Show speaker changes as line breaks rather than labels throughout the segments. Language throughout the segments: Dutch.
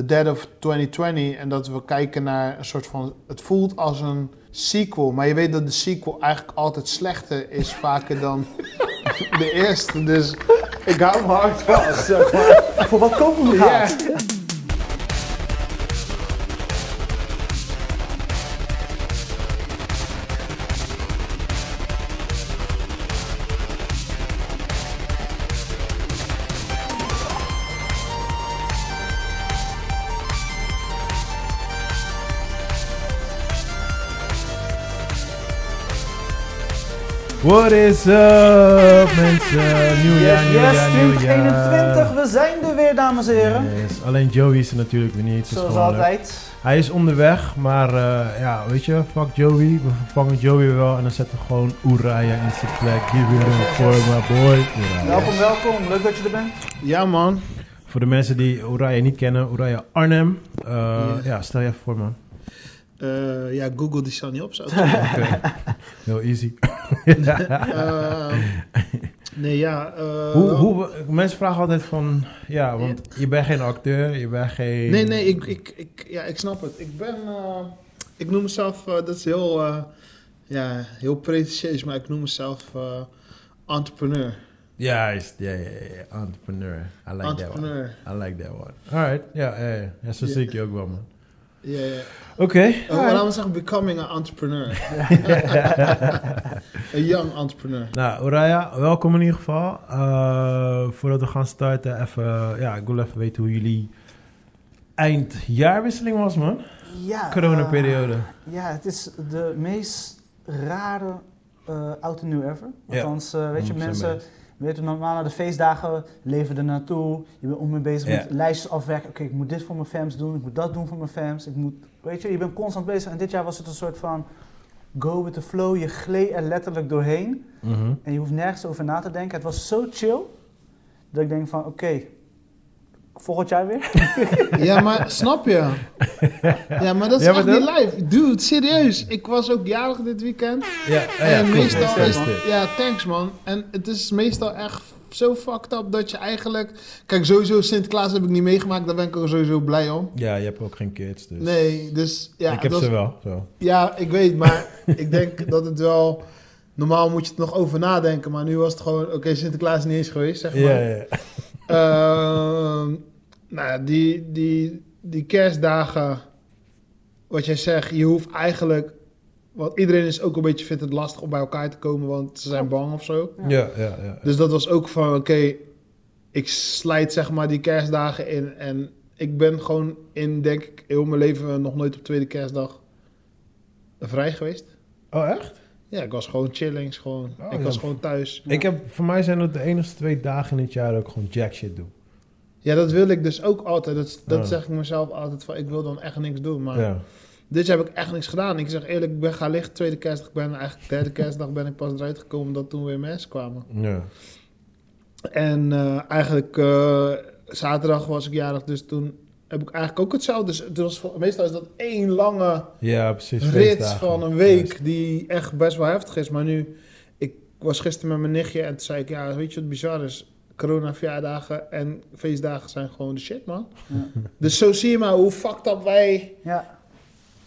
The Dead of 2020. En dat we kijken naar een soort van. Het voelt als een sequel. Maar je weet dat de sequel eigenlijk altijd slechter is vaker dan de eerste. Dus ik hou me hard vast. Zeg maar.
Voor wat komen we
Ja.
gaan?
What is up mensen? Nieuwjaar,
Yes,
nieuwjaar,
yes,
nieuwjaar.
2021, we zijn er weer, dames en heren.
Yes, Alleen Joey is er natuurlijk weer niet. dat is
Zoals
gewoon leuk.
altijd.
Hij is onderweg, maar eh, ja, weet je, fuck Joey. We vervangen Joey wel en dan zetten we gewoon Uraya in zijn plek. Give it up for my boy. Uraya.
Welkom, welkom. Leuk dat je er bent.
ja, man.
Voor de mensen die Uraya niet kennen, Uraya Arnhem. Eh, Ja, stel je even voor man.
Eh, ja, Google die staat niet op. Zou ik
Oké. Heel easy.
Eh, nee, ja. eh,
Hoe, hoe, mensen vragen altijd van, ja, want je bent geen acteur, je bent geen...
Nee, nee, ik, ik, ik, ja, ik snap het. Ik ben. eh, ik noem mezelf. eh, dat is heel. eh, ja, heel pretentieus, maar ik noem mezelf. eh, entrepreneur.
Juist, ja, ja, ja, ja. Entrepreneur. I like
entrepreneur.
that one. I like that one. Alright, ja, ja, ja. ja, zo
Ja.
zie ik je ook wel, man.
Ja, ja.
Oké.
Eh,
alright.
Laten we zeggen, becoming an entrepreneur. Een young entrepreneur.
Nou, Oraya, welkom in ieder geval. Eh, voordat we gaan starten, even, ja, ik wil even weten hoe jullie eindjaarwisseling was, man.
Ah.
Ja, eh,
Coronaperiode.
ja, het is de meest rare eh oud en nieuw ever.
Ja. Mm,
Althans, eh, weet je,
100%
mensen... Weet je, normaal na de feestdagen leven er naartoe. Je bent om mee bezig
Ja.
met lijstjes afwerken. Oké, ik moet dit voor mijn fans doen. Ik moet dat doen voor mijn fans. Ik moet, weet je, je bent constant bezig. En dit jaar was het een soort van go with the flow. Je gleed er letterlijk doorheen.
Mhm.
En je hoeft nergens over na te denken. Het was zo chill dat ik denk van oké, volgend jaar weer.
Ja, maar snap je? Ja, maar dat is
Ja, maar
echt
dat-
niet live. Dude, serieus. Ik was ook jarig dit weekend.
Ja, oh ja,
en
klopt,
Eh, meestal
dat
is
is dit.
Ja, thanks man. En het is meestal echt zo fucked up dat je eigenlijk... Kijk, sowieso Sinterklaas heb ik niet meegemaakt. Daar ben ik ook sowieso blij om.
Ja, je hebt ook geen kids, dus...
Nee, dus ja,
ik heb
dat
ze
is-
wel, zo.
ja, ik weet, maar ik denk dat het wel... Normaal moet je het nog over nadenken, maar nu was het gewoon... Oké, Sinterklaas is niet eens geweest, zeg maar.
Ja, ja, ja.
Ehm, nou, ja, die, die, die kerstdagen, wat jij zegt, je hoeft eigenlijk. Want iedereen is ook een beetje vindt het lastig om bij elkaar te komen, want ze zijn bang of zo.
Ja, ja, ja.
Dus dat was ook van, oké, ik slijt zeg maar die kerstdagen in. En ik ben gewoon in, denk ik, heel mijn leven nog nooit op tweede kerstdag vrij geweest.
Oh, echt?
Ja, ik was gewoon chillings, gewoon.
Oh,
ik
ja.
was gewoon thuis.
Ik heb, voor mij zijn dat de enige twee dagen in het jaar dat ik gewoon jack shit doe.
Ja, dat wil ik dus ook altijd. Dat, dat
Ja.
zeg ik mezelf altijd van, ik wil dan echt niks doen. Maar
Ja.
Dit jaar heb ik echt niks gedaan. Ik zeg eerlijk, ik ben gaan liggen tweede kerstdag. Ik ben eigenlijk derde kerstdag ben ik pas eruit gekomen dat toen weer mensen kwamen.
Ja.
En eh, eigenlijk eh, zaterdag was ik jarig, dus toen heb ik eigenlijk ook hetzelfde. Dus het was, voor- meestal is dat één lange
Ja, precies.
rit
feestdagen.
van een week die echt best wel heftig is. Maar nu, ik was gisteren met mijn nichtje en toen zei ik, ja, weet je wat bizar is? Corona verjaardagen en feestdagen zijn gewoon de shit, man.
Ja.
Dus zo zie je maar hoe fucked up wij
Ja,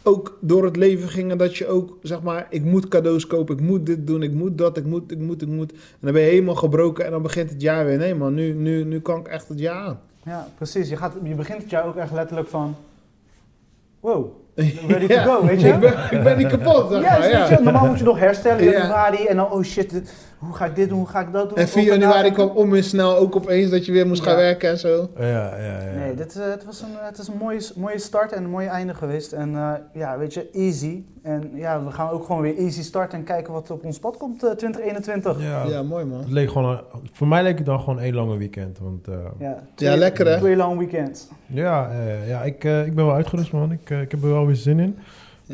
ook door het leven gingen dat je ook, zeg maar, ik moet cadeaus kopen, ik moet dit doen, ik moet dat, ik moet, ik moet, ik moet. En dan ben je helemaal gebroken en dan begint het jaar weer. Nee man, nu, nu, nu kan ik echt het jaar aan.
ja precies. Je, gaat, je begint het jaar ook echt letterlijk van wow, ready to
Ja,
go, weet je?
Ik ben, ik ben niet kapot, zeg
ja,
maar.
dus
Ja.
weet je, normaal moet je nog herstellen in
Ja.
januari en dan oh shit, dit- hoe ga ik dit doen, hoe ga ik dat doen?
En 4
Of vandaag-
januari kwam om en snel ook opeens dat je weer moest gaan
Ja.
werken en zo.
Ja, ja, ja.
Nee, dit, eh, het was een, het is een mooie, mooie start en een mooie einde geweest. En eh, ja, weet je, easy. En ja, we gaan ook gewoon weer easy starten en kijken wat op ons pad komt eh, 2021.
Ja.
Ja, mooi man.
Het leek gewoon een- voor mij leek het dan gewoon één lange weekend. Want eh,
Ja,
Ja, lekker hè?
Twee long weekends.
ja, eh, ja ik, eh, ik ben wel uitgerust, man. Ik, eh, ik heb er wel weer zin in.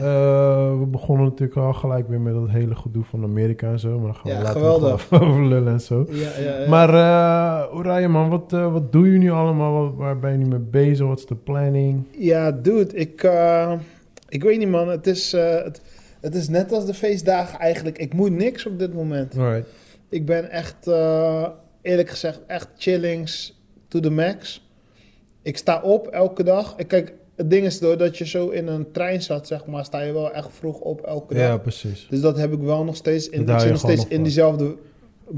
Eh, we begonnen natuurlijk al gelijk weer met dat hele gedoe van Amerika en zo. Maar dan gaan
Ja,
we later
geweldig.
nog wel even over lullen en zo.
Ja, ja, ja.
Maar eh Oranje, man, wat, eh, wat doen jullie nu allemaal? Wat- waar ben je nu mee bezig? Wat is de planning?
Ja, dude, ik, eh, ik weet niet man. Het is, eh, het, het is net als de feestdagen eigenlijk. Ik moet niks op dit moment.
Alright.
Ik ben echt, eh, eerlijk gezegd, echt chillings to the max. Ik sta op elke dag. Ik Kijk, het ding is doordat je zo in een trein zat, zeg maar, sta je wel echt vroeg op elke dag.
Ja, precies.
Dus dat heb ik wel nog steeds. In,
Daar
ik
hou je
zit nog
gewoon
steeds
nog
in
van.
diezelfde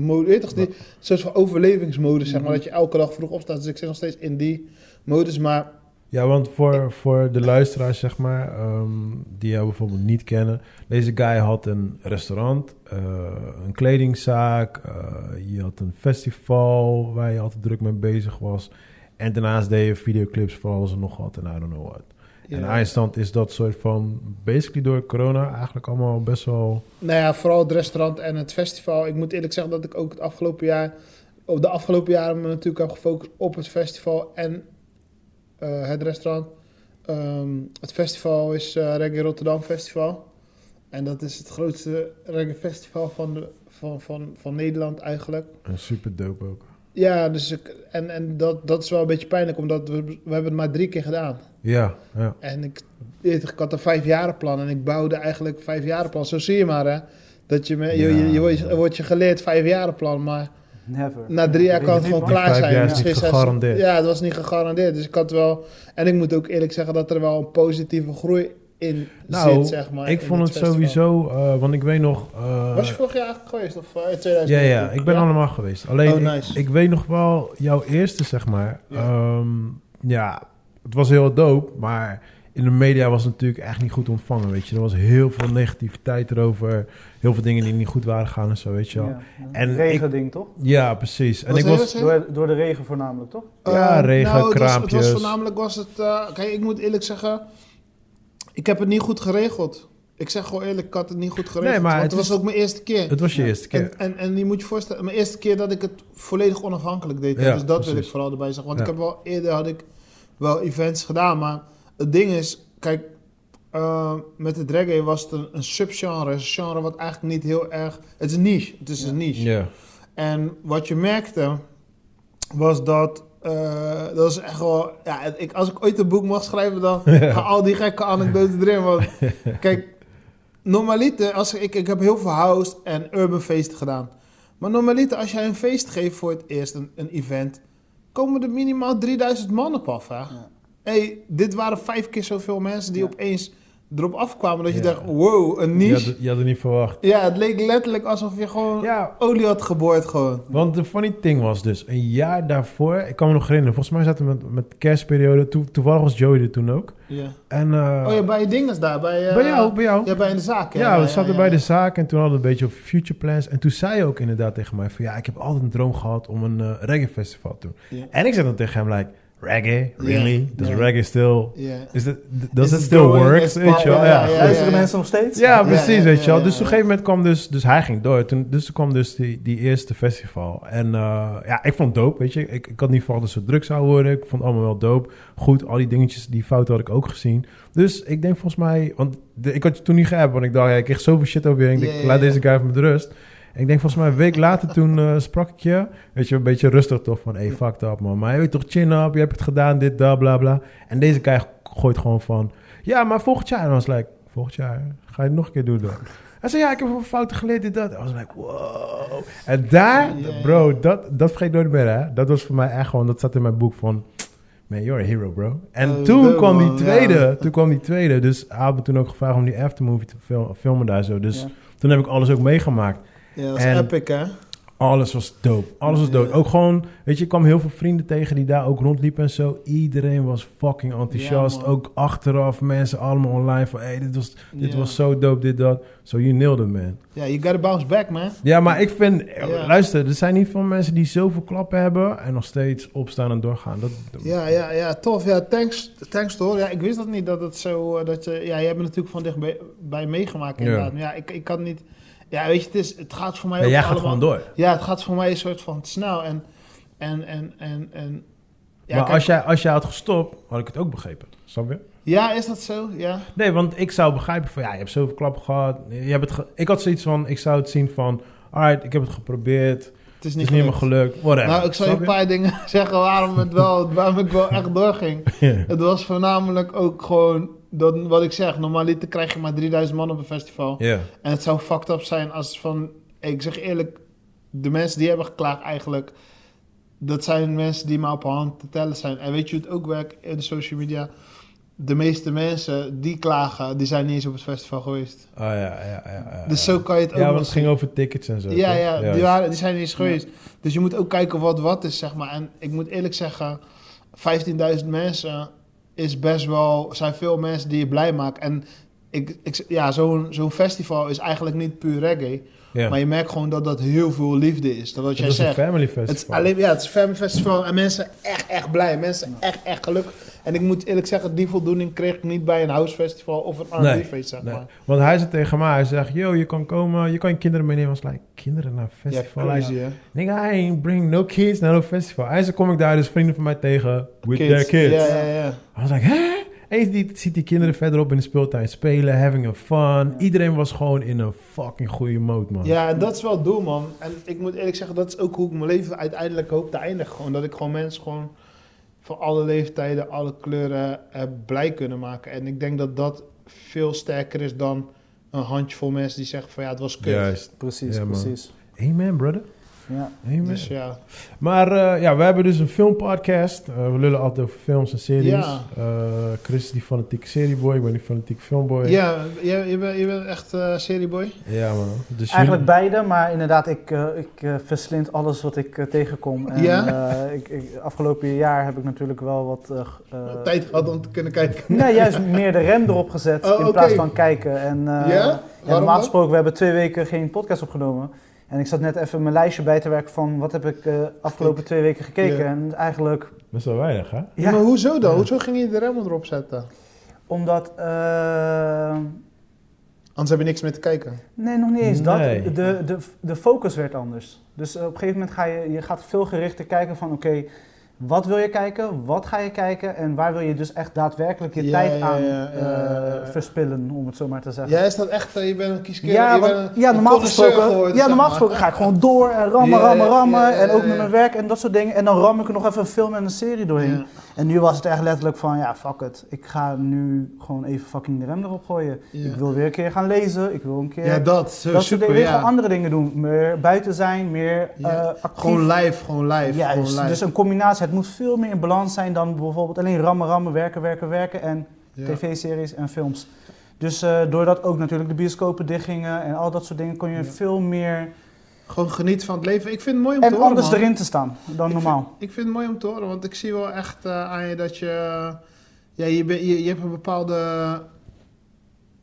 mode. Weet je toch, die soort van overlevingsmodus,
Mhm.
zeg maar. Dat je elke dag vroeg opstaat. Dus ik zit nog steeds in die modus. Maar
Ja, want voor, voor de luisteraars, zeg maar, ehm, die jou bijvoorbeeld niet kennen. Deze guy had een restaurant, eh, een kledingzaak, eh, je had een festival waar je altijd druk mee bezig was. En daarnaast deed je videoclips voor alles en nog wat en I don't know what. En
ja.
eindstand is dat soort van, basically door corona, eigenlijk allemaal best wel...
Nou ja, vooral het restaurant en het festival. Ik moet eerlijk zeggen dat ik ook het afgelopen jaar, op de afgelopen jaren me natuurlijk heb gefocust op het festival en eh, het restaurant. Ehm, het festival is eh Reggae Rotterdam Festival. En dat is het grootste reggae festival van, de, van, van, van Nederland eigenlijk.
En super dope ook.
Ja, dus ik, en, en dat, dat is wel een beetje pijnlijk, omdat we, we hebben het maar drie keer gedaan.
Ja, ja.
En ik, ik had een vijfjarenplan en ik bouwde eigenlijk vijfjarenplan. Zo zie je maar, hè. Dat je, me, je, je, je wordt- je wordt je geleerd vijfjarenplan, maar
Never.
na drie jaar kan het
Weet je
gewoon
niet, man?
klaar
vijf
zijn.
jaar is
Misschien
niet
zes-
gegarandeerd.
Ja, het was niet gegarandeerd. Dus ik had wel... En ik moet ook eerlijk zeggen dat er wel een positieve groei in
Nou,
zit, zeg maar.
ik
in
vond het
festival.
sowieso, eh, want ik weet nog... eh,
Was je vorig jaar eigenlijk geweest? Of eh, in
Ja,
2019?
ja, ik ben allemaal geweest. Alleen,
Oh,
ik-
nice.
ik, weet nog wel jouw eerste, zeg maar.
Ja.
Ja, ja het was heel dope, maar in de media was het natuurlijk echt niet goed ontvangen, weet je. Er was heel veel negativiteit erover, heel veel dingen die niet goed waren gegaan en zo, weet je wel. Ja, En
En regending, toch?
precies. En
Wat
ik
zei
was...
je?
Door, door de regen voornamelijk, toch?
Ja,
Eh,
regen,
nou, het was- Het
kraampjes.
was voornamelijk was het. eh, kijk, ik moet eerlijk zeggen, ik heb het niet goed geregeld. Ik zeg gewoon eerlijk, ik had het niet goed geregeld.
Nee, maar
want
het
het,
is-
was ook mijn eerste keer.
Het was je eerste keer.
En, en, en je moet je voorstellen, mijn eerste keer dat ik het volledig onafhankelijk deed. hè.
Ja,
dus dat wil
precies.
ik vooral erbij zeggen. Want
Ja.
ik heb wel eerder had ik wel events gedaan. Maar het ding is, kijk, eh, met het reggae was het een, een subgenre. Een genre wat eigenlijk niet heel erg. Het is niche. Het is een niche.
Ja,
En wat je merkte, was dat. eh, dat is echt wel. Ja, het- ik, als ik ooit een boek mag schrijven, dan gaan al die gekke anekdotes erin. Want kijk, normaliter, als ik, ik heb heel veel house en urban feesten gedaan. Maar normaliter, als jij een feest geeft voor het eerst, een, een event, komen er minimaal 3000 man op af. Hè? hey, dit waren vijf keer zoveel mensen die
Ja.
opeens erop afkwamen. Dat je
Ja.
dacht: wow, een
je
niche.
had, het- je had het niet verwacht.
Ja, het leek letterlijk alsof je gewoon
Ja,
olie had geboord, gewoon.
Want de funny thing was dus, een jaar daarvoor, ik kan me nog herinneren, volgens mij zaten we met, met kerstperiode, toe- toevallig was Joey er toen ook.
Ja.
En, eh,
Oh ja, bij je dinges daar. Bij, eh,
bij jou, bij jou.
Ja, bij in de zaak. hè?
Ja, we zaten
ja,
bij
ja.
de zaak en toen hadden we een beetje over future plans. En toen zei je ook inderdaad tegen mij van... ja, ik heb altijd een droom gehad om een eh, reggae festival te doen.
Ja.
En ik zei dan tegen hem like... reggae? Really?
Ja.
Does
Ja.
reggae still...
Ja.
Is that, does
it
it still
going?
work?
Is het
Weet je wel,
pop?
ja.
Ja, ja,
goed.
Luisteren mensen nog steeds?
Ja,
Ja,
precies,
ja,
weet
ja,
je wel.
ja,
Dus op een
ja.
gegeven moment kwam dus... Dus hij ging door. Toen, dus toen kwam dus die, die eerste festival. En eh, ja, ik vond het dope, weet je. Ik, ik had niet verwacht dat ze druk zou worden. Ik vond het allemaal wel dope. Goed, al die dingetjes, die fouten had ik ook gezien. Dus ik denk volgens mij... Want de- ik had je toen niet geappt, want ik dacht... Ja, ik kreeg zoveel shit over je. En ik
Ja,
denk,
ja,
laat
ja.
deze guy even met rust. En ik denk volgens mij een week later toen eh, sprak ik je. Weet je, een beetje rustig toch van... Hey, fuck dat man. Maar je weet toch, chin up. Je hebt het gedaan, dit, dat, bla, bla. En deze guy gooit gewoon van... Ja, maar volgend jaar. En I was like, volgend jaar? Ga je het nog een keer doen dan? Hij zei, ja, ik heb een fouten geleerd, dit, dat. I was like, wow. En daar,
Ja, ja,
bro, dat, dat vergeet ik nooit meer, hè. Dat was voor mij echt gewoon... Dat zat in mijn boek van... Man, you're a hero, bro. En
Oh,
toen
dope,
kwam die
man, ja.
tweede. Toen kwam die tweede. Dus hij had me toen ook gevraagd om die aftermovie te fil- filmen daar zo. Dus
Ja.
toen heb ik alles ook meegemaakt.
Ja, dat is
En-
epic, hè?
Alles was dope. Alles was dope.
Ja.
Ook gewoon, weet je, ik kwam heel veel vrienden tegen die daar ook rondliepen en zo. Iedereen was fucking enthousiast.
Ja, man.
ook achteraf mensen allemaal online van, hey, dit was, dit
Ja.
was zo dope, dit, dat. So you nailed it, man.
Ja, you gotta bounce back, man.
Ja, maar ik vind, eh,
Ja.
luister, er zijn niet veel mensen die zoveel klappen hebben en nog steeds opstaan en doorgaan. Dat,
Ja, ja, ja, tof. Ja, thanks, thanks hoor. Ja, ik wist dat niet dat het zo... eh, dat je, ja, jij hebt het natuurlijk van dichtbij meegemaakt,
Ja.
inderdaad. Maar ja, ik, ik kan niet... Ja, weet je, het, is, het gaat voor mij
Ja,
ook
jij gaat
allemaal-
gewoon door.
Ja, het gaat voor mij een soort van te snel. En, en, en, en, en ja,
maar
kijk-
als jij, als jij had gestopt, had ik het ook begrepen. Snap je?
ja, is dat zo? Ja.
Nee, want ik zou begrijpen van ja, je hebt zoveel klappen gehad. Je hebt het ge- ik had zoiets van, ik zou het zien van, alright, ik heb het geprobeerd. Het
Het is
is
niet,
niet helemaal
gelukt.
gelukt. Whatever.
Nou, ik zal je
Snap
een paar dingen zeggen waarom, het wel, waarom ik wel echt doorging.
Ja.
Het was voornamelijk ook gewoon dat, wat ik zeg. Normaliter krijg je maar 3000 man op een festival.
Ja.
En het zou fucked up zijn als van... Ik zeg eerlijk, de mensen die hebben geklaagd eigenlijk... dat zijn mensen die maar op hand te tellen zijn. En weet je hoe het ook werkt in de social media? De meeste mensen die klagen, die zijn niet eens op het festival geweest.
Oh ja, ja, ja. ja
Dus zo kan je het ook
Ja,
nog
want het ging
zien.
over tickets en zo.
Ja,
toch?
ja, die,
juist.
waren, die zijn niet eens geweest. Dus je moet ook kijken wat wat is, zeg maar. En ik moet eerlijk zeggen, 15.000 mensen is best wel, zijn veel mensen die je blij maken. En ik, ik, ja, zo'n zo'n festival is eigenlijk niet puur reggae.
Ja.
Maar je merkt gewoon dat dat heel veel liefde is. Dat wat
Het
jij
was een
zegt.
family
Het is
festival.
alleen, ja, het is een family festival en mensen echt, echt blij. Mensen echt, echt gelukkig. En ik moet eerlijk zeggen, die voldoening kreeg ik niet bij een house festival of een R&B
Nee,
feest, zeg
Nee,
maar.
Want hij zei tegen mij, hij zegt, yo, je kan komen, je kan je kinderen meenemen. Ik was like, kinderen naar een
Ja,
festival?
crazy, hè?
Nigga, I ain't bring no kids naar een festival. Hij zei, kom ik daar dus vrienden van mij tegen, with their kids.
Ja, ja, ja.
Hij was like, hè? Eens die, ziet die kinderen verderop in de speeltuin spelen, having a fun. Iedereen was gewoon in een fucking goede mode, man.
Ja, en dat is wel het doel, man. En ik moet eerlijk zeggen, dat is ook hoe ik mijn leven uiteindelijk hoop te eindigen. Gewoon dat ik gewoon mensen gewoon van alle leeftijden, alle kleuren eh, blij kunnen maken. En ik denk dat dat veel sterker is dan een handjevol mensen die zeggen van ja, het was kut.
Juist.
Precies,
Ja, man.
precies.
Amen, brother.
Ja.
Amen.
Dus ja,
Maar eh, ja, we hebben dus een filmpodcast. Eh, we lullen altijd over films en series.
Ja.
Eh, Chris is die fanatieke serieboy, ik ben die fanatieke filmboy.
ja je, je, bent, je bent echt eh, serieboy.
Ja, man. Dus
Eigenlijk
jullie-
beide, maar inderdaad, ik, eh, ik eh, verslind alles wat ik eh, tegenkom. En,
Ja?
eh, ik, ik, afgelopen jaar heb ik natuurlijk wel wat... eh, g- eh,
Tijd gehad om te kunnen kijken.
Nee, juist meer de rem erop gezet
Oh,
in plaats
oké.
van kijken. En, eh,
ja?
Ja,
Waarom
normaal
dan?
gesproken, we hebben twee weken geen podcast opgenomen. En ik zat net even mijn lijstje bij te werken van wat heb ik eh afgelopen twee weken gekeken.
Ja.
En eigenlijk,
Best wel weinig, hè?
Ja,
ja,
maar hoezo dan?
Ja.
Hoezo ging je de rem erop zetten?
omdat... eh,
Anders heb je niks meer te kijken.
nee, nog niet eens dat.
Nee.
De, de, de focus werd anders. Dus eh, op een gegeven moment ga je, je gaat veel gerichter kijken van oké, wat wil je kijken, wat ga je kijken en waar wil je dus echt daadwerkelijk je
Ja,
tijd
ja,
aan
ja, ja, ja, ja.
eh, verspillen, om het zo maar te zeggen.
Ja, is dat echt? eh, je bent een kieskeur.
Ja,
je
want-
bent een-
ja,
een
normaal
connoisseur
gesproken,
geworden,
ja,
zeg
normaal
maar.
gesproken ga ik gewoon door en rammen,
Ja,
rammen,
ja,
rammen.
ja, ja,
en ook
ja.
met mijn werk en dat soort dingen. En dan ram ik er nog even een film en een serie doorheen.
Ja.
En nu was het echt letterlijk van, ja, fuck it. Ik ga nu gewoon even fucking de rem erop gooien.
Ja.
Ik wil weer een keer gaan lezen. Ik wil een keer
Ja, dat. Zo
dat soort
super,
dingen. Weer
ja.
gewoon andere dingen doen. Meer buiten zijn, meer
Ja.
eh, actief.
Gewoon live, gewoon live.
Juist.
gewoon live.
dus een combinatie. Het moet veel meer in balans zijn dan bijvoorbeeld alleen rammen, rammen, werken, werken, werken. En
Ja.
tv-series en films. Dus eh, doordat ook natuurlijk de bioscopen dichtgingen en al dat soort dingen, kon je
Ja.
veel meer
Gewoon genieten van het leven. Ik vind het mooi om te
en
horen.
anders
man.
erin te staan dan
Ik
normaal.
Vind, ik vind het mooi om te horen, want ik zie wel echt eh, aan je dat je. eh, Ja, je, ben- je, je hebt een bepaalde.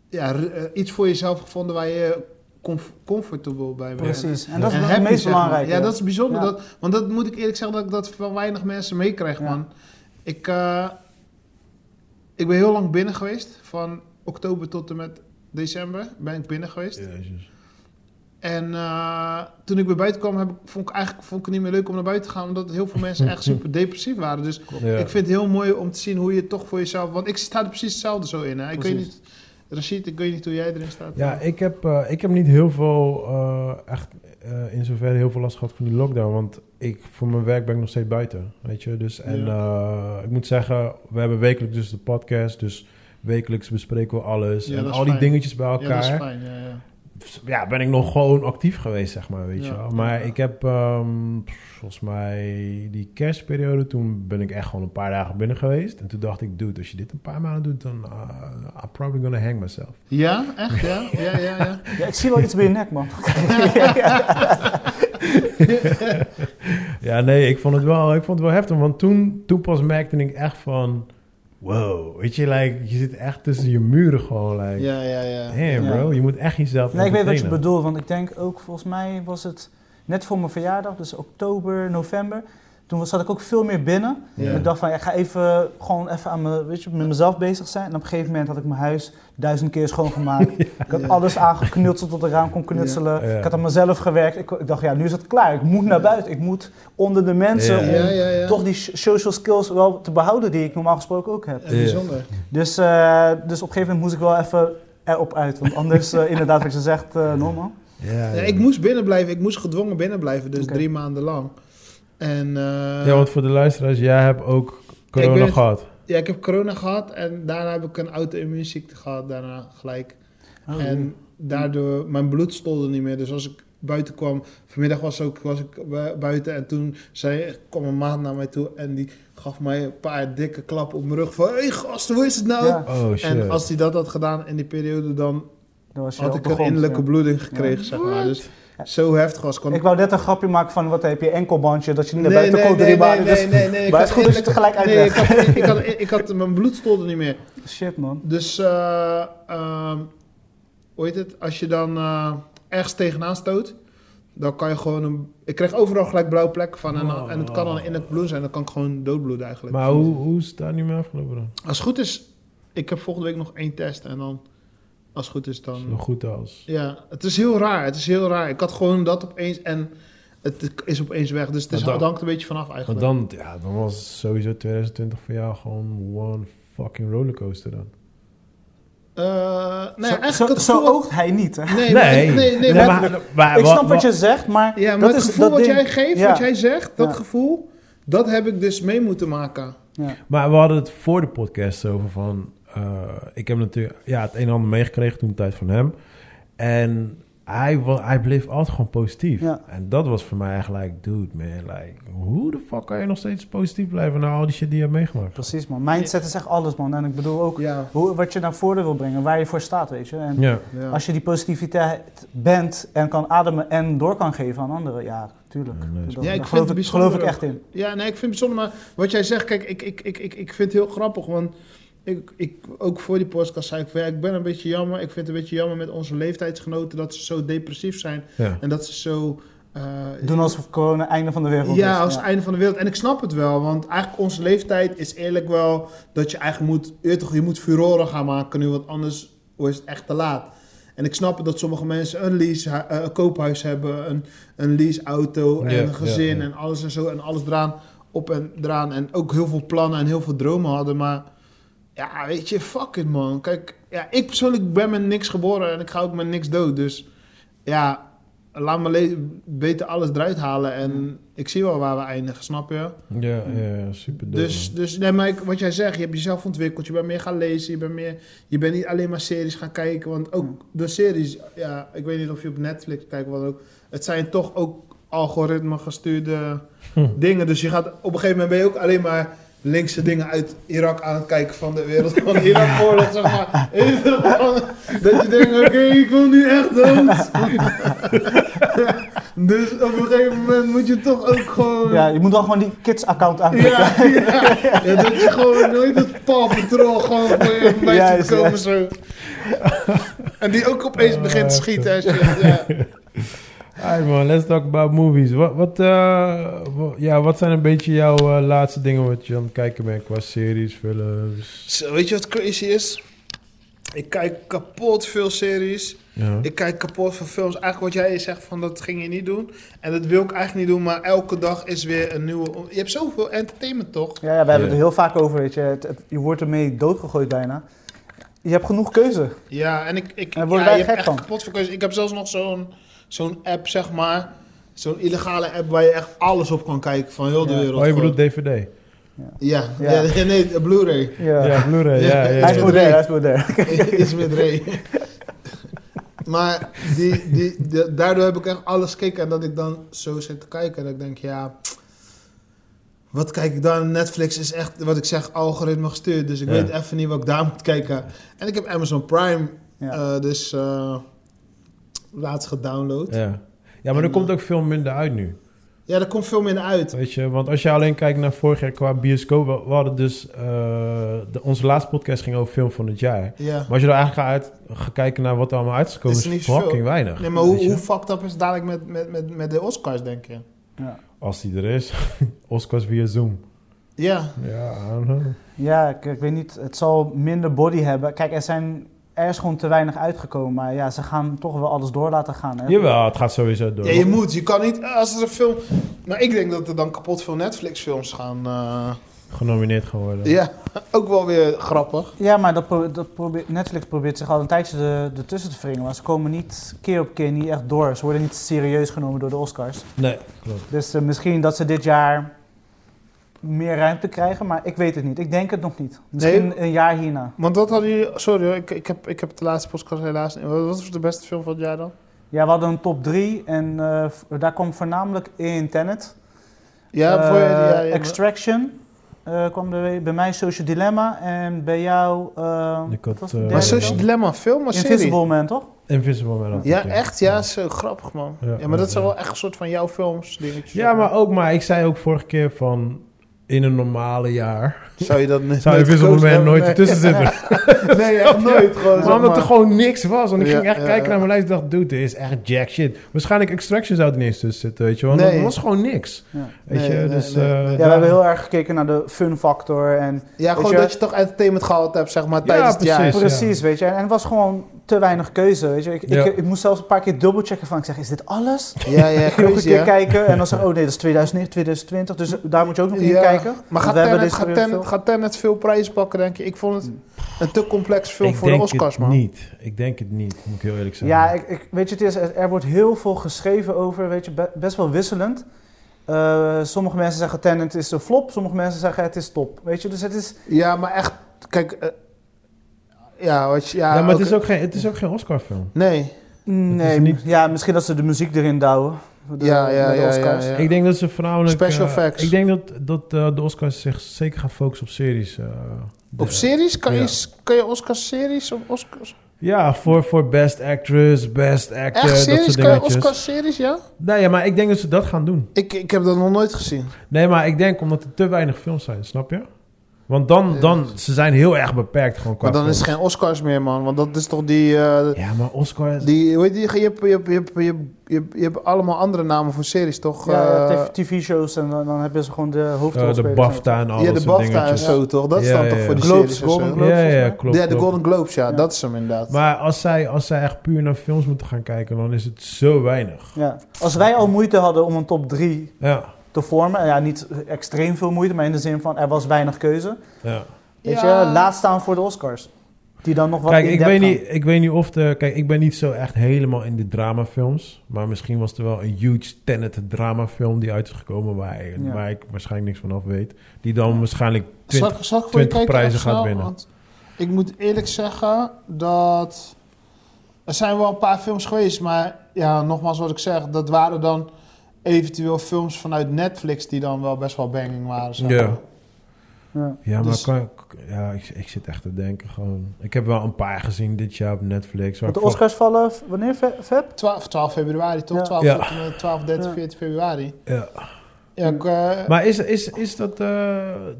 Ja, ru- eh, iets voor jezelf gevonden waar je comf- comfortable bij bent.
Precies. En
En
dat is het
happy,
meest
zeg maar.
belangrijke.
Ja, dat is bijzonder.
Ja.
Dat, want dat moet ik eerlijk zeggen dat ik dat van weinig mensen meekrijg,
Ja.
man. Ik, eh, ik ben heel lang binnen geweest. Van oktober tot en met december ben ik binnen geweest.
Jezus.
En eh, toen ik weer buiten kwam, heb ik, vond ik eigenlijk vond ik het niet meer leuk om naar buiten te gaan. Omdat heel veel mensen echt super depressief waren. Dus
Ja.
ik vind het heel mooi om te zien hoe je toch voor jezelf... Want ik sta er precies hetzelfde zo in. Hè? Ik weet
Precies.
niet, Rashid, ik weet niet hoe jij erin staat.
Ja, ik heb, eh, ik heb niet heel veel, eh, echt eh, in zoverre heel veel last gehad van die lockdown. Want ik, voor mijn werk ben ik nog steeds buiten, weet je. Dus, en eh, ik moet zeggen, we hebben wekelijks dus de podcast. Dus wekelijks bespreken we alles.
Ja,
en
dat is
al die
fijn.
dingetjes bij elkaar.
Ja, dat is fijn. Ja, ja.
ja, ben ik nog gewoon actief geweest, zeg maar, weet je
Ja.
wel. Maar ik heb, ehm, pff, volgens mij, die kerstperiode, toen ben ik echt gewoon een paar dagen binnen geweest. En toen dacht ik, dude, als je dit een paar maanden doet, dan eh, I'm probably gonna hang myself.
ja echt? Ja, ja, ja. ja.
Ja, ik zie wel iets bij je nek, man.
Ja, nee, ik vond het wel, ik vond het wel heftig. Want toen, toen pas merkte ik echt van, wow, weet je, like, je zit echt tussen je muren gewoon, like,
ja, ja, ja.
damn
Ja.
bro, je moet echt jezelf
Nee, ik weet wat je
entertainen.
bedoelt, want ik denk ook, volgens mij was het net voor mijn verjaardag, dus oktober, november. Toen was- zat ik ook veel meer binnen.
Ja.
Ik dacht van, ja, ik ga even, gewoon even aan me, weet je, met mezelf bezig zijn. En op een gegeven moment had ik mijn huis duizend keer schoongemaakt. Ik had
Ja.
alles aangeknutseld tot de raam kon knutselen.
Ja. Ja.
Ik had aan mezelf gewerkt. Ik, ik dacht, ja, nu is het klaar. Ik moet naar buiten. Ik moet onder de mensen
Ja.
om
Ja, ja, ja.
toch die social skills wel te behouden die ik normaal gesproken ook heb.
Ja, eh, bijzonder.
Dus, eh, dus op een gegeven moment moest ik wel even erop uit. Want anders, eh, inderdaad, wat je zegt, eh normaal.
Ja,
Ja,
ja.
ik moest binnen blijven. Ik moest gedwongen binnen blijven. Dus
Oké.
drie maanden lang. En eh,
ja, want voor de luisteraars, jij hebt ook
Kijk, ik
corona
ben-
gehad.
ja, ik heb corona gehad. En daarna heb ik een auto-immuunziekte gehad. Daarna gelijk.
Oh,
en daardoor, mijn bloed stolde niet meer. Dus als ik buiten kwam. Vanmiddag was, ook, was ik bu- buiten en toen zei, kwam een maat naar mij toe en die gaf mij een paar dikke klappen op mijn rug. Van, hé hey, gast, hoe is het nou?
Ja,
Oh
En
shit.
als hij dat had gedaan in die periode, dan
dan was je
had
op
ik
de
een
grond,
innerlijke
ja.
bloeding gekregen, zeg maar. Dus zo heftig was kon
Ik wou net een grapje maken van wat heb je enkelbandje dat je niet naar buiten kon
nee,
dribbelen.
nee,
dus-
nee, nee, nee, ik
Maar het
had
is goed dat je
eerlijk-
tegelijk
Nee, ik
uitlegt.
had, ik had, ik had, mijn bloed stond er niet meer.
Shit man.
Dus, eh, ehm, hoe heet het? Als je dan eh, ergens tegenaan stoot, dan kan je gewoon een... Ik kreeg overal gelijk blauwe plekken van en, dan- en het kan dan in het bloed zijn. Dan kan ik gewoon doodbloeden eigenlijk.
Oh. Maar hoe, hoe is daar nu mee afgelopen dan?
Als het goed is, ik heb volgende week nog één test en dan, als het goed is, dan...
Zo goed als.
Ja, het is heel raar. Het is heel raar. Ik had gewoon dat opeens en het is opeens weg. Dus het is,
Maar dan-
hangt een beetje vanaf
Want
eigenlijk.
dan, ja, dan was sowieso 2020 voor jou gewoon one fucking rollercoaster dan.
Eh, nee,
zo
eigenlijk
zo,
het
zo
gevoel wat-
oogt hij niet hè.
Nee, maar- nee, nee, maar,
ik snap wat je zegt, maar,
ja, maar
dat
het
is
gevoel
dat
wat
ding.
jij geeft,
Ja.
wat jij zegt, dat
Ja.
gevoel, dat heb ik dus mee moeten maken.
Maar we hadden het voor de podcast over van... eh, ik heb natuurlijk ja, het een en ander meegekregen toen de tijd van hem. En hij, wa- hij bleef altijd gewoon positief.
Ja.
En dat was voor mij eigenlijk... Dude, man, like, hoe de fuck kan je nog steeds positief blijven... na al die shit die je hebt meegemaakt?
Precies man, mindset is echt alles man. En ik bedoel ook
Ja,
hoe, wat je naar voren wil brengen, waar je voor staat weet je. En
Ja,
ja.
als je die positiviteit bent en kan ademen en door kan geven aan anderen, ja tuurlijk.
Ja,
Dat-
nice.
Ja, ik
daar
vind het
geloof, ik,
bijzonder
geloof ik echt in.
ja, nee, ik vind het bijzonder, maar wat jij zegt, kijk, ik, ik, ik, ik, ik vind het heel grappig, want ik, ik, ook voor die podcast zei ik, van, ja, ik ben een beetje jammer, ik vind het een beetje jammer met onze leeftijdsgenoten dat ze zo depressief zijn
ja.
en dat ze zo... eh,
Doen alsof corona einde van de wereld is.
Ja, als het einde van de wereld. En ik snap het wel, want eigenlijk onze leeftijd is eerlijk wel dat je eigenlijk moet, je weet toch, je moet furoren gaan maken nu, want anders is het echt te laat. En ik snap het dat sommige mensen een lease, eh, een koophuis hebben, een, een leaseauto en
Ja,
een gezin
ja, ja.
en alles en zo en alles eraan, op en eraan. En ook heel veel plannen en heel veel dromen hadden, maar ja, weet je, fuck it man. Kijk, ja, ik persoonlijk ben met niks geboren en ik ga ook met niks dood, dus ja, laat me le- beter alles eruit halen en ik zie wel waar we eindigen, snap je?
Ja, ja, super dope,
Dus, dus nee, maar ik- wat jij zegt, je hebt jezelf ontwikkeld, je bent meer gaan lezen, je bent, meer, je bent niet alleen maar series gaan kijken, want ook de series, ja, ik weet niet of je op Netflix kijkt, wat ook, het zijn toch ook algoritme gestuurde
Hm.
dingen, dus je gaat, op een gegeven moment ben je ook alleen maar linkse dingen uit Irak aan het kijken van de wereld, van de Irak-oorlog, zeg maar. Even gewoon dat je denkt, oké, ik wil nu echt dood. dus op een gegeven moment moet je toch ook gewoon...
Ja, je moet wel gewoon die kids-account aanklikken.
Ja, ja. ja, dat je gewoon nooit dat Paw Patrol gewoon voor je voorbij
Ja,
ziet
is-
komen zo. En die ook opeens begint te schieten. Als je, ja.
Alright man, let's talk about movies. Wat, wat, eh, wa- ja, wat zijn een beetje jouw eh, laatste dingen wat je aan het kijken bent qua series, films?
Zo, weet je wat crazy is? Ik kijk kapot veel series.
Ja. Oh,
Ik kijk kapot veel films. Eigenlijk wat jij zegt van dat ging je niet doen. En dat wil ik eigenlijk niet doen. Maar elke dag is weer een nieuwe... Je hebt zoveel entertainment toch?
Ja, ja, we hebben het
Ja.
er heel vaak over, weet je. Het, het- je wordt ermee doodgegooid bijna. Je hebt genoeg keuze.
Ja, en ik, ik
Daar worden
ja,
wij
je hebt echt
gek van.
kapot voor keuzes. Ik heb zelfs nog zo'n zo'n app, zeg maar. Zo'n illegale app waar je echt alles op kan kijken van heel de
Ja.
wereld.
Oh, je
gewoon.
bedoelt DVD?
Ja, ja.
Ja.
nee, de Blu-ray.
Ja.
Ja, Blu-ray,
Ja,
ja. ja,
Hij is
ja.
modern, hij is modern.
Iets met Ray. maar die, die, de- daardoor heb ik echt alles gekeken. En dat ik dan zo zit te kijken. En ik denk, ja... Wat kijk ik dan? Netflix is echt, wat ik zeg, algoritme gestuurd. Dus ik
Ja.
weet even niet wat ik daar moet kijken. En ik heb Amazon Prime.
Ja.
eh, dus eh, laatst gedownload.
Ja. Ja, maar er komt ook veel minder uit nu.
Ja, er komt veel minder uit.
Weet je, want als je alleen kijkt naar vorig jaar qua bioscoop, we, we hadden dus, eh, de, onze laatste podcast ging over film van het jaar.
Ja.
Maar als je er eigenlijk gaat, uit, gaat kijken naar wat er allemaal uit is gekomen,
Is
is,
er niet
fucking
veel.
weinig.
Nee, maar hoe,
weet je.
hoe fucked up is het dadelijk met, met, met, met de Oscars, denk je?
Als die er is, Oscars via Zoom.
Ja.
Ja, I don't know.
Ja, ik, ik weet niet, het zal minder body hebben. Kijk, er, zijn, er is gewoon te weinig uitgekomen. Maar ja, ze gaan toch wel alles door laten gaan. Hè?
Jawel, het gaat sowieso door.
ja, je moet. Je kan niet, eh, als er een film... Nou, ik denk dat er dan kapot veel Netflix-films gaan... eh,
Genomineerd geworden.
ja, ook wel weer grappig.
Ja, maar dat pro- dat probeert- Netflix probeert zich al een tijdje er- ertussen te wringen. Maar ze komen niet keer op keer niet echt door. Ze worden niet serieus genomen door de Oscars.
Nee, klopt.
Dus eh, misschien dat ze dit jaar meer ruimte krijgen, maar ik weet het niet. Ik denk het nog niet. Misschien een jaar hierna.
Want wat hadden jullie... Sorry hoor, ik, ik, heb, ik heb de laatste podcast helaas... niet- Wat wat was de beste film van het jaar dan?
Ja, we hadden een top 3 en eh, v- daar kwam voornamelijk in Tenet.
Ja, voor,
Eh,
ja, ja,
Extraction eh, kwam bij, bij mij Social Dilemma en bij jou... eh,
Ik
wat
had,
was de
eh,
maar
derde
Social
Social
dan?
Dilemma, film of serie?
Invisible Man, toch?
Invisible Man. had ik
Ja,
ook,
echt? Ja, zo grappig, man.
Ja,
Ja,
ja,
maar dat
ja.
zijn wel echt een soort van jouw films, dingetjes.
Ja, maar ook, maar ik zei ook vorige keer van... In een normale jaar
Zou je dat niet
zou Invisible
gekozen
Man
hebben?
nooit
Nee.
ertussen zitten.
Nee, echt nooit. Gewoon,
Maar
zeg
omdat
maar.
er gewoon niks was. Want ik
Ja,
ging echt
ja,
kijken
ja.
naar mijn lijst en dacht, dude, er is echt jack shit. Waarschijnlijk Extraction zou er niet eens tussen zitten, weet je. Want
Nee.
er was gewoon niks.
Ja.
Weet je,
Nee, nee,
dus...
nee,
eh,
nee. Ja, we
Ja, we hebben heel erg gekeken naar de fun factor en
Ja, gewoon
Weet je-
dat je toch entertainment gehaald hebt, zeg maar,
Ja,
tijdens het jaar.
precies.
Precies, weet je. En het was gewoon te weinig keuze, weet je. Ik,
Ja.
ik, ik moest zelfs een paar keer dubbelchecken van, ik zeg, is dit alles?
Ja, ja,
Ik ging nog een
crazy,
keer
hè?
kijken en dan zeg ik, oh nee, dat is 2009, 2020, dus daar moet je ook nog een keer
Ja.
kijken.
Maar gaat
we hebben
Tenet,
deze
gaat,
weer
Tenet-
veel-
gaat Tenet veel prijs pakken, denk je? Ik vond het een te complex film
ik
voor de
denk
Oscars,
het
man.
niet. Ik denk het niet, moet ik heel eerlijk zeggen.
Ja, ik, ik, weet je, het is, er wordt heel veel geschreven over, weet je, be- best wel wisselend. Eh, sommige mensen zeggen Tenet is een flop, sommige mensen zeggen het is top, weet je. Dus het is,
Ja, maar echt, kijk... eh, ja, wat je... Ja,
Ja, maar het,
ook-
is ook geen, het is ook geen Oscar-film.
Nee,
nee,
niet-
ja, misschien dat ze de muziek erin douwen. de-
ja, ja,
bij de
ja, ja,
Oscars.
ja.
Ik denk dat ze voornamelijk...
Special
eh,
effects.
Ik denk dat, dat eh, de Oscars zich zeker gaan focussen op series. eh, de-
Op series? Kan,
Ja.
je, kan je Oscars-series of Oscars...
Ja, voor, voor best actress, best actor,
Echt
eh, dat
series?
soort
Kan je
dingetjes.
Oscars-series, ja?
Nee, ja, maar ik denk dat ze dat gaan doen.
Ik, ik heb dat nog nooit gezien.
Nee, maar ik denk omdat er te weinig films zijn, snap je? Want dan,
Ja.
dan ze zijn heel erg beperkt gewoon qua
Maar dan is het
films.
geen Oscars meer, man. Want dat is toch die... eh,
Ja, maar Oscar... is-
Die, hoe heet die, je, hebt, je, hebt, je, hebt, je, hebt, je hebt- je hebt allemaal andere namen voor series, toch?
Ja,
Eh,
ja, tv-shows en dan, dan hebben ze gewoon de
eh,
hoofdrolspelers.
de BAFTA en al
ja,
dat
de
soort
BAFTA en
dingetjes.
zo, toch? Dat is
Ja,
dan
ja,
toch
ja.
voor die
Globes,
series
Golden
en zo?
Globes.
Ja, ja,
volgens mij.
klopt.
ja, de
klopt.
Golden Globes, ja,
Ja.
dat is hem inderdaad.
Maar als zij, als zij echt puur naar films moeten gaan kijken, dan is het zo weinig.
Ja. Als wij al moeite hadden om een top 3
Ja,
te vormen, ja, niet extreem veel moeite, maar in de zin van er was weinig keuze.
ja.
Weet
Ja.
je, laat staan voor de Oscars. Die dan nog wat
Kijk,
in
ik
depth
weet,
gaan.
niet, ik weet niet of de... Kijk, ik ben niet zo echt helemaal in de dramafilms. Maar misschien was er wel een huge Tenet dramafilm die uit is gekomen... Waar,
Ja.
waar ik waarschijnlijk niks van af weet. Die dan waarschijnlijk...
zal,
20,
ik- zal ik voor je
20
kijken?
prijzen
even
gaat
snel?
winnen.
Want ik moet eerlijk zeggen dat... Er zijn wel een paar films geweest, maar ja, nogmaals wat ik zeg, dat waren dan eventueel films vanuit Netflix die dan wel best wel banging waren. zeg
Ja.
maar.
Ja.
ja, maar
dus-
kan, ja, ik, ik zit echt te denken gewoon... Ik heb wel een paar gezien dit jaar op Netflix. Waar
Want de
ik
Oscars vallen v- wanneer, Fe- Feb?
12, 12 februari, toch?
Ja.
12,
Ja.
tot en met 12, 13,
Ja.
14 februari.
vond- ja.
Ja, ik, eh,
Maar is, is, is dat eh,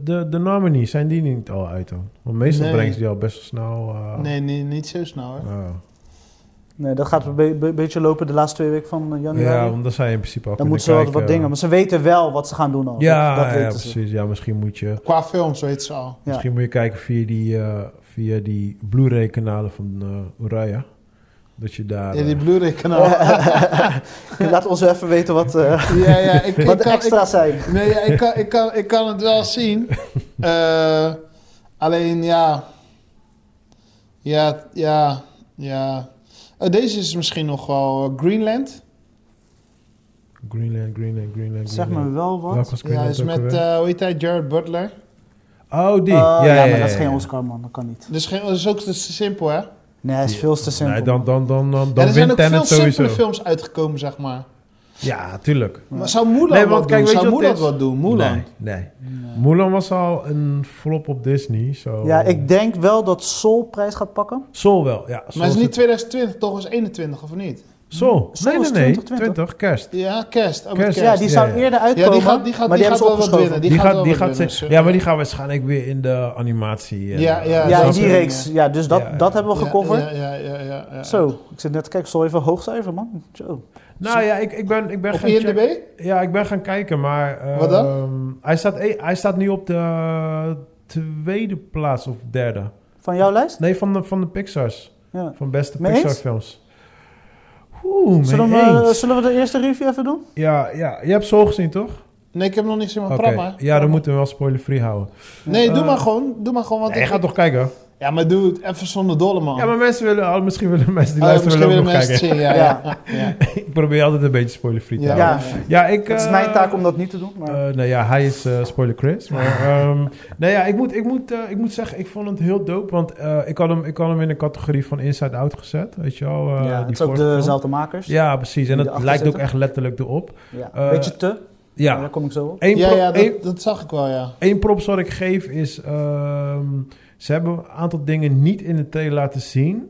de, de nominees, zijn die niet al uit dan? Want meestal
Nee.
brengen ze die al best wel snel. eh,
Nee, niet, niet zo snel hoor.
eh.
Nee, dat gaat een be- be- beetje lopen de laatste twee weken van eh, januari.
ja, want dan zijn je in principe al
dan
kunnen
moeten ze wel
kijken.
wat dingen, maar ze weten wel wat ze gaan doen al.
Ja,
dat, dat
ja
weten ze.
precies. Ja, misschien moet je,
Qua films weet ze al.
Ja.
misschien moet je kijken via die, eh, via die Blu-ray kanalen van eh Uraya. Dat je daar...
Ja,
eh,
die Blu-ray kanaal.
Laat ons even weten wat, eh,
ja, ja, ik, ik
wat de
kan, ik,
extra's zijn.
nee, ja, ik, kan, ik, kan, ik kan het wel zien. Eh, alleen ja. Ja, ja, ja. Eh, deze is misschien nog wel eh, Greenland.
eh, Greenland, Greenland, Greenland,
Zeg
Greenland.
me wel wat.
Welke was
Ja,
Greenland
is
ook
met,
alweer?
eh, hoe heet hij, Jared Butler.
oh, die.
Eh,
ja,
ja,
ja,
maar dat is
ja,
geen
ja.
Oscar, man. Dat kan niet.
Dus geen, dat is ook te simpel, hè?
Nee, hij is
Ja.
veel te simpel.
Nee, dan, dan, dan, dan,
en
dan
er zijn
wint
ook veel
Tenet sowieso.
simpele films uitgekomen, zeg maar.
Ja, tuurlijk.
Maar zou Mulan
Nee,
nee,
want
wat
kijk,
doen?
weet je
Zou
wat
Mulan
dit-
wat doen? Mulan.
Nee, nee.
Nee.
Mulan was al een flop op Disney. zo
Ja, ik denk wel dat Soul prijs gaat pakken.
Soul wel, ja. Soul
Maar het is niet 2020, toch? Het is 21, of niet?
Soul.
Soul
nee,
is
nee, nee.
2020.
20, kerst.
Ja, kerst. Oh, met
Kerst.
kerst.
Ja, die zou
ja, ja.
eerder
Ja,
uitkomen,
die gaat, die gaat,
maar
die
die,
gaat wel
hebben ze
wat winnen.
opgeschoven.
Die,
Die
gaat,
gaat,
wel
die
wat
gaat,
winnen,
ze-
dus,
ja, maar die gaan waarschijnlijk weer in de animatie. eh,
Ja, ja,
Ja, in
snap
die
je?
Ja.
reeks. Ja, dus dat,
Ja, ja.
dat hebben we
ja,
gecoverd.
Ja, ja, ja, ja, ja.
Zo, ik zit net te kijken. Soul even hoog cijfer, man. Zo.
Nou ja, ik, ik ben, ik ben
Op
gaan
IMDb?
checken. Ja, ik ben gaan kijken, maar... eh,
Wat dan?
ehm, Hij staat, e- hij staat nu op de tweede plaats of derde.
Van jouw lijst?
Nee, van de, van de Pixar's.
Ja.
Van beste
Mee eens?
Pixar films. Oeh, mee
Zullen we, eh,
eens.
zullen we de eerste review even doen?
Ja, ja, je hebt Soul gezien, toch?
Nee, ik heb nog niet gezien, maar
Oké.
programma.
Ja, dan moeten we wel spoiler-free houden.
Nee, doe
Eh,
maar gewoon. Doe maar gewoon, want
Nee, je
ik
gaat toch kijken?
Ja, maar doe het even zonder dolle, man.
Ja, maar mensen willen, al- misschien willen mensen die
Oh,
luisteren
misschien
willen
willen
ook nog
mensen het
kijken.
zien, ja. ja. ja.
ik probeer altijd een beetje spoilerfree te
Ja.
houden.
Ja,
Ja, ik...
het is
eh,
mijn taak om dat niet te doen, maar...
eh, nou ja, hij is eh, spoiler Chris. Maar ehm nou ja, ik moet, ik, moet, eh, ik moet zeggen, ik vond het heel dope. Want eh, ik, had hem, ik had hem in de categorie van Inside Out gezet. Weet je wel? eh,
ja,
die
het is ook
vorige film.
dezelfde makers.
Ja, precies. En
die
dat
erachter
lijkt ook
zitten.
echt letterlijk erop.
Ja.
Eh,
Beetje te, maar
Ja.
daar kom ik zo op.
Eén
Ja,
pro-
ja,
één-
dat, dat zag ik wel, ja.
Eén props wat ik geef is... ehm, ze hebben een aantal dingen niet in de trailer laten zien.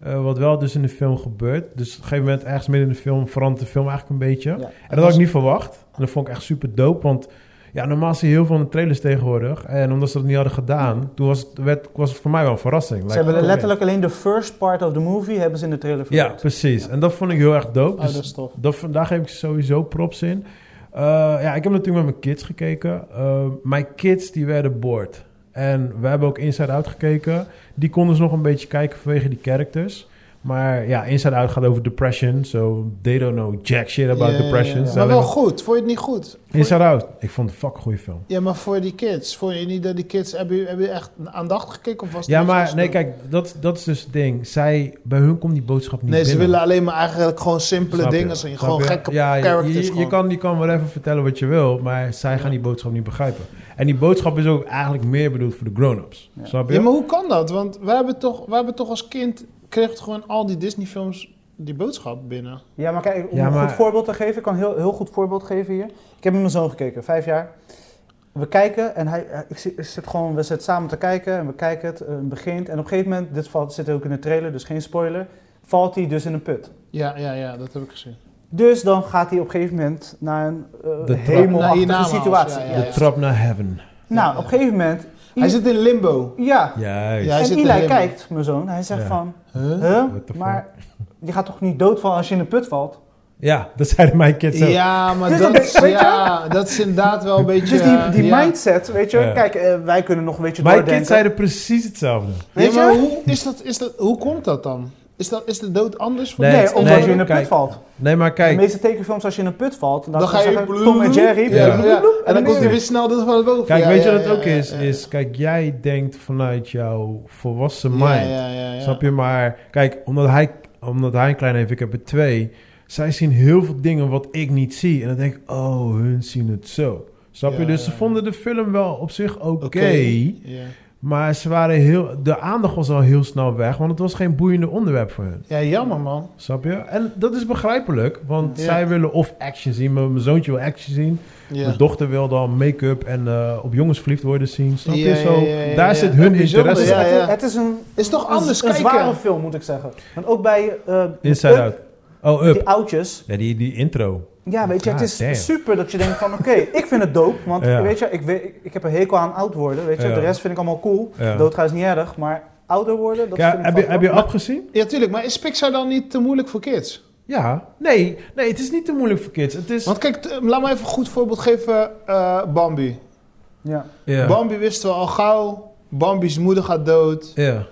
eh, wat wel dus in de film gebeurt. Dus op een gegeven moment, ergens midden in de film... verandert de film eigenlijk een beetje.
Ja.
En dat had ik niet verwacht. En dat vond ik echt super dope. Want ja, normaal zie je heel veel in de trailers tegenwoordig. En omdat ze dat niet hadden gedaan... toen was het, werd, was het voor mij wel een verrassing.
Ze
Like,
hebben
oké.
letterlijk alleen de first part of the movie hebben ze in de trailer
Ja,
verwerkt.
precies. En dat vond ik heel erg dope.
Oh,
Dus
dat is tof.
Dat, v- daar geef ik sowieso props in. Eh, ja, ik heb natuurlijk met mijn kids gekeken. Eh, mijn kids die werden bored. En we hebben ook Inside Out gekeken. Die konden ze nog een beetje kijken vanwege die characters. Maar ja, Inside Out gaat over depression. So they don't know jack shit about
Ja, ja,
depression.
ja.
Ze
Maar
alleen
wel
maar-
goed. Vond je het niet goed?
Inside Out. Ik vond het een fucking goede film.
Ja, maar voor die kids. Vond je niet dat die kids... Hebben jullie hebben jullie echt aandachtig gekeken? Of was het
Ja,
niet
maar
zo
nee,
slim?
kijk, dat, dat is dus het ding. Zij, bij hun komt die boodschap niet
Nee, ze
binnen.
willen alleen maar eigenlijk gewoon simpele
Snap je?
dingen zien.
Snap
Gewoon
je?
gekke
Ja, je-
characters.
Je, je,
gewoon.
kan, je kan wel even vertellen wat je wil, maar zij gaan die boodschap niet begrijpen. En die boodschap is ook eigenlijk meer bedoeld voor de grown-ups.
Ja.
Snap je?
Ja, maar hoe kan dat? Want wij hebben toch, wij hebben toch als kind... kreeg gewoon al die Disney-films die boodschap binnen.
Ja, maar kijk, om
Ja,
een
maar-
goed voorbeeld te geven, ik kan een heel, heel goed voorbeeld geven hier. Ik heb met mijn zoon gekeken, vijf jaar. We kijken en hij, hij- ik zit, ik zit gewoon, we zitten samen te kijken en we kijken het, eh, het begint. En op een gegeven moment, dit valt, zit ook in de trailer, dus geen spoiler, valt hij dus in een put.
Ja, ja, ja, dat heb ik gezien.
Dus dan gaat hij op een gegeven moment naar een eh,
De trap.
Naar
hemelachtige
hiernaast,
situatie.
ja,
de
ja, ja.
trap naar heaven.
Nou, op een gegeven moment,
Hij zit in limbo.
ja.
Juist.
Ja. hij
en
zit
Eli
erin.
kijkt, mijn zoon, hij zegt
Ja.
van,
Huh?
huh,
What the fuck?
maar je gaat toch niet doodvallen als je in een put valt?
Ja, dat zeiden mijn kids ook.
Ja, maar
Dit is een
dat,
beetje-
ja, dat is inderdaad wel een beetje...
Dus die, die
ja.
mindset, weet je,
Ja.
kijk, eh, wij kunnen nog een beetje
Mijn
doordenken.
kids zeiden precies hetzelfde.
Ja,
Weet
maar
je?
hoe, is dat, is dat, hoe komt dat dan? Is, dat, is de dood anders voor
Nee,
Nee,
mensen?
het-
omdat
nee,
je in een
kijk,
put valt.
Nee, maar
De
kijk,
meeste tekenfilms, als je in een put valt, dan,
Dan ga je
zeggen
bloep,
Tom en Jerry.
Ja,
Ja.
ja. En dan
neer.
komt hij weer snel dat van boven.
kijk
Ja,
weet je
ja,
wat het
ja,
ook
ja,
is?
ja.
Is, kijk, jij denkt vanuit jouw volwassen mind.
Ja, ja, ja, ja.
Snap je? Maar kijk, omdat hij, omdat hij een klein heeft, ik heb er twee. Zij zien heel veel dingen wat ik niet zie. En dan denk ik, oh, hun zien het zo. Snap je?
Ja,
dus
ja,
ze
ja.
vonden de film wel op zich oké.
Oké. Ja.
Maar ze waren heel, de aandacht was al heel snel weg. Want het was geen boeiende onderwerp voor hun.
ja, jammer man.
Snap je? En dat is begrijpelijk. Want
Ja.
zij willen of action zien. Mijn mijn zoontje wil action zien.
Ja.
Mijn dochter wil dan make-up en eh, op jongens verliefd worden zien. Snap je?
Ja, ja,
Zo,
ja, ja,
daar
ja.
zit hun
Bijzonder,
interesse.
Dus
Ja,
het,
ja.
het is een,
Is toch anders
een, een
kijken?
zware film, moet ik zeggen. Want ook bij eh,
Inside
Up,
out. Oh, up.
die oudjes.
Ja, die, die intro.
Ja, weet je, het is
Ah, damn.
super dat je denkt van, oké, ik vind het dope. Want
Ja.
weet je, ik, weet, ik- ik heb een hekel aan oud worden, weet je.
Ja.
De rest vind ik allemaal cool.
Ja.
Doodgaan is niet erg, maar ouder worden, dat
Ja,
vind ik
heb je,
fucked
heb je
up.
afgezien?
Ja, tuurlijk. Maar is Pixar dan niet te moeilijk voor kids?
Ja. Nee, nee, het is niet te moeilijk voor kids. Het is...
Want kijk, t- laat me even een goed voorbeeld geven. eh, Bambi.
Ja.
Ja.
Bambi wisten we al gauw. Bambi's moeder gaat dood.
Ja.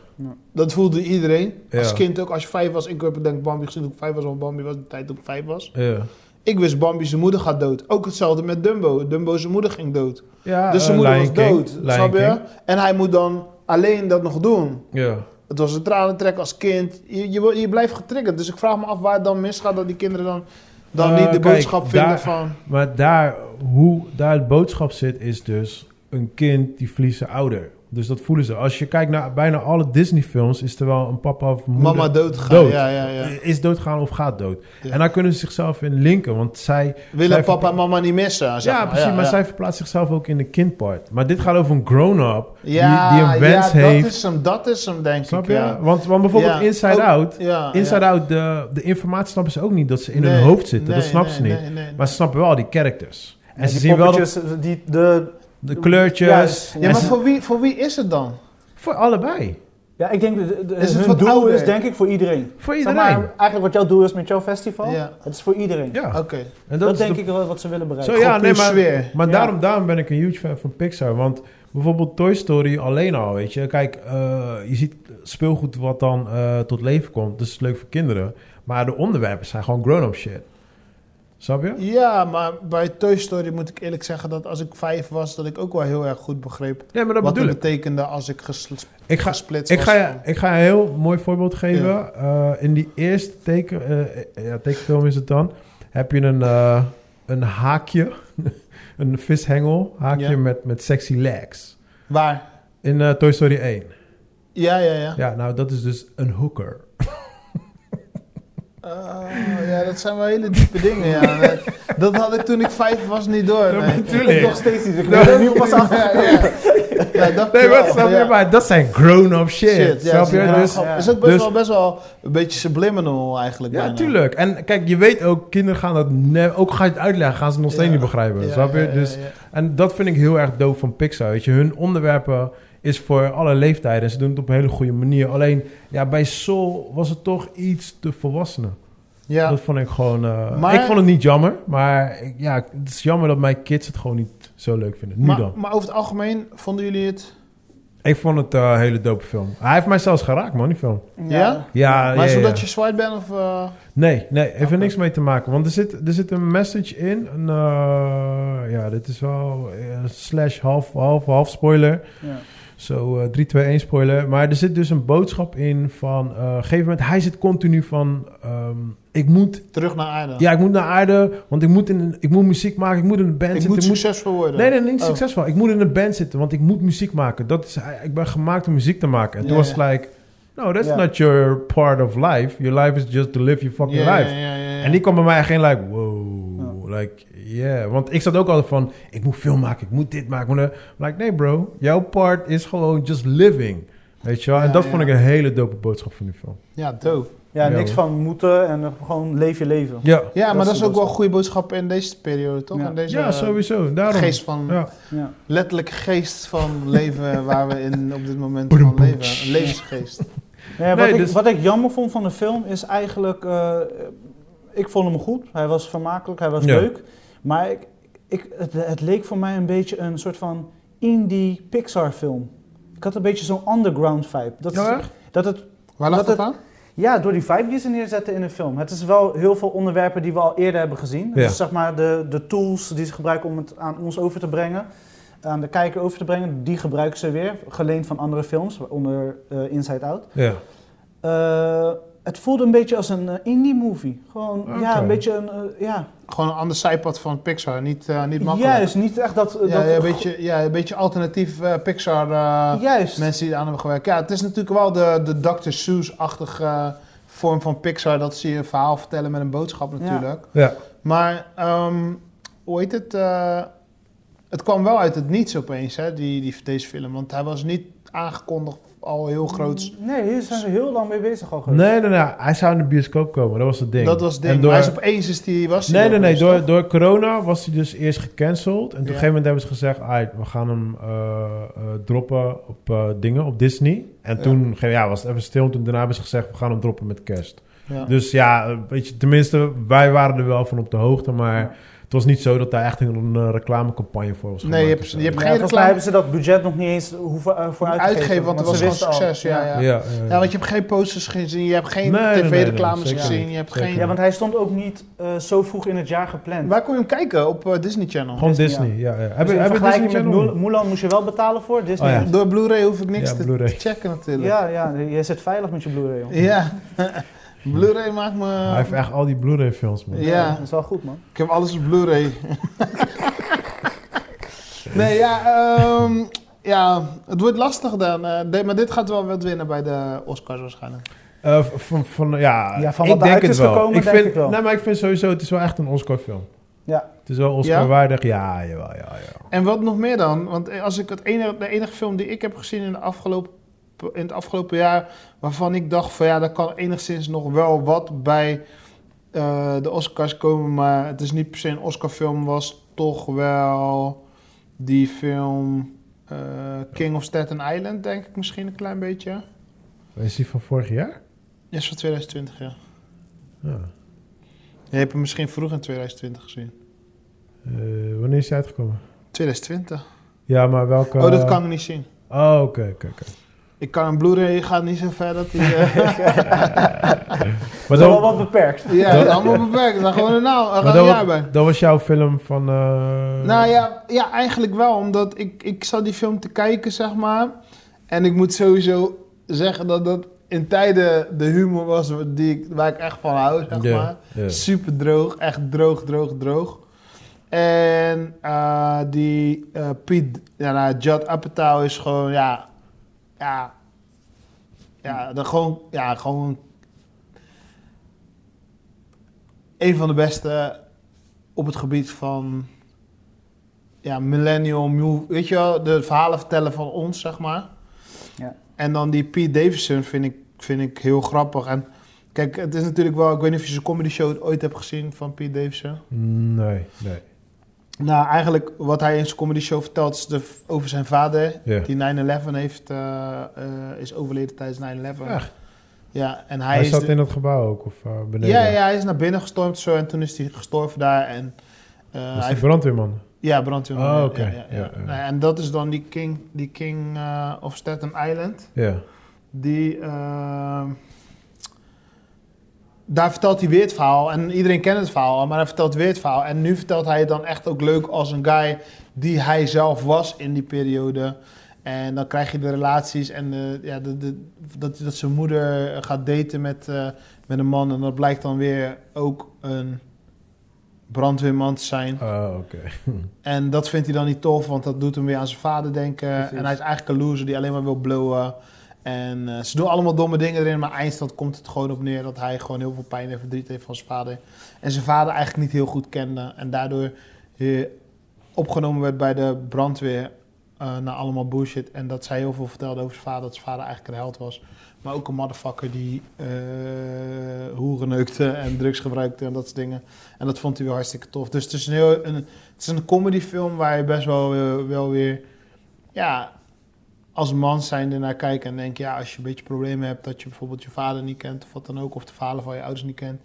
Dat voelde iedereen. Als
Ja.
kind ook. Als je vijf was. Ik heb denk ik Bambi gezien toen ik vijf was. Want Bambi was de tijd toen ik vijf was.
Ja.
Ik wist Bambi zijn moeder gaat dood. Ook hetzelfde met Dumbo. Dumbo zijn moeder ging dood.
ja
Dus zijn
eh,
moeder
Lion
was
King.
dood.
Lion
snap je?
King.
En hij moet dan alleen dat nog doen.
Ja.
Het was een tranentrek als kind. Je, je, wo- je blijft getriggerd. Dus ik vraag me af waar het dan misgaat dat die kinderen dan, dan
Eh,
niet de
kijk,
boodschap vinden
daar-
van...
Maar daar, hoe daar het boodschap zit, is dus een kind die verliest zijn ouder. Dus dat voelen ze. Als je kijkt naar bijna alle Disney-films, is er wel een papa of moeder
Mama dood gaat.
dood.
Ja, ja, ja.
Is doodgaan of gaat dood.
Ja.
En daar kunnen ze zichzelf in linken, want zij
Willen
zij
papa en mama niet missen. zeg
ja,
maar.
precies. maar zij verplaatst zichzelf ook in de kindpart. Maar dit gaat over een grown-up
Ja,
die, die een wens
ja, dat
heeft.
Is hem, dat is hem, denk
Snap
ik.
je?
Ja.
Want, want bijvoorbeeld
Ja.
Inside
Ook-
Out.
Ja,
Inside
ja.
Out, de, de informatie snappen ze ook niet dat ze in hun
Nee,
hoofd zitten. dat
nee,
snappen ze
nee,
niet.
nee, nee, nee.
Maar ze snappen wel die characters. En
Ja,
ze
die
zien wel dat-
poppetjes, die, de,
de kleurtjes.
Juist.
Ja,
En
maar
ze-
voor wie, voor wie is het dan?
voor allebei.
ja, ik denk, de, de,
Is het
hun
wat
doel
ouder?
is denk ik voor iedereen.
Voor
Zeg
iedereen.
maar, eigenlijk wat jouw doel is met jouw festival,
Ja.
het is voor iedereen.
ja.
Oké.
En
Dat,
is
denk
de-
ik wel wat ze willen bereiken.
Zo ja,
Gewoon
nee,
puur
maar,
sfeer.
maar
Ja.
daarom, daarom ben ik een huge fan van Pixar. Want bijvoorbeeld Toy Story alleen al, weet je. Kijk, eh, je ziet speelgoed wat dan eh, tot leven komt. Dus het is leuk voor kinderen. Maar de onderwerpen zijn gewoon grown-up shit. Snap je?
Ja, maar bij Toy Story moet ik eerlijk zeggen dat als ik vijf was, dat ik ook wel heel erg goed begreep
Nee, maar dat
wat
bedoel
het
ik.
betekende als ik gesl-
Ik ga,
gesplitst
ik
was.
ga, je, ik ga je een heel mooi voorbeeld geven.
Ja.
Eh, in die eerste teken, eh, ja, tekenfilm is het dan. Heb je een, eh, een haakje. een vishengel. Haakje
Ja.
met, met sexy legs.
Waar?
In eh, Toy Story 1.
Ja, ja, ja.
Ja, nou dat is dus een hooker.
Oh, ja, dat zijn wel hele diepe dingen, ja. Nee, Dat had ik toen ik vijf was niet door,
Ja, maar
nee.
natuurlijk.
Nog steeds niet. Ik
Nee.
ben er nu pas achter.
Ja, ja. Ja, dat
Nee, maar,
klopt,
snap je?
ja.
Maar dat zijn grown-up shit.
ja,
snap je?
ja,
dus,
grap.
ja.
is ook best,
Dus-
wel, best wel een beetje subliminal eigenlijk
ja,
bijna.
tuurlijk. En kijk, je weet ook, kinderen gaan dat... ne- ook ga je het uitleggen, gaan ze het nog steeds
Ja.
niet begrijpen.
Ja,
snap je?
ja, ja,
dus,
ja.
En dat vind ik heel erg doof van Pixar. Weet je? Hun onderwerpen is voor alle leeftijden. En ze doen het op een hele goede manier. Alleen, ja, bij Soul was het toch iets te volwassenen.
Ja.
Dat vond ik gewoon... eh,
Maar-
Ik vond het niet jammer. Maar ik- ja, het is jammer dat mijn kids het gewoon niet zo leuk vinden. Nu
Maar,
dan.
maar over het algemeen vonden jullie het...
Ik vond het eh, een hele dope film. Hij heeft mij zelfs geraakt, man, die film.
Ja?
Ja, ja,
maar
ja,
zodat
ja.
je zwart bent of... eh,
Nee, nee, heeft
Oké.
er niks mee te maken. Want er zit, er zit een message in. Een, eh, ja, dit is wel eh, slash half, half, half spoiler.
Ja.
Zo eh 3, 2, 1 spoiler. Maar er zit dus een boodschap in van... eh, op een gegeven moment, hij zit continu van... ehm, ik moet,
terug naar aarde.
ja, ik moet naar aarde, want ik moet, in, een- ik moet muziek maken, ik moet in een band
ik
zitten.
moet
ik moet-
succesvol worden.
Nee, nee, niet
Oh.
succesvol. Ik moet in een band zitten, want ik moet muziek maken. Dat is, ik ben gemaakt om muziek te maken. En toen
Ja,
was
ja.
het like... No, that's
Ja.
not your part of life. Your life is just to live your fucking
Ja,
life.
Ja, ja, ja, ja.
En die kwam bij mij echt in like, wow, like, yeah. Want ik zat ook altijd van, ik moet film maken, ik moet dit maken. Ik moet dat. Like, nee bro, jouw part is gewoon just living. Weet je wel? en
Ja,
dat
ja.
vond ik een hele dope boodschap van die film.
Ja, dope.
Ja,
Ja,
niks
hoor.
van moeten en eh, gewoon leef je leven.
Ja,
Ja, maar
is
dat is
de
ook wel een
boodschap.
goede boodschap in deze periode, toch?
Ja.
In deze
ja
eh,
sowieso. Daarom.
geest van...
Ja.
Ja.
Letterlijke geest van leven waar we in op dit moment van leven. Een levensgeest.
Nee, wat,
Nee,
ik,
dus-
wat ik jammer vond van de film is eigenlijk... eh, ik vond hem goed. Hij was vermakelijk, hij was
Ja.
leuk. Maar ik, ik, het, het leek voor mij een beetje een soort van indie Pixar film. Ik had een beetje zo'n underground vibe. Dat,
Ja,
is, dat het
Waar lag
Dat
dat
het-
aan?
Ja, door die vibe die ze neerzetten in de film. Het is wel heel veel onderwerpen die we al eerder hebben gezien.
Ja.
Dus zeg maar de, de tools die ze gebruiken om het aan ons over te brengen, aan de kijker over te brengen, die gebruiken ze weer. Geleend van andere films, waaronder eh, Inside Out.
Ja.
Eh, het voelde een beetje als een eh, indie movie. Gewoon, ja,
Oké.
een beetje een, eh, ja.
Gewoon een ander zijpad van Pixar. Niet, eh, niet makkelijk.
Juist, niet echt dat... eh,
Ja,
dat
ja, een beetje, ja, een beetje alternatief eh, Pixar. eh,
Juist.
mensen die aan hebben gewerkt. Ja, het is natuurlijk wel de, de Dr. Seuss-achtige eh, vorm van Pixar. Dat ze je een verhaal vertellen met een boodschap natuurlijk.
Ja.
Maar, ehm, hoe heet het? eh, het kwam wel uit het niets opeens, hè, die, die, deze film. Want hij was niet aangekondigd al heel groots.
Nee, hier zijn ze heel lang mee bezig al geweest.
Nee, nee, nee. Hij zou in de bioscoop komen. Dat was het ding.
Dat was het ding.
En door-
Maar hij is opeens is die, was die
Nee,
er
nee, nee.
opeens,
Door,
toch?
door corona was hij dus eerst gecanceld. En op
Ja.
een gegeven moment hebben ze gezegd... "Aight, we gaan hem eh, eh, droppen op eh, dingen, op Disney. En
Ja.
toen ge- ja, was het even stil. En toen daarna hebben ze gezegd... we gaan hem droppen met kerst.
Ja.
Dus ja, eh, weet je, tenminste... wij waren er wel van op de hoogte. Maar
Ja.
het was niet zo dat daar echt een eh, reclamecampagne voor was
Nee,
gemaakt
je hebt-
of zo.
je hebt-
Ja,
Geen
volgens mij
reclame.
hebben ze dat budget nog niet eens hoeven, eh, voor uitgegeven.
Uitgeven, want het was
ze
gewoon
wisten al.
succes. Ja, ja.
Ja, ja, ja.
Ja, want je hebt geen posters gezien, je hebt geen
Nee, nee, nee, nee,
tv-reclames
zeker
gezien,
niet.
je hebt
Zeker
geen...
Ja, want hij stond ook niet eh, zo vroeg in het jaar gepland.
Waar kon je hem kijken? Op eh, Disney Channel?
Gewoon Disney,
Disney,
ja. ja.
Dus
Heb je
in
heb je Disney
vergelijking met
Channel?
Mulan, Mulan moest je wel betalen voor Disney.
Oh
Door Blu-ray hoef ik niks
Ja,
te
Blu-ray.
te checken natuurlijk.
ja. ja, je zit veilig met je Blu-ray. om.
Ja. Blu-ray maakt me...
Hij heeft echt al die Blu-ray films, man.
Ja.
Dat is wel goed, man.
Ik heb alles op Blu-ray. nee, ja, ehm, ja, het wordt lastig dan. eh, nee, maar dit gaat wel wat winnen bij de Oscars waarschijnlijk.
Eh, v- van, van, ja,
Ja, van
ik
wat
denk
eruit
het
is
wel.
gekomen,
ik
denk
vind,
ik wel.
Nee, maar ik vind sowieso, het is wel echt een Oscar film.
Ja.
Het is wel Oscar waardig. Ja, jawel, ja, ja.
En wat nog meer dan? Want eh, als ik het enige, de enige film die ik heb gezien in, de afgelopen, in het afgelopen jaar... waarvan ik dacht van ja, daar kan enigszins nog wel wat bij eh, de Oscars komen... maar het is niet per se een Oscarfilm, was toch wel die film... eh, King of Staten Island, denk ik misschien een klein beetje.
Is die van vorig jaar?
Is van 2020, ja.
Ja.
Je hebt hem misschien vroeg in 2020 gezien.
Eh, wanneer is die uitgekomen?
2020?
Ja, maar welke...
Oh, dat Oh, kan ik niet zien.
Oh, oké, oké, oké.
Ik kan een Blu-ray gaat niet zo ver dat hij... eh,
Maar
dat is wel
dan,
wat beperkt.
ja, dat is allemaal beperkt. Er staat gewoon een naam, er
maar
gaat een
dat,
jaar
wa-
bij.
dat was jouw film van... eh,
Nou ja, ja, eigenlijk wel. Omdat ik, ik zat die film te kijken, zeg maar. En ik moet sowieso zeggen dat dat in tijden de humor was die ik, waar ik echt van hou, zeg
ja,
maar.
ja.
Super droog, echt droog, droog, droog. En eh, die eh, Piet, ja, nou, Judd Apatow is gewoon, ja, ja, ja, dan gewoon, ja, gewoon een van de beste op het gebied van, ja, millennial, mu- weet je wel, de verhalen vertellen van ons, zeg maar.
Ja.
En dan die Pete Davidson vind ik, vind ik heel grappig. En Kijk, het is natuurlijk wel... Ik weet niet of je zijn comedy show ooit hebt gezien van Pete Davidson.
Nee, nee.
Nou, eigenlijk wat hij in zijn comedy show vertelt is de, over zijn vader.
Ja.
Die 9-11 heeft... eh, eh, is overleden tijdens 9-11.
Echt?
Ja, en hij,
Hij,
is...
zat
de-
in dat gebouw ook, of eh, beneden?
ja, ja, hij is naar binnen gestormd zo. En toen is hij gestorven daar. En, eh,
Dat is
hij,
die brandweerman.
ja, brandweer.
Oh,
Ja,
oké.
ja, ja, ja.
Ja, ja.
Nou, en dat is dan die King, die King eh, of Staten Island.
Ja.
Die, ehm, daar vertelt hij weer het verhaal. En iedereen kent het verhaal, al, maar hij vertelt weer het verhaal. En nu vertelt hij het dan echt ook leuk als een guy die hij zelf was in die periode. En dan krijg je de relaties en de, ja, de, de, dat, dat zijn moeder gaat daten met, eh, met een man. En dat blijkt dan weer ook een brandweerman te zijn.
Ah, oké.
En dat vindt hij dan niet tof, want dat doet hem weer aan zijn vader denken.
Precies.
En hij is eigenlijk een loser die alleen maar wil blowen. En eh, ze doen allemaal domme dingen erin, maar eindstand komt het gewoon op neer dat hij gewoon heel veel pijn en verdriet heeft van zijn vader. En zijn vader eigenlijk niet heel goed kende. En daardoor eh, opgenomen werd bij de brandweer eh na allemaal bullshit. En dat zij heel veel vertelde over zijn vader, dat zijn vader eigenlijk een held was. Maar ook een motherfucker die eh hoeren neukte en drugs gebruikte en dat soort dingen. En dat vond hij wel hartstikke tof. Dus het is een, heel, een, het is een comedyfilm waar je best wel, weer- wel weer... Ja, als man zijnde naar kijkt en denk... Ja, als je een beetje problemen hebt dat je bijvoorbeeld je vader niet kent... of wat dan ook, of de verhalen van je ouders niet kent...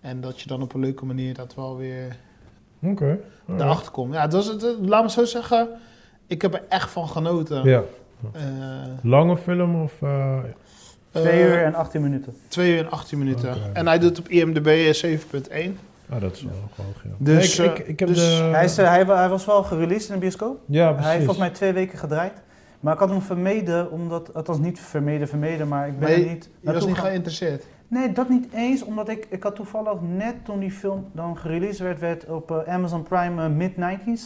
en dat je dan op een leuke manier dat wel weer
Oké. alright.
erachter komt. Ja, het was, het, het- laat me zo zeggen... Ik heb er echt van genoten.
Ja.
Eh,
Lange film of... eh,
Twee
eh,
uur en 18 minuten.
Twee uur en 18 minuten.
Oké.
En hij doet op IMDb 7.1.
Ah, dat is wel ook hoog, ja.
Dus,
Nee, ik,
eh,
ik, ik heb
dus
de...
Hij, is, eh, hij, wa- hij was wel gereleased in de bioscoop.
ja,
Hij heeft
precies.
volgens mij twee weken gedraaid. Maar ik had hem vermeden, omdat, althans niet vermeden, vermeden, maar ik ben
Maar
er niet
Je was
naartoe
niet
gegaan.
geïnteresseerd.
Nee, dat niet eens, omdat ik, ik had toevallig net toen die film dan gereleased werd, werd op eh, Amazon Prime eh, mid-90s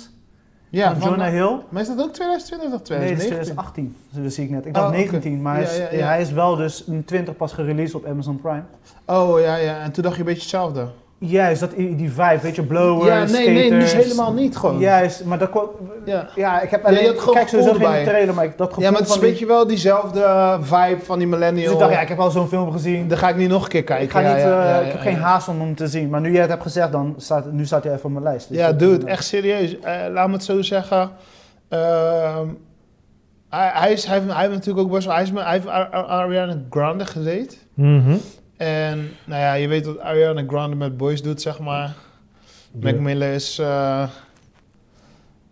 Ja,
van
van,
Jonah Hill.
maar is dat ook 2020 of
Nee, dat
2019?
is 2018, dus dat zie ik net. Ik dacht
Oh, oké.
19, maar hij is,
Ja, ja, ja.
hij is wel dus in 20 pas gereleased op Amazon Prime.
Oh ja, ja. En toen dacht je een beetje hetzelfde.
Juist, dat, die vibe, weet je, blowers,
ja, nee, nee, dus
skaters.
helemaal niet gewoon. Ja,
Juist, maar dat kwam...
ja.
Ja, ik heb
Ja, je
alleen...
had
ik
gewoon
kijk sowieso
gevoel
geen
erbij.
trailer, maar ik, dat gevoel
maar het is
van
een
die-
beetje wel diezelfde eh, vibe van die millennial.
Dus ik dacht, ja, ik heb al zo'n film gezien.
Dan ga ik niet nog een keer kijken.
ik ga
ja,
niet,
ja,
eh,
ja,
ik heb
ja,
geen
ja.
haast om hem te zien. Maar nu jij het hebt gezegd, dan staat, nu staat hij even op mijn lijst. Dus
Ja,
dat-
dude, echt serieus. Eh, laat me het zo zeggen. Ehm, hij, hij, is, hij, heeft, hij heeft natuurlijk ook best wel... Hij, is, met- hij heeft Ar- Ar- Ariana Grande gedate.
Mhm.
En nou ja, je weet wat Ariana Grande met boys doet, zeg maar. Mac
Ja.
Miller is... eh,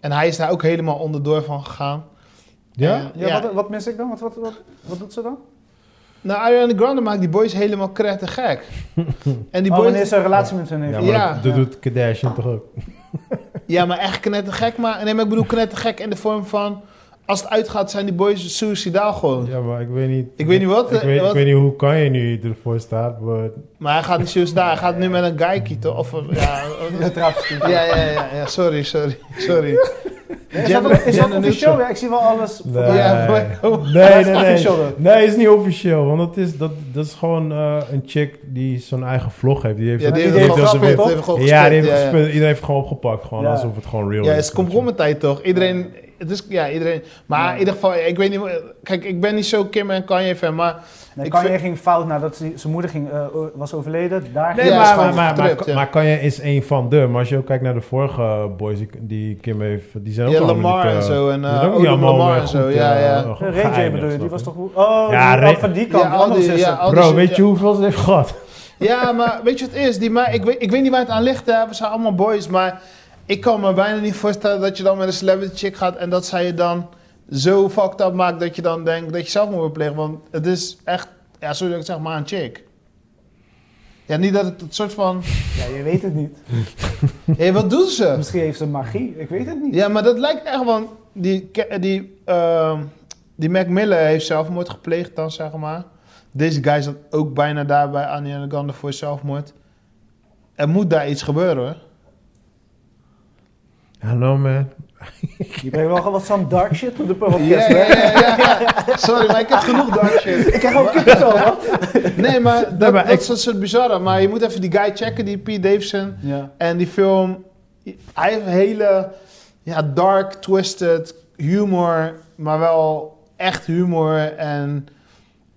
en hij is daar ook helemaal onderdoor van gegaan.
Ja?
En,
Ja, Wat, wat mis ik dan? Wat, wat, wat, wat doet ze dan?
Nou, Ariana Grande maakt die boys helemaal kret en gek. en die
oh,
boys...
wanneer ze een relatie met hun heeft.
Ja,
Ja,
maar
Ja.
dat, dat
Ja.
doet Kardashian toch ook?
Ja, maar echt knettergek. Maar, nee, maar ik bedoel knettergek in de vorm van... Als het uitgaat, zijn die boys suicidaal gewoon.
Ja, maar ik weet niet...
Ik weet niet wat,
Ik
eh,
weet,
wat-
ik weet niet hoe kan je nu ervoor staan, maar...
Maar hij gaat niet suicidaal. Hij gaat nu met een geikie, toch? Of, een- ja, een- ja, ja, ja, ja, sorry, sorry, sorry.
Is dat,
Gender-
ook- is dat
gender
officieel?
neutral.
Ja, ik zie wel alles.
Nee,
voorbij.
Ja, maar-
nee, nee.
Is het
nee.
officieel dan?
Nee, is niet officieel. Want dat is, dat, dat is gewoon eh, een chick die zijn eigen vlog heeft. Die heeft
Ja, die
Die
heeft
heeft
gewoon
dat
gespit,
weer-
die heeft gewoon
ja, die
gespit,
heeft
ja, ja.
gespit. Iedereen heeft gewoon opgepakt. Gewoon
Ja.
alsof het gewoon real
Ja,
is.
het is compromittijd toch? Iedereen, het is, ja, iedereen. Maar
Ja.
in ieder geval, ik weet niet, kijk, ik ben niet zo Kim en Kanye fan, maar
Nee,
Ik
Kanye
vind-
ging fout nadat ze, zijn moeder ging, eh, was overleden. Daar
Nee,
ging
Ja,
maar,
is
maar,
gewoon
maar, maar,
gedrukt, ja.
maar kan je is een van de. Maar als je ook kijkt naar de vorige boys die, die Kim heeft, die zijn ook
ja,
allemaal
Lamar
niet, eh,
en zo en
die zijn
eh
ook niet
Odom
allemaal
Lamar
weer
en zo,
goed,
ja,
eh,
ja.
Eh, Ray
geëindigd,
J bedoel je, die
snap
was
ik.
toch... hoe- Oh,
Ja,
die,
Ray-
oh, van die kant,
Ja,
die
al
andere
die-
zussen.
ja, al die
Bro,
shit,
weet
ja.
je hoeveel ze heeft gehad?
Ja, maar weet je wat het is? Die, maar, ik, weet, ik weet niet waar het aan ligt, hè. we zijn allemaal boys, maar ik kan me bijna niet voorstellen dat je dan met een celebrity chick gaat en dat zij je dan zo fucked up maakt dat je dan denkt dat je zelf moet plegen. Want het is echt, ja, sorry dat ik het zeg, maar een chick. Ja, niet dat het een soort van...
Ja, je weet het niet.
Hé, wat doen ze?
Misschien heeft ze magie, ik weet het niet.
Ja, maar dat lijkt echt, want die, ke- die, ehm, die Mac Miller heeft zelfmoord gepleegd dan, zeg maar. Deze guy zat ook bijna daar bij Annie en Gander voor zelfmoord. Er moet daar iets gebeuren, hoor.
Hallo man.
Je brengt wel wat zo'n dark shit op de podcast.
Ja,
hè?
ja, ja, ja, ja. Sorry, maar ik heb genoeg dark shit.
Ik krijg ook kut zo, man.
Nee, maar dat,
Nee, maar
dat
ik-
is een soort bizarre. Maar je moet even die guy checken, die Pete Davidson.
Ja.
En die film, hij heeft hele ja, dark, twisted humor, maar wel echt humor. En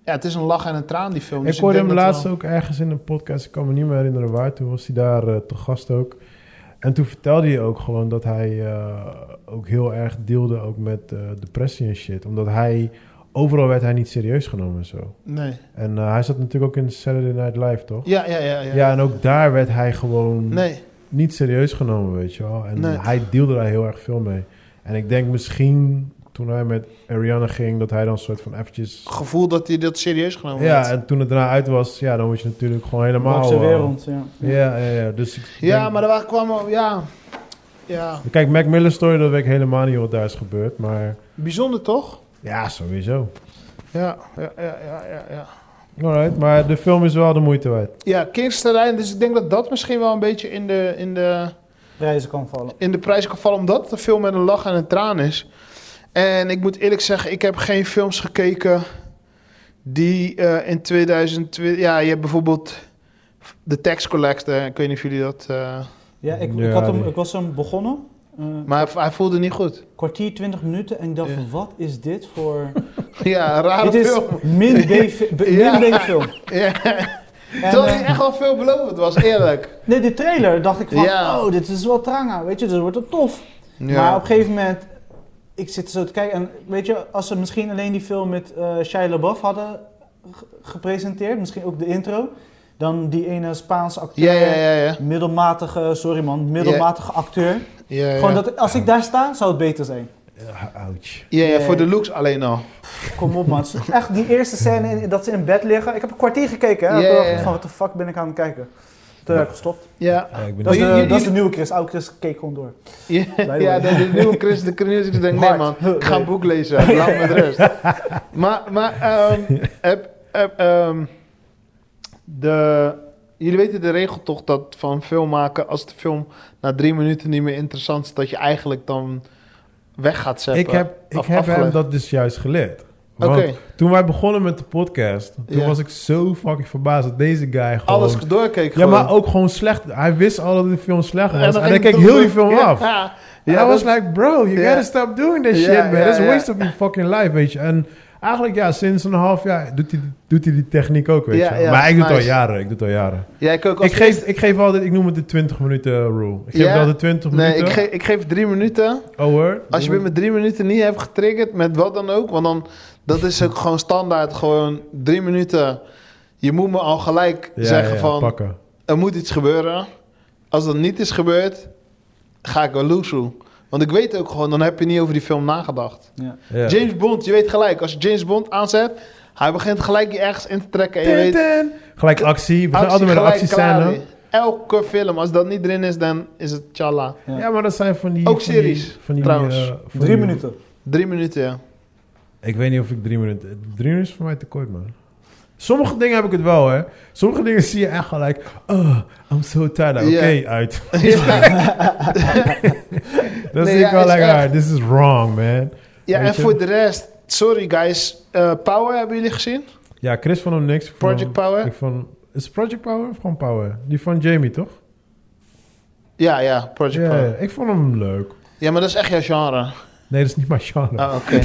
ja, het is een lach en een traan, die film. Dus
ik hoorde
denk
hem
dat
laatst
wel-
ook ergens in een podcast, ik kan me niet meer herinneren waar. Toen was hij daar eh, te gast ook. En toen vertelde hij ook gewoon dat hij eh, ook heel erg deelde ook met eh, depressie en shit. Omdat hij, overal werd hij niet serieus genomen en zo.
Nee.
En eh, hij zat natuurlijk ook in Saturday Night Live, toch?
Ja, ja, ja.
Ja,
ja.
en ook daar werd hij gewoon
Nee.
niet serieus genomen, weet je wel. En
Nee.
hij deelde daar heel erg veel mee. En ik denk misschien toen hij met Ariana ging, dat hij dan soort van eventjes...
Gevoel dat hij dat serieus genomen
Ja,
heeft.
en toen het daarna uit was, ja, dan word je natuurlijk gewoon helemaal...
Maakse
eh,
wereld, ja.
ja, ja, ja. Dus ik
Ja,
denk-
maar daar kwam... Ja. Ja.
Kijk, Mac Miller story, dat weet ik helemaal niet wat daar is gebeurd, maar...
Bijzonder, toch?
Ja, sowieso.
Ja, ja, ja, ja, ja. ja.
Alright, maar de film is wel de moeite waard.
Ja, Kingsterrein, dus ik denk dat dat misschien wel een beetje in de, in de,
Prijzen kan vallen.
in de prijs kan vallen, omdat het een film met een lach en een traan is. En ik moet eerlijk zeggen, ik heb geen films gekeken die eh, in 2020... Ja, je hebt bijvoorbeeld The Tax Collector, ik weet niet of jullie dat... eh,
Ja, ik,
Ja,
ik, had hem,
die-
ik was hem begonnen. eh,
maar hij, hij voelde niet goed.
kwartier, twintig minuten en ik dacht,
Ja.
wat is dit voor...
Ja, een rare
Dit is
film.
min B- b-
Ja.
min B-film.
Ja.
En,
Terwijl
eh,
hij echt wel veelbelovend was, eerlijk.
nee, de trailer dacht ik van,
Ja.
oh, dit is wel tranga, weet je, dit wordt het tof.
Ja.
Maar op een gegeven moment, ik zit zo te kijken en weet je, als ze misschien alleen die film met eh Shia LaBeouf hadden ge- gepresenteerd, misschien ook de intro, dan die ene Spaanse acteur,
ja, ja, ja, ja.
middelmatige, sorry man, middelmatige acteur.
Ja, ja.
Gewoon dat, als ik daar sta, zou het beter zijn.
Ja, ouch.
ja, ja,
Nee.
voor de looks alleen al.
Kom op man, Het is echt die eerste scène in- dat ze in bed liggen. Ik heb een kwartier gekeken, hè.
Ja,
Toen dacht
ja,
ik
ja.
van, wat de fuck ben ik aan het kijken? Toen heb ik gestopt.
Ja,
Ja, ik ben
Dat is, eh,
Maar
de,
jullie-
dat is de
jullie-
nieuwe Chris. Oude Chris keek gewoon door.
Ja,
way.
ja de, de nieuwe Chris de Kruis. Ik denk, nee
Hard.
man, ik ga een
Nee.
boek lezen. Laat me met rust. Maar, maar ehm, heb, heb, ehm, de, jullie weten de regel toch dat van film maken... als de film na drie minuten niet meer interessant is... dat je eigenlijk dan weg gaat zetten.
Ik heb, ik
Of
heb hem
eh, afgelegd.
dat dus juist geleerd.
Oké,
Want toen wij begonnen met de podcast, toen
Ja.
was ik zo fucking verbaasd dat deze guy gewoon...
alles doorkeek
ja,
gewoon.
maar ook gewoon slecht. Hij wist al dat de film slecht was. En dan,
ging het
keek
toch
heel
door.
die film
Ja,
af.
Ja,
Ja, I
ja,
was
dat-
like, bro, you
Ja.
gotta stop doing this
Ja,
shit, man.
ja,
It's a
ja.
waste of your fucking life, weet je. En eigenlijk, ja, sinds een half jaar doet hij, doet hij die techniek ook, weet
Ja,
je.
ja,
maar ik doe het al
nice.
jaren, ik doe het al jaren.
ja, ik ook als
Ik geef, ik geef altijd, ik noem het de 20 minuten rule. Ik geef
Ja?
het altijd 20
Nee,
minuten.
ik, ge- ik geef drie minuten.
Oh, hoor.
Als je me met drie minuten niet hebt getriggerd, met wat dan ook, want dan, dat is ook gewoon standaard, gewoon drie minuten. Je moet me al gelijk
Ja,
zeggen
ja,
van,
Pakken.
er moet iets gebeuren. Als dat niet is gebeurd, ga ik wel loesoe. Want ik weet ook gewoon, dan heb je niet over die film nagedacht.
Ja.
Ja.
James Bond, je weet gelijk, als je James Bond aanzet, hij begint gelijk je ergens in te trekken en je
Tin,
weet...
tin. Gelijk actie. We gaan altijd met een
gelijk, klaar
actiescène.
weer. Elke film, als dat niet erin is, dan is het tjalla.
Ja.
Ja, maar dat zijn van die...
Ook
van die-
series,
van die,
trouwens.
eh, van
Drie
die-
minuten.
Drie minuten, ja.
Ik weet niet of ik drie minuten... Drie minuten is voor mij te kort, man. Sommige dingen heb ik het wel, hè. Sommige dingen zie je echt gelijk... Oh, I'm so tired. Nou, Oké,
Ja.
uit.
ja.
Dat
Nee,
zie ik
ja,
wel
is
lekker
echt.
uit. This is wrong, man.
Ja,
Weet
en
je?
voor de rest, sorry guys, eh, Power hebben jullie gezien?
Ja, Chris vond hem niks. Ik vond
Project
hem-
Power?
Nou, Ik vond, is het Project Power of gewoon Power? Die van Jamie, toch?
Ja, ja, Project
Ja,
Power.
ja, ik vond hem leuk.
Ja, maar dat is echt jouw genre.
Nee, dat is niet mijn genre.
Ah, oké.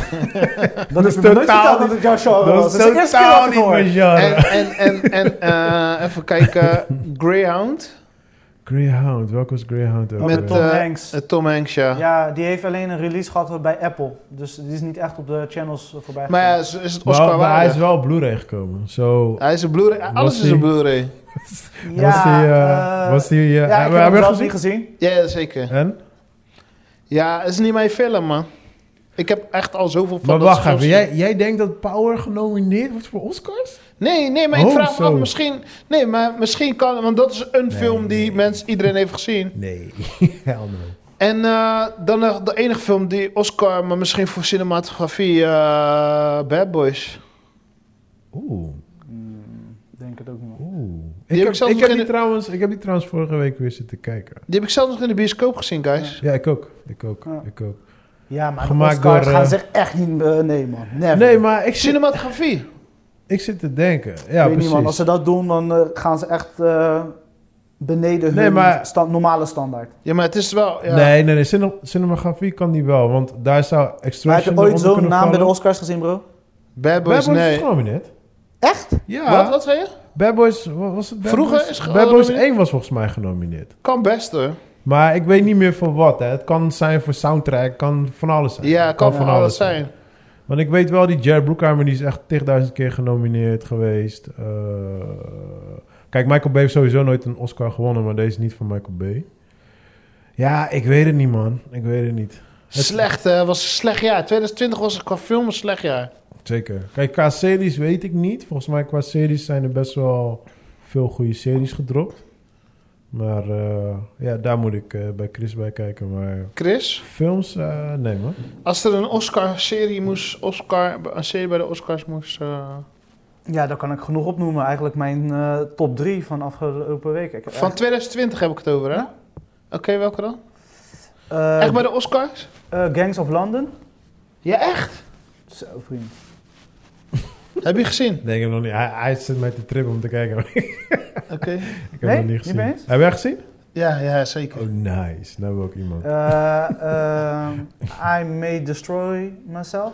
Dat
is
is totaal nooit
totaal
verteld dat het jouw genre was.
dat
Dat is de
is
eerste keer dat
totaal
ik het
niet mijn
hoor.
En,
genre.
en, en, en eh, even kijken, Greyhound
Greyhound. Welke was Greyhound ook?
Ook
Met,
weer?
Tom
eh,
Hanks.
eh, Tom Hanks, ja.
Ja, die heeft alleen een release gehad bij Apple. Dus die is niet echt op de channels eh, voorbij
Maar ja,
gekomen.
is, is het
maar,
Oscar
maar hij
waardig?
is wel op Blu-ray gekomen. Zo.
Hij is een Blu-ray,
Was
alles is
hij-
een Blu-ray.
ja,
was die... eh,
eh,
was die eh,
ja, ik
hebben
heb
we
hem
hem
zelf
gezien?
niet gezien.
Ja, zeker.
En?
Ja, het is niet mijn film, man. Ik heb echt al zoveel van
Maar
dat
wacht even,
schofsel-
jij, jij denkt dat Power genomineerd wordt voor Oscars?
Nee, nee, maar ik
Oh,
vraag me
zo.
af, misschien... Nee, maar misschien kan... Want dat is een film die
nee.
Mensen, iedereen heeft gezien.
Nee, hell no.
En eh, dan nog de enige film die Oscar, maar misschien voor cinematografie, eh, Bad Boys.
Oeh,
Hmm, denk het ook niet.
oeh.
heb
Ik,
ik
heb,
zelfs
ik,
nog
heb die
in de-
trouwens, ik heb die trouwens vorige week weer zitten kijken.
Die heb ik zelf nog in de bioscoop gezien, guys.
Ja, ik ook. Ik ook.
Ja.
Ik ook.
Ja, maar
Gemaakt
de Oscars
door, eh,
gaan ze echt niet... eh, nee, man. Never.
Nee, maar ik zit,
Cinematografie.
ik zit te denken. Ja,
ik weet
precies.
niet, man. Als ze dat doen, dan eh, gaan ze echt eh, beneden
Nee,
hun
maar-
sta- normale standaard.
Ja, maar het is wel... Ja.
Nee, nee, nee. Cine- cinematografie kan die wel, want daar zou
Maar heb
Extraction
je ooit
eronder
zo'n
kunnen
naam bij de
vallen.
Oscars gezien, bro?
Bad
Bad
Boys,
Boys is
nee.
genomineerd.
Echt?
Ja.
Wat, wat zei je?
Bad Boys, wa- was het Bad
Vroeger
Boys?
is ge-
Bad Boys
genomineerd.
1 was volgens mij genomineerd.
Kan best, hoor.
Maar ik weet niet meer voor wat. Hè. Het kan zijn voor soundtrack, kan van alles zijn.
Ja,
Het
kan van alles zijn.
Want ik weet wel, die Jerry Bruckheimer die is echt tigduizend keer genomineerd geweest. Eh, kijk, Michael Bay heeft sowieso nooit een Oscar gewonnen, maar deze is niet van Michael Bay. Ja, ik weet het niet, man. Ik weet het niet. Het-
Slecht, eh, was een slecht jaar. 2020 was het qua film een slecht jaar.
Zeker. Kijk, qua series weet ik niet. Volgens mij qua series zijn er best wel veel goede series gedropt. Maar eh, ja, daar moet ik eh, bij Chris bij kijken. Maar
Chris,
films, eh, nee man.
als er een Oscar-serie moest, Oscar, een serie bij de Oscars moest... eh,
Ja, daar kan ik genoeg opnoemen. Eigenlijk mijn eh, top drie van afgelopen week. Ik heb
van
echt,
2020 heb ik het over, hè?
Ja.
Oké, welke dan?
eh,
Echt bij de Oscars?
eh, Gangs of London.
Ja, echt?
Zo, vriend.
Heb je gezien?
Nee, ik heb nog niet. Hij, hij zit mij te trippen om te kijken. maar ik
Oké.
heb
Nee?
hem nog niet
Niet
gezien.
mee eens?
Heb jij gezien?
Ja, ja, zeker.
Oh, nice. Nou heb ik ook iemand.
Eh, ehm, I May Destroy Myself.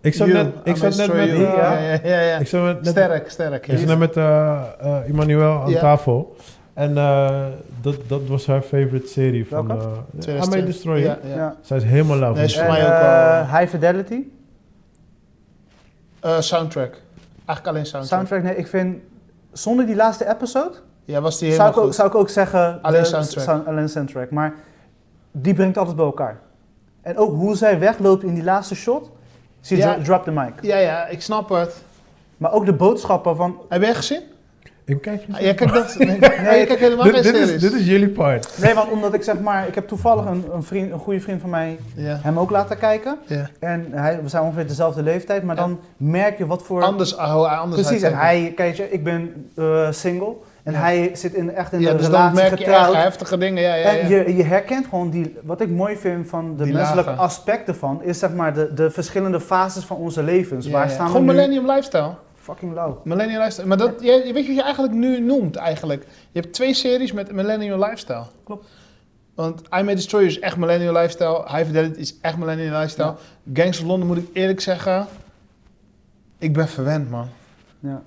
ik zat
You,
net, ik
I
zat
May Destroy
net met...
You.
eh,
Ja,
Ja, ja, ja. ja.
Ik zat met, net,
Sterk, sterk.
ik zat net met eh, eh, Emmanuel aan
Ja.
tafel. En eh, dat, dat was haar favorite serie van...
Welke?
eh I May Destroy You.
Ja, ja.
Ja.
Zij is helemaal lauw.
Nee, is voor
En,
mij ook
eh,
wel-
High Fidelity.
Eh, soundtrack. Eigenlijk alleen soundtrack.
Soundtrack, nee, ik vind... Zonder die laatste episode
Ja, was die
zou
helemaal
ik, ook,
goed.
zou ik ook zeggen...
Alleen
de
soundtrack.
sound- alleen soundtrack. Maar die brengt altijd bij elkaar. En ook hoe zij wegloopt in die laatste shot. Zie je,
Ja.
dro- drop the mic.
Ja, ja, ik snap het.
Maar ook de boodschappen van...
Heb jij gezien?
Ik kijk eens.
Ah, Jij kijkt dat... Nee, jij kijkt helemaal
dit,
geen
dit
series.
is, dit is jullie part.
Nee, want omdat ik zeg maar... Ik heb toevallig een, een, vriend, een goede vriend van mij
Ja,
hem ook laten kijken.
ja.
En hij, we zijn ongeveer dezelfde leeftijd. Maar
Ja.
dan merk je wat voor...
Anders, hoe anders
Precies, en
uitkijken.
hij, kijk je, ik ben eh, single en
Ja.
hij zit in, echt in
Ja,
een
dus dan
relatie
merk je echt
getrouwd.
heftige dingen. Ja, ja, ja.
En je, je herkent gewoon die, wat ik mooi vind van de
Die
menselijke
lagen.
aspecten van, is zeg maar de, de verschillende fases van onze levens.
Ja,
Waar
ja.
staan
Gewoon
we nu?
millennium lifestyle.
Fucking lauw.
Millennium lifestyle. Maar dat, jij, weet je wat je eigenlijk nu noemt eigenlijk? Je hebt twee series met millennium lifestyle.
Klopt.
Want I May Destroy You is echt millennial lifestyle. High Fidelity is echt millennial lifestyle. Gangs of London moet ik eerlijk zeggen... Ik ben verwend, man.
Ja.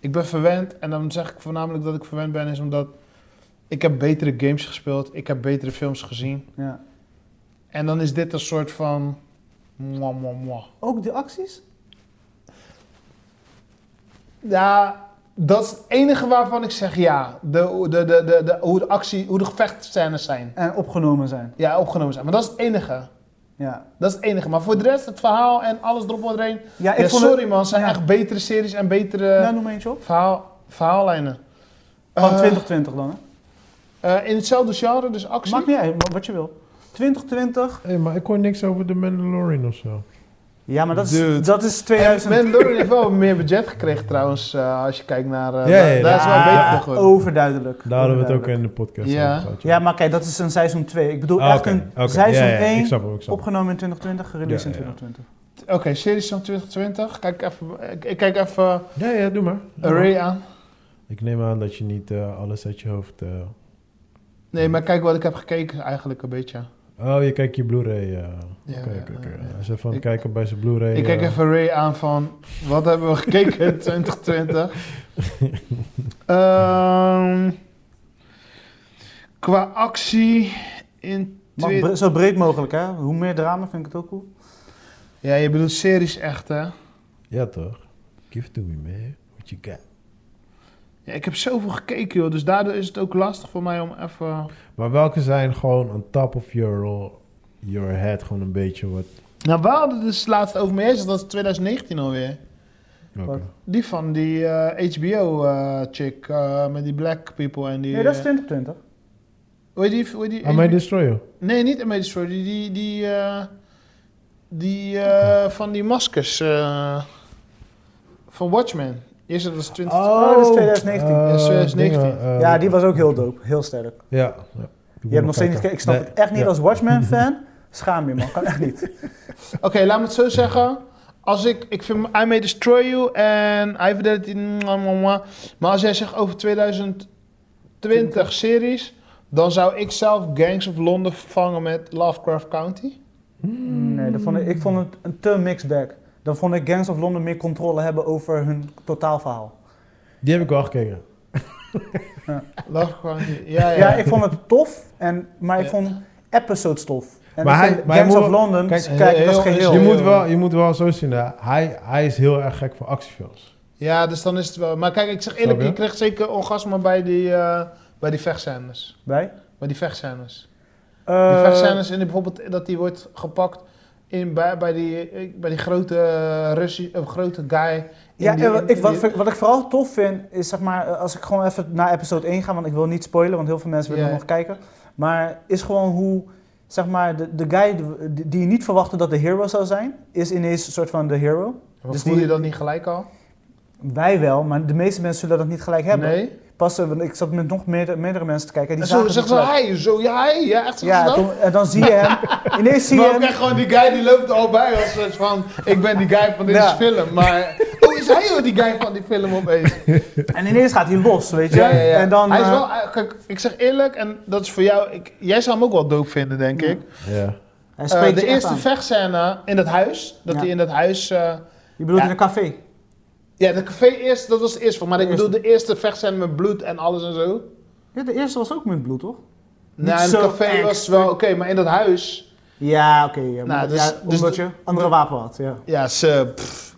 Ik ben verwend en dan zeg ik voornamelijk dat ik verwend ben is omdat... Ik heb betere games gespeeld. Ik heb betere films gezien.
Ja.
En dan is dit een soort van... Mwah, mwah, mwah.
Ook de acties?
Ja, dat is het enige waarvan ik zeg ja. De, de, de, de, de, hoe de actie, hoe de gevechtscènes zijn.
En opgenomen zijn.
Ja, opgenomen zijn. Maar dat is het enige.
Ja,
Dat is het enige. Maar voor de rest, het verhaal en alles erop en erin.
ja ik
Ja,
vond
sorry
het...
man, het zijn
Ja.
echt betere series en betere
Nou, noem eentje op.
verhaal, verhaallijnen.
Van
Eh,
2020 dan, hè?
eh, in hetzelfde genre, dus actie.
Maakt niet uit, wat je wil. 2020,
Hé, maar ik hoor niks over The Mandalorian of zo.
ja, maar dat
Dude.
is, dat is
En
2000.
Mandalorian heeft wel meer budget gekregen trouwens, eh, als je kijkt naar... eh,
Ja, ja,
daar-
ja.
Daar is wel
Ja,
beter geworden.
overduidelijk.
Daar hadden we het ook
Overduidelijk.
in de podcast
Ja.
over gehad.
Ja, maar kijk, dat is een seizoen 2. Ik bedoel
Ah,
echt
oké,
een
oké.
seizoen
Ja, ja,
1
Ik snap hem, ik snap hem.
opgenomen in 2020, gereleased
Ja, ja.
in 2020.
Oké, series van 2020. Kijk even, ik- ik kijk even
Ja, ja, doe maar. Doe maar.
Array aan.
Ik neem aan dat je niet eh, alles uit je hoofd... eh,
Nee, maar kijk wat ik heb gekeken eigenlijk een beetje.
Oh, je kijkt je Blu-ray. eh.
Ja,
Oké,
ja,
oké,
ja,
oké.
ja.
Hij is even aan het
Ik-
kijken bij zijn Blu-ray.
Ik kijk
eh.
even Ray aan van, wat hebben we gekeken in 2020? Ehm, qua actie in...
Maar
twi-
bre- zo breed mogelijk, hè? Hoe meer drama vind ik het ook cool.
Ja, je bedoelt series echt, hè?
Ja, toch? Give it to me, man. What you got?
Ja, ik heb zoveel gekeken, joh. Dus daardoor is het ook lastig voor mij om even...
Maar welke zijn gewoon on top of your, your head gewoon een beetje wat...
Nou, we hadden het dus laatst over mee eens, dat is 2019 alweer.
Oké.
Die van die eh, HBO-chick eh, met die black people en die...
Nee, dat is
eh,
2020.
hoe heet die? Hoe heet die
Aan mij destroyer.
Nee, niet Amazing Story. Die, die, die, eh, die eh, van die maskers eh, van Watchmen. Die is er dus 20...
Oh, dat is 2019.
eh,
Ja, 2019.
dingen, eh,
Ja, die was ook heel dope. Heel sterk.
Ja.
Je hebt nog steeds niet gekeken. Ik snap het echt niet als Watchmen-fan. Schaam je, man. Kan echt niet.
Oké, laat me het zo zeggen. Als ik, ik vind I May Destroy You en I Fidelity... mwah, mwah, mwah. Maar als jij zegt over 2020 series... Dan zou ik zelf Gangs of London vervangen met Lovecraft County.
Nee, dat vond ik, ik vond het een te mixed bag. Dan vond ik Gangs of London meer controle hebben over hun totaalverhaal.
Die heb ik wel gekeken.
Lovecraft County, ja, ja.
Ja, ik vond het tof, en, maar ik
Ja.
vond episodes tof. En
Maar
ik
hij-
vond
maar hij
Gangs
moet
of
wel-
London,
kijk,
kijk, dat is
heel-
geheel.
Je
heel-
moet, wel, je moet wel zo zien, hè. hij, hij is heel erg gek voor actiefilms.
Ja, dus dan is het wel. Maar kijk, ik zeg
Snap
eerlijk,
je?
je krijgt zeker orgasme bij die, eh, bij die vechtscènes.
Bij?
Bij die vechtscènes. Die
Eh,
vechtscènes en die bijvoorbeeld dat die wordt gepakt in, bij, bij, die, eh, bij die grote eh, Russie, eh, grote guy. in
ja,
die-
eh,
in-
ik,
in
wat,
die-
ik- wat ik vooral tof vind, is zeg maar, eh, als ik gewoon even naar episode 1 ga, want ik wil niet spoilen, want heel veel mensen willen
Ja.
nog kijken. Maar is gewoon hoe, zeg maar, de, de guy die, die je niet verwachtte dat de hero zou zijn, is ineens een soort van de hero.
Maar
dus
voel
die-
je dat niet gelijk al?
Wij wel, maar de meeste mensen zullen dat niet gelijk hebben.
Nee.
Pas, eh, want ik zat met nog meerdere, meerdere mensen te kijken. en
En
Die
zo
zagen
zegt ze,
het gelijk.
hij, zo, ja, hij, ja, echt zo.
Ja,
dat?
toen- en dan zie je hem. Ineens zie je
Maar ook
hem.
echt gewoon die guy die loopt er al bij als soort van, ik ben die guy van deze
Ja.
film. Maar, oh, is hij ook die guy van die film opeens?
En ineens gaat hij los, weet je.
Ja, ja, ja.
En dan,
hij is
eh,
wel, eh, kijk, ik zeg eerlijk, en dat is voor jou, ik, jij zou hem ook wel dope vinden, denk
Ja.
ik.
Ja.
hij
Eh,
spreekt je
de
echt
eerste
aan.
vechtscène in dat huis, dat
Ja.
hij in dat huis... eh,
Je bedoelt
Ja.
in een café.
ja, de café eerst, dat was de eerste van, maar
De
ik bedoel de eerste vechtscène met bloed en alles en zo.
Ja, de eerste was ook met bloed, toch? Niet
Nou, in
zo
het café was
extra.
wel oké, maar in dat huis...
Ja, oké. ja, maar-
Nou, dus-
ja,
dus
omdat
de-
je andere wapen had, ja.
Ja, ze... pff.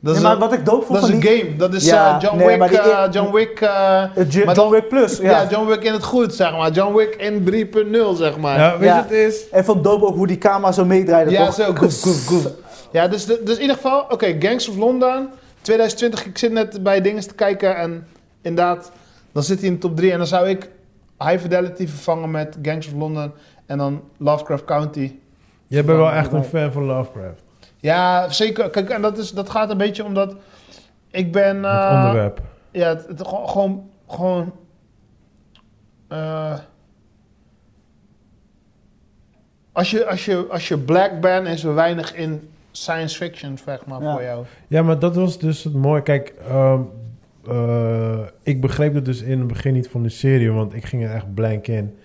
dat is,
Nee, maar
een,
wat ik dope vond
dat is
van
een
die...
game, dat is
Ja,
eh, John,
nee, maar
Wick,
die
eh,
eer-
John Wick... eh,
het Ju-
maar
John Wick Plus, ja.
ja. John Wick in het goed, zeg maar. John Wick in 3.0, zeg maar.
Ja, Nou, weet je
Ja.
wat het is?
En vond dope ook hoe die camera zo meedraaide,
Ja,
toch?
zo. Goef, goef, goef. Ja, dus, de- dus in ieder geval, oké, Gangs of London, 2020. Ik zit net bij dingen te kijken en inderdaad, dan zit hij in de top 3. En dan zou ik High Fidelity vervangen met Gangs of London en dan Lovecraft County.
Jij bent wel echt een fan van Lovecraft.
Ja, zeker. Kijk, en dat, is, dat gaat een beetje omdat ik ben...
het
eh,
onderwerp.
Ja, het, het gewoon... gewoon, gewoon eh, als, je, als, je, als je black bent, is er weinig in science fiction, zeg maar,
Ja.
voor jou.
Ja, maar dat was dus het mooie. Kijk, ehm, eh, ik begreep dat dus in het begin niet van de serie, want ik ging er echt blank in.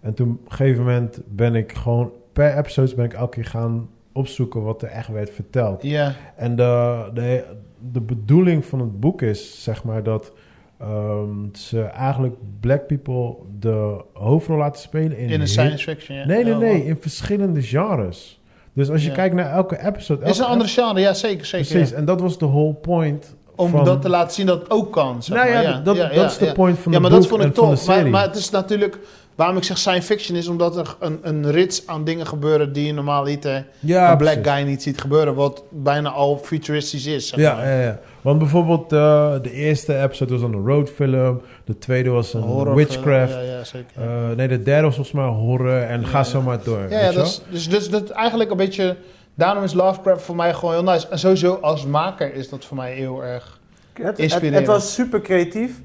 En toen op een gegeven moment ben ik gewoon per episode ben ik elke keer gaan opzoeken wat er echt werd verteld.
Ja.
En de, de, de bedoeling van het boek is, zeg maar, dat ehm, ze eigenlijk black people de hoofdrol laten spelen in,
In de
heel-
science fiction, ja.
Nee, nee,
Oh,
nee,
wow.
in verschillende genres. Dus als je
Ja.
kijkt naar elke episode.
is
elke
een andere genre, ja, zeker, zeker.
Precies,
ja.
en dat was de whole point.
Om
van-
dat te laten zien dat het ook kan, zeg
nou ja,
maar. ja,
dat, dat,
ja,
dat
ja,
is de
ja.
point van
Ja,
de
maar
boek
dat vond ik
en van de
tof. Maar,
serie.
maar het is natuurlijk... Waarom ik zeg science fiction is omdat er een, een rits aan dingen gebeuren... die je normaal niet, eh, hè,
ja,
een black
precies.
guy niet ziet gebeuren. Wat bijna al futuristisch is, zeg
Ja,
maar.
ja, ja. Want bijvoorbeeld eh, de eerste episode was een roadfilm. De tweede was een
Horror,
witchcraft.
Ja, ja, zeker.
Eh, nee, de derde was volgens mij horror. En ga
Ja.
zo maar door. weet
ja, ja
je wel?
dat is, dus, dus dat eigenlijk een beetje... Daarom is Lovecraft voor mij gewoon heel nice. En sowieso als maker is dat voor mij heel erg...
Het, het- het,
Inspirerend.
was super creatief.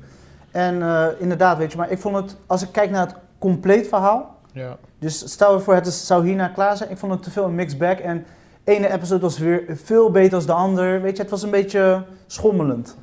En eh, inderdaad, weet je, maar ik vond het, als ik kijk naar het compleet verhaal.
Ja.
Dus stel ervoor, het is, zou hierna klaar zijn. Ik vond het te veel een mixed bag. En de ene episode was weer veel beter dan de ander. Weet je, het was een beetje schommelend.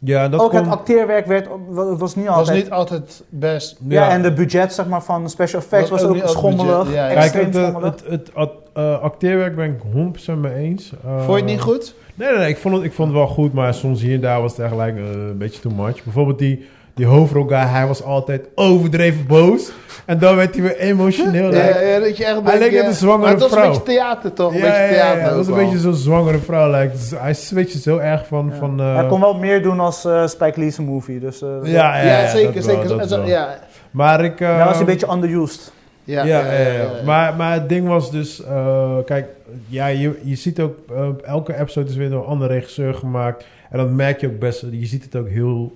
Ja, en dat
ook het
komt-
acteerwerk werd, op- wa- was niet
Was
altijd.
niet altijd best...
ja. en de budget zeg maar, van de special effects was,
Was ook
ook
niet als
schommelig.
budget, ja, ja.
Kijk,
Extreem
het, eh,
schommelig.
het, het, at- eh, acteerwerk ben ik 100% mee eens. Eh,
Vond je het niet goed?
Nee, nee, nee, ik vond het, ik vond het wel goed, maar soms hier en daar was het echt like, eh, een beetje too much. Bijvoorbeeld die, die hoofdrol guy, hij was altijd overdreven boos. En dan werd hij weer emotioneel. like,
Ja, ja, dat je echt denkt,
leek net
ja.
een zwangere
Maar het was
vrouw.
een beetje theater toch? Een
ja,
beetje
ja, ja,
theater
dat was
ook
een
wel.
beetje zo'n zwangere vrouw. Like, dus hij switcht zo erg van...
Ja.
van eh,
Hij kon wel meer doen als eh, Spike Lee's movie. Dus, eh,
ja, ja,
Ja, zeker,
dat wel,
zeker.
dat
En zo-
wel.
ja.
Maar ik... eh,
Daar was hij een beetje underused.
Ja,
ja, ja, ja. Maar, maar het ding was dus, eh, kijk, ja, je, je ziet ook, eh, elke episode is weer door een andere regisseur gemaakt. En dat merk je ook best, je ziet het ook heel,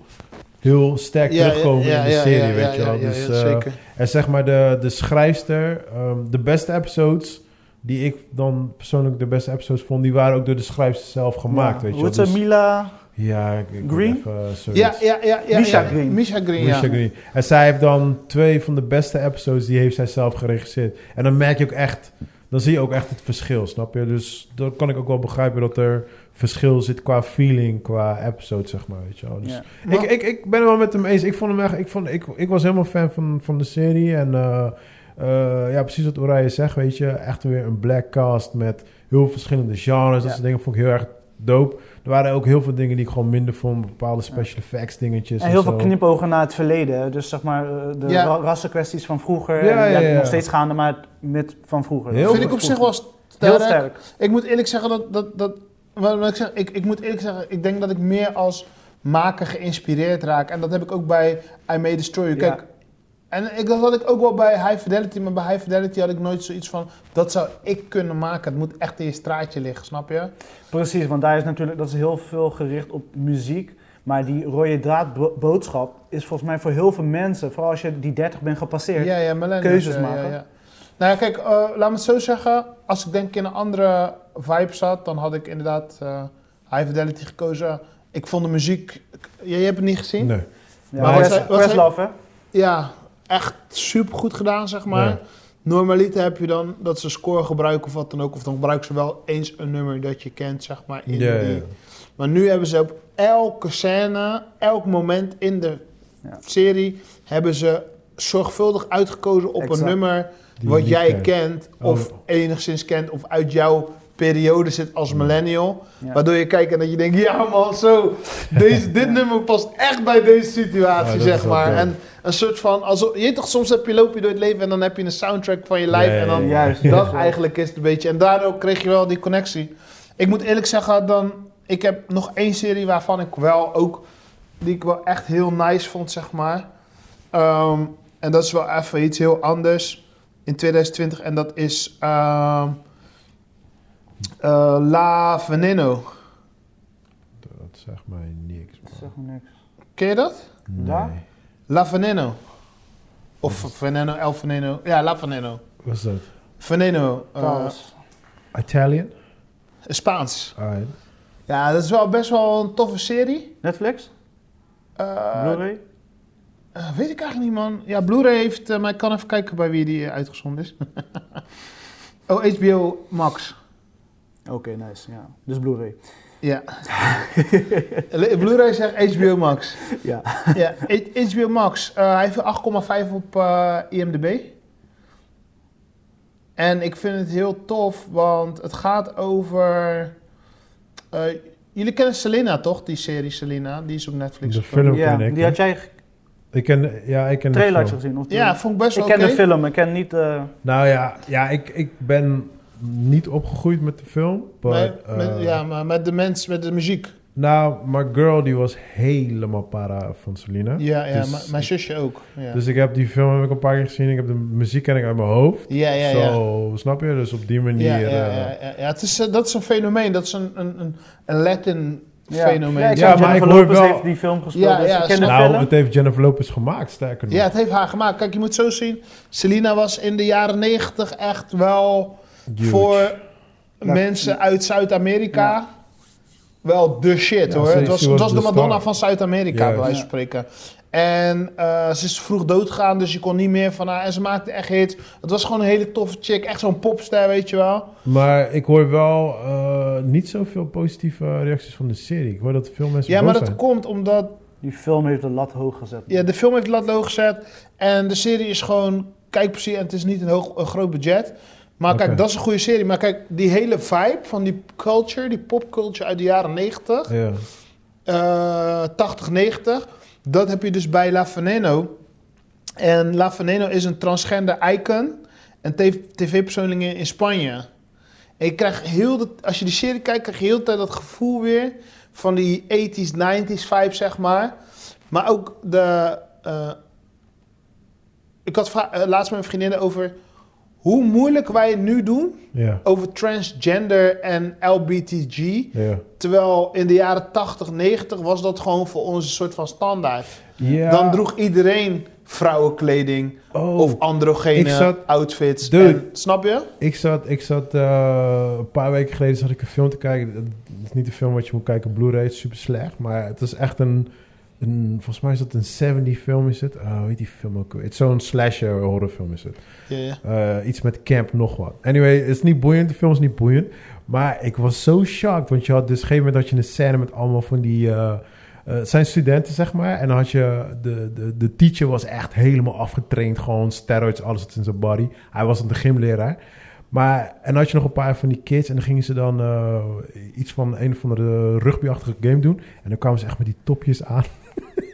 heel sterk
Ja,
terugkomen
ja,
in de
ja,
serie,
ja, ja,
weet je
ja,
wel.
ja,
dus,
ja,
eh,
zeker.
en zeg maar, de, de schrijfster, ehm, de beste episodes, die ik dan persoonlijk de beste episodes vond, die waren ook door de schrijfster zelf gemaakt, weet je
Hoe
wel.
heet ze?
Dus-
Mila...
ja, ik, ik
Green?
Even, eh, zoiets.
Ja, ja, ja, ja.
Misha
ja.
Green.
Misha Green,
Misha
ja.
Green. En zij heeft dan twee van de beste episodes, die heeft zij zelf geregisseerd. En dan merk je ook echt, dan zie je ook echt het verschil, snap je? Dus dan kan ik ook wel begrijpen dat er verschil zit qua feeling, qua episode, zeg maar, weet je wel. Dus
Ja.
ik, ik, ik ben het wel met hem eens. Ik vond hem echt, ik, vond, ik, ik was helemaal fan van, van de serie. En eh, eh, ja, precies wat Oranje zegt, weet je. Echt weer een black cast met heel veel verschillende genres. Dat
Ja.
soort dingen vond ik heel erg dope. Er waren ook heel veel dingen die ik gewoon minder vond. Bepaalde special effects dingetjes
En heel veel
zo.
knipogen naar het verleden. hè. Dus zeg maar eh, de
Ja.
ra- rassenkwesties van vroeger.
Ja,
en,
ja, ja.
Nog steeds gaande, maar met van vroeger.
Heel
Dat
Vind ik op zich wel
Heel
sterk.
sterk.
Ik moet eerlijk zeggen dat. dat, dat wat wat ik, zeg, ik, ik moet eerlijk zeggen, ik denk dat ik meer als maker geïnspireerd raak. En dat heb ik ook bij I Made a Story. Kijk,
Ja.
en ik, dat had ik ook wel bij High Fidelity. Maar bij High Fidelity had ik nooit zoiets van. Dat zou ik kunnen maken. Het moet echt in je straatje liggen, snap je?
Precies, want daar is natuurlijk dat is heel veel gericht op muziek. Maar die rode draadboodschap is volgens mij voor heel veel mensen, vooral als je die 30 bent gepasseerd.
Ja, ja, millennials,
keuzes
ja, ja,
maken.
ja. Nou ja, kijk, eh, laat me het zo zeggen. Als ik denk ik in een andere vibe zat, dan had ik inderdaad eh, High Fidelity gekozen. Ik vond de muziek. Jij hebt het niet gezien?
Nee.
Ja,
Maar
Quest-
wat zij- wat
Questlove, hè?
Ja, echt super goed gedaan, zeg maar.
Ja.
Normaliter heb je dan dat ze score gebruiken of wat dan ook. Of dan gebruiken ze wel eens een nummer dat je kent, zeg maar. In
Ja, ja,
die.
ja.
Maar nu hebben ze op elke scène, elk moment in de
Ja.
serie... hebben ze zorgvuldig uitgekozen op
Exact.
een nummer
Die je
wat
niet
jij
kent.
kent. of
Oh.
enigszins kent, of uit jouw periode zit als millennial.
Ja.
Waardoor je kijkt en dat je denkt, ja man, zo, deze, dit nummer past echt bij deze
Ja,
situatie,
dat is
zeg
wel
maar.
dope.
En een soort van, alsof, je weet toch, soms heb je, loop je door het leven en dan heb je een soundtrack van je lijf.
Ja, ja,
en dan,
ja.
Juist.
dat
Ja.
eigenlijk is het een beetje. En daardoor kreeg je wel die connectie. Ik moet eerlijk zeggen, dan, ik heb nog één serie waarvan ik wel ook, die ik wel echt heel nice vond, zeg maar. Ehm, en dat is wel even iets heel anders in 2020. En dat is ehm, eh, La Veneno.
Dat zegt mij niks. man.
Dat zegt me niks.
Ken je dat?
Nee.
daar?
La Veneno. Of Veneno, El Veneno. Ja, La Veneno.
Wat is dat?
Veneno. eh,
Trouwens.
Italian? Ah,
Spaans.
Alright.
Ja, dat is wel best wel een toffe serie.
Netflix?
Eh,
Blu-ray?
eh, weet ik eigenlijk niet, man. Ja, Blu-ray heeft... eh, maar ik kan even kijken bij wie die eh, uitgezonden is. oh, HBO Max.
Oké, nice. Ja. Dus Blu-ray.
Ja. Blu-ray zegt HBO Max.
Ja.
ja, H- HBO Max. eh, hij heeft 8,5 op eh, IMDb. En ik vind het heel tof, want het gaat over... eh, jullie kennen Selena, toch? Die serie Selena, die is op Netflix.
De
of zo.
film
ja.
ken ik.
Die
hè.
had jij ge-
Ik ken, ja, ik ken de film.
trailertje gezien? Of de-
Ja, vond ik best
ik
wel
ken
oké.
de film, ik ken niet... eh,
Nou ja, ja ik, ik ben niet opgegroeid met de film. But,
Maar- met-
eh,
ja, maar met de mens, met de muziek.
Nou, my girl die was helemaal para van Selena.
Ja, ja
Dus-
mijn- mijn zusje ook. Ja,
Dus ik heb die film heb ik een paar keer gezien. Ik heb de muziek ken ik uit mijn hoofd.
ja, ja.
Zo,
ja.
snap je? Dus op die manier...
Ja, ja, ja,
eh,
ja, ja. het is, eh, dat is een fenomeen. Dat is een, een, een, een Latin
ja.
fenomeen.
Ja,
Ja,
ik ja,
maar
maar
ik
ik
hoor
Lopez
wel-
heeft die film gespeeld,
Ja,
dus
ja,
ik ken de
snap-
Nou,
film.
het heeft Jennifer Lopez gemaakt, sterker nog.
het heeft haar gemaakt. Kijk, je moet zo zien. Selena was in de jaren negentig echt wel
Huge.
voor
Ja.
mensen uit Zuid-Amerika wel de shit
Ja,
hoor.
ze-
Het was,
ze
het
was
was de
de
Madonna
star.
van Zuid-Amerika, bij
Juist.
wijze van spreken. En eh, ze is vroeg doodgegaan, dus je kon niet meer van haar. En ze maakte echt hits. Het was gewoon een hele toffe chick. Echt zo'n popster, weet je wel.
Maar ik hoor wel eh, niet zoveel positieve reacties van de serie. Ik hoor dat veel mensen
Ja,
boos
maar dat
zijn.
komt omdat
Die film heeft de lat hoog gezet.
Ja, de film heeft lat low gezet. En de serie is gewoon kijkplezier. En het is niet een, hoog, een groot budget. Maar
Oké.
kijk, dat is een goede serie. Maar kijk, die hele vibe van die culture, die popculture uit de jaren 90,
Ja.
eh, 80, 90. Dat heb je dus bij La Veneno. En La Veneno is een transgender icon. En tv-persoonlijke in Spanje. En je krijgt heel dat, als je die serie kijkt, krijg je heel de tijd dat gevoel weer van die 80s, 90s vibe, zeg maar. Maar ook de eh, Ik had vra- eh, laatst met mijn vriendinnen over hoe moeilijk wij het nu doen
Ja,
over transgender en LBTG.
ja.
Terwijl in de jaren 80, 90 was dat gewoon voor ons een soort van standaard.
ja.
Dan droeg iedereen vrouwenkleding
Oh,
of androgene
ik zat-
outfits.
Dude.
En, snap je?
ik zat, ik zat eh, een paar weken geleden zat ik een film te kijken. Het is niet een film wat je moet kijken op Blu-ray, het is super slecht. Maar het is echt een, een volgens mij is dat een 70 film is het. Oh, hoe heet die film ook weer? Het is zo'n slasher horrorfilm is het.
Ja, ja.
Eh, iets met camp nog wat. Anyway, het is niet boeiend. De film is niet boeiend. Maar ik was zo shocked. Want je had dus op een gegeven moment had je een scène met allemaal van die... eh, eh, het zijn studenten, zeg maar. En dan had je... De, de, de teacher was echt helemaal afgetraind. Gewoon steroids, alles zat in zijn body. Hij was dan de gymleraar. Maar, en dan had je nog een paar van die kids. En dan gingen ze dan eh, iets van een of andere rugbyachtige game doen. En dan kwamen ze echt met die topjes aan.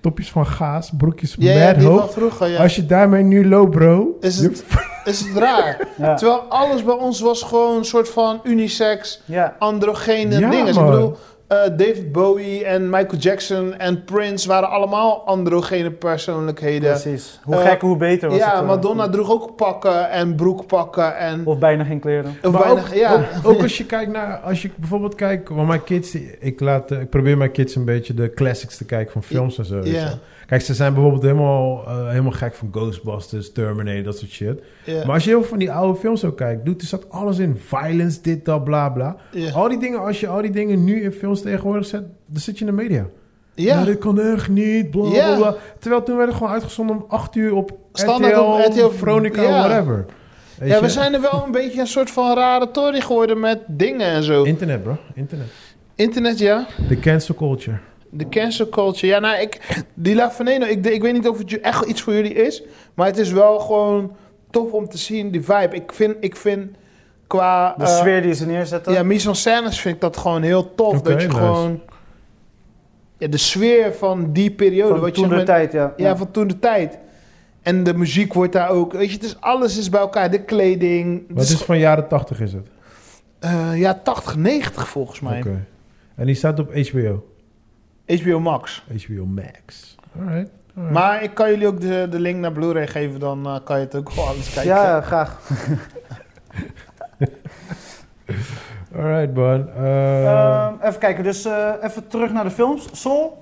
topjes van gaas, broekjes
ja, ja,
mad
die
hoog.
van vroeger. Ja.
Als je daarmee nu loopt, bro.
Is
je
het, is het raar?
Ja.
Terwijl alles bij ons was gewoon een soort van unisex,
Ja.
androgene
Ja,
dingen. Dus Ik
man.
bedoel, eh, David Bowie en Michael Jackson en Prince waren allemaal androgene persoonlijkheden.
Precies. Hoe
Eh,
gekker, hoe beter was
ja,
het. eh.
Madonna droeg ook pakken en broekpakken en
Of bijna geen kleren.
of
Oh. Maar
weinig.
ook, oh.
ja.
ook, ook als je kijkt naar, als je bijvoorbeeld kijkt, want mijn kids, die- ik, laat, eh, ik probeer mijn kids een beetje de classics te kijken van films en zo. weet je
Ja.
wel. Kijk, ze zijn bijvoorbeeld helemaal, eh, helemaal gek van Ghostbusters, Terminator, dat soort shit.
ja,
Maar als je heel veel van die oude films ook kijkt, doet, er zat alles in violence, dit, dat, bla, bla.
ja.
Al die dingen, als je al die dingen nu in films tegenwoordig zet, dan zit je in de media.
Ja.
Nou, dit kan echt niet, bla, bla,
Ja.
bla. Terwijl toen werd het gewoon uitgezonden om 8 uur op
Standaard
RTL,
op RTL,
Veronica,
ja.
whatever. Weet
Ja,
je?
we zijn er wel een beetje een soort van rare tory geworden met dingen en zo.
Internet, bro. Internet.
Internet, ja.
De cancel culture.
De cancel culture. Ja, nou, ik, die La Veneno, ik, ik weet niet of het ju- echt iets voor jullie is. Maar het is wel gewoon tof om te zien, die vibe. Ik vind, ik vind qua...
De
eh,
sfeer die ze neerzetten.
ja, mise en scènes vind ik dat gewoon heel tof.
Oké,
dat je
nice.
gewoon... Ja, de sfeer van die periode.
van
wat
toen
je
de
met-
tijd, ja.
Ja, van toen de tijd. En de muziek wordt daar ook... Weet je, het is, alles is bij elkaar. De kleding.
Wat
Het
is van jaren 80 is het?
eh, ja, 80, 90 volgens mij.
Oké. En die staat op HBO.
HBO Max.
HBO Max. Alright. alright.
Maar ik kan jullie ook de, de link naar Blu-ray geven, dan eh, kan je het ook wel anders kijken.
Ja, graag.
Alright, man. Eh,
Ehm, even kijken, dus eh, even terug naar de films. Sol,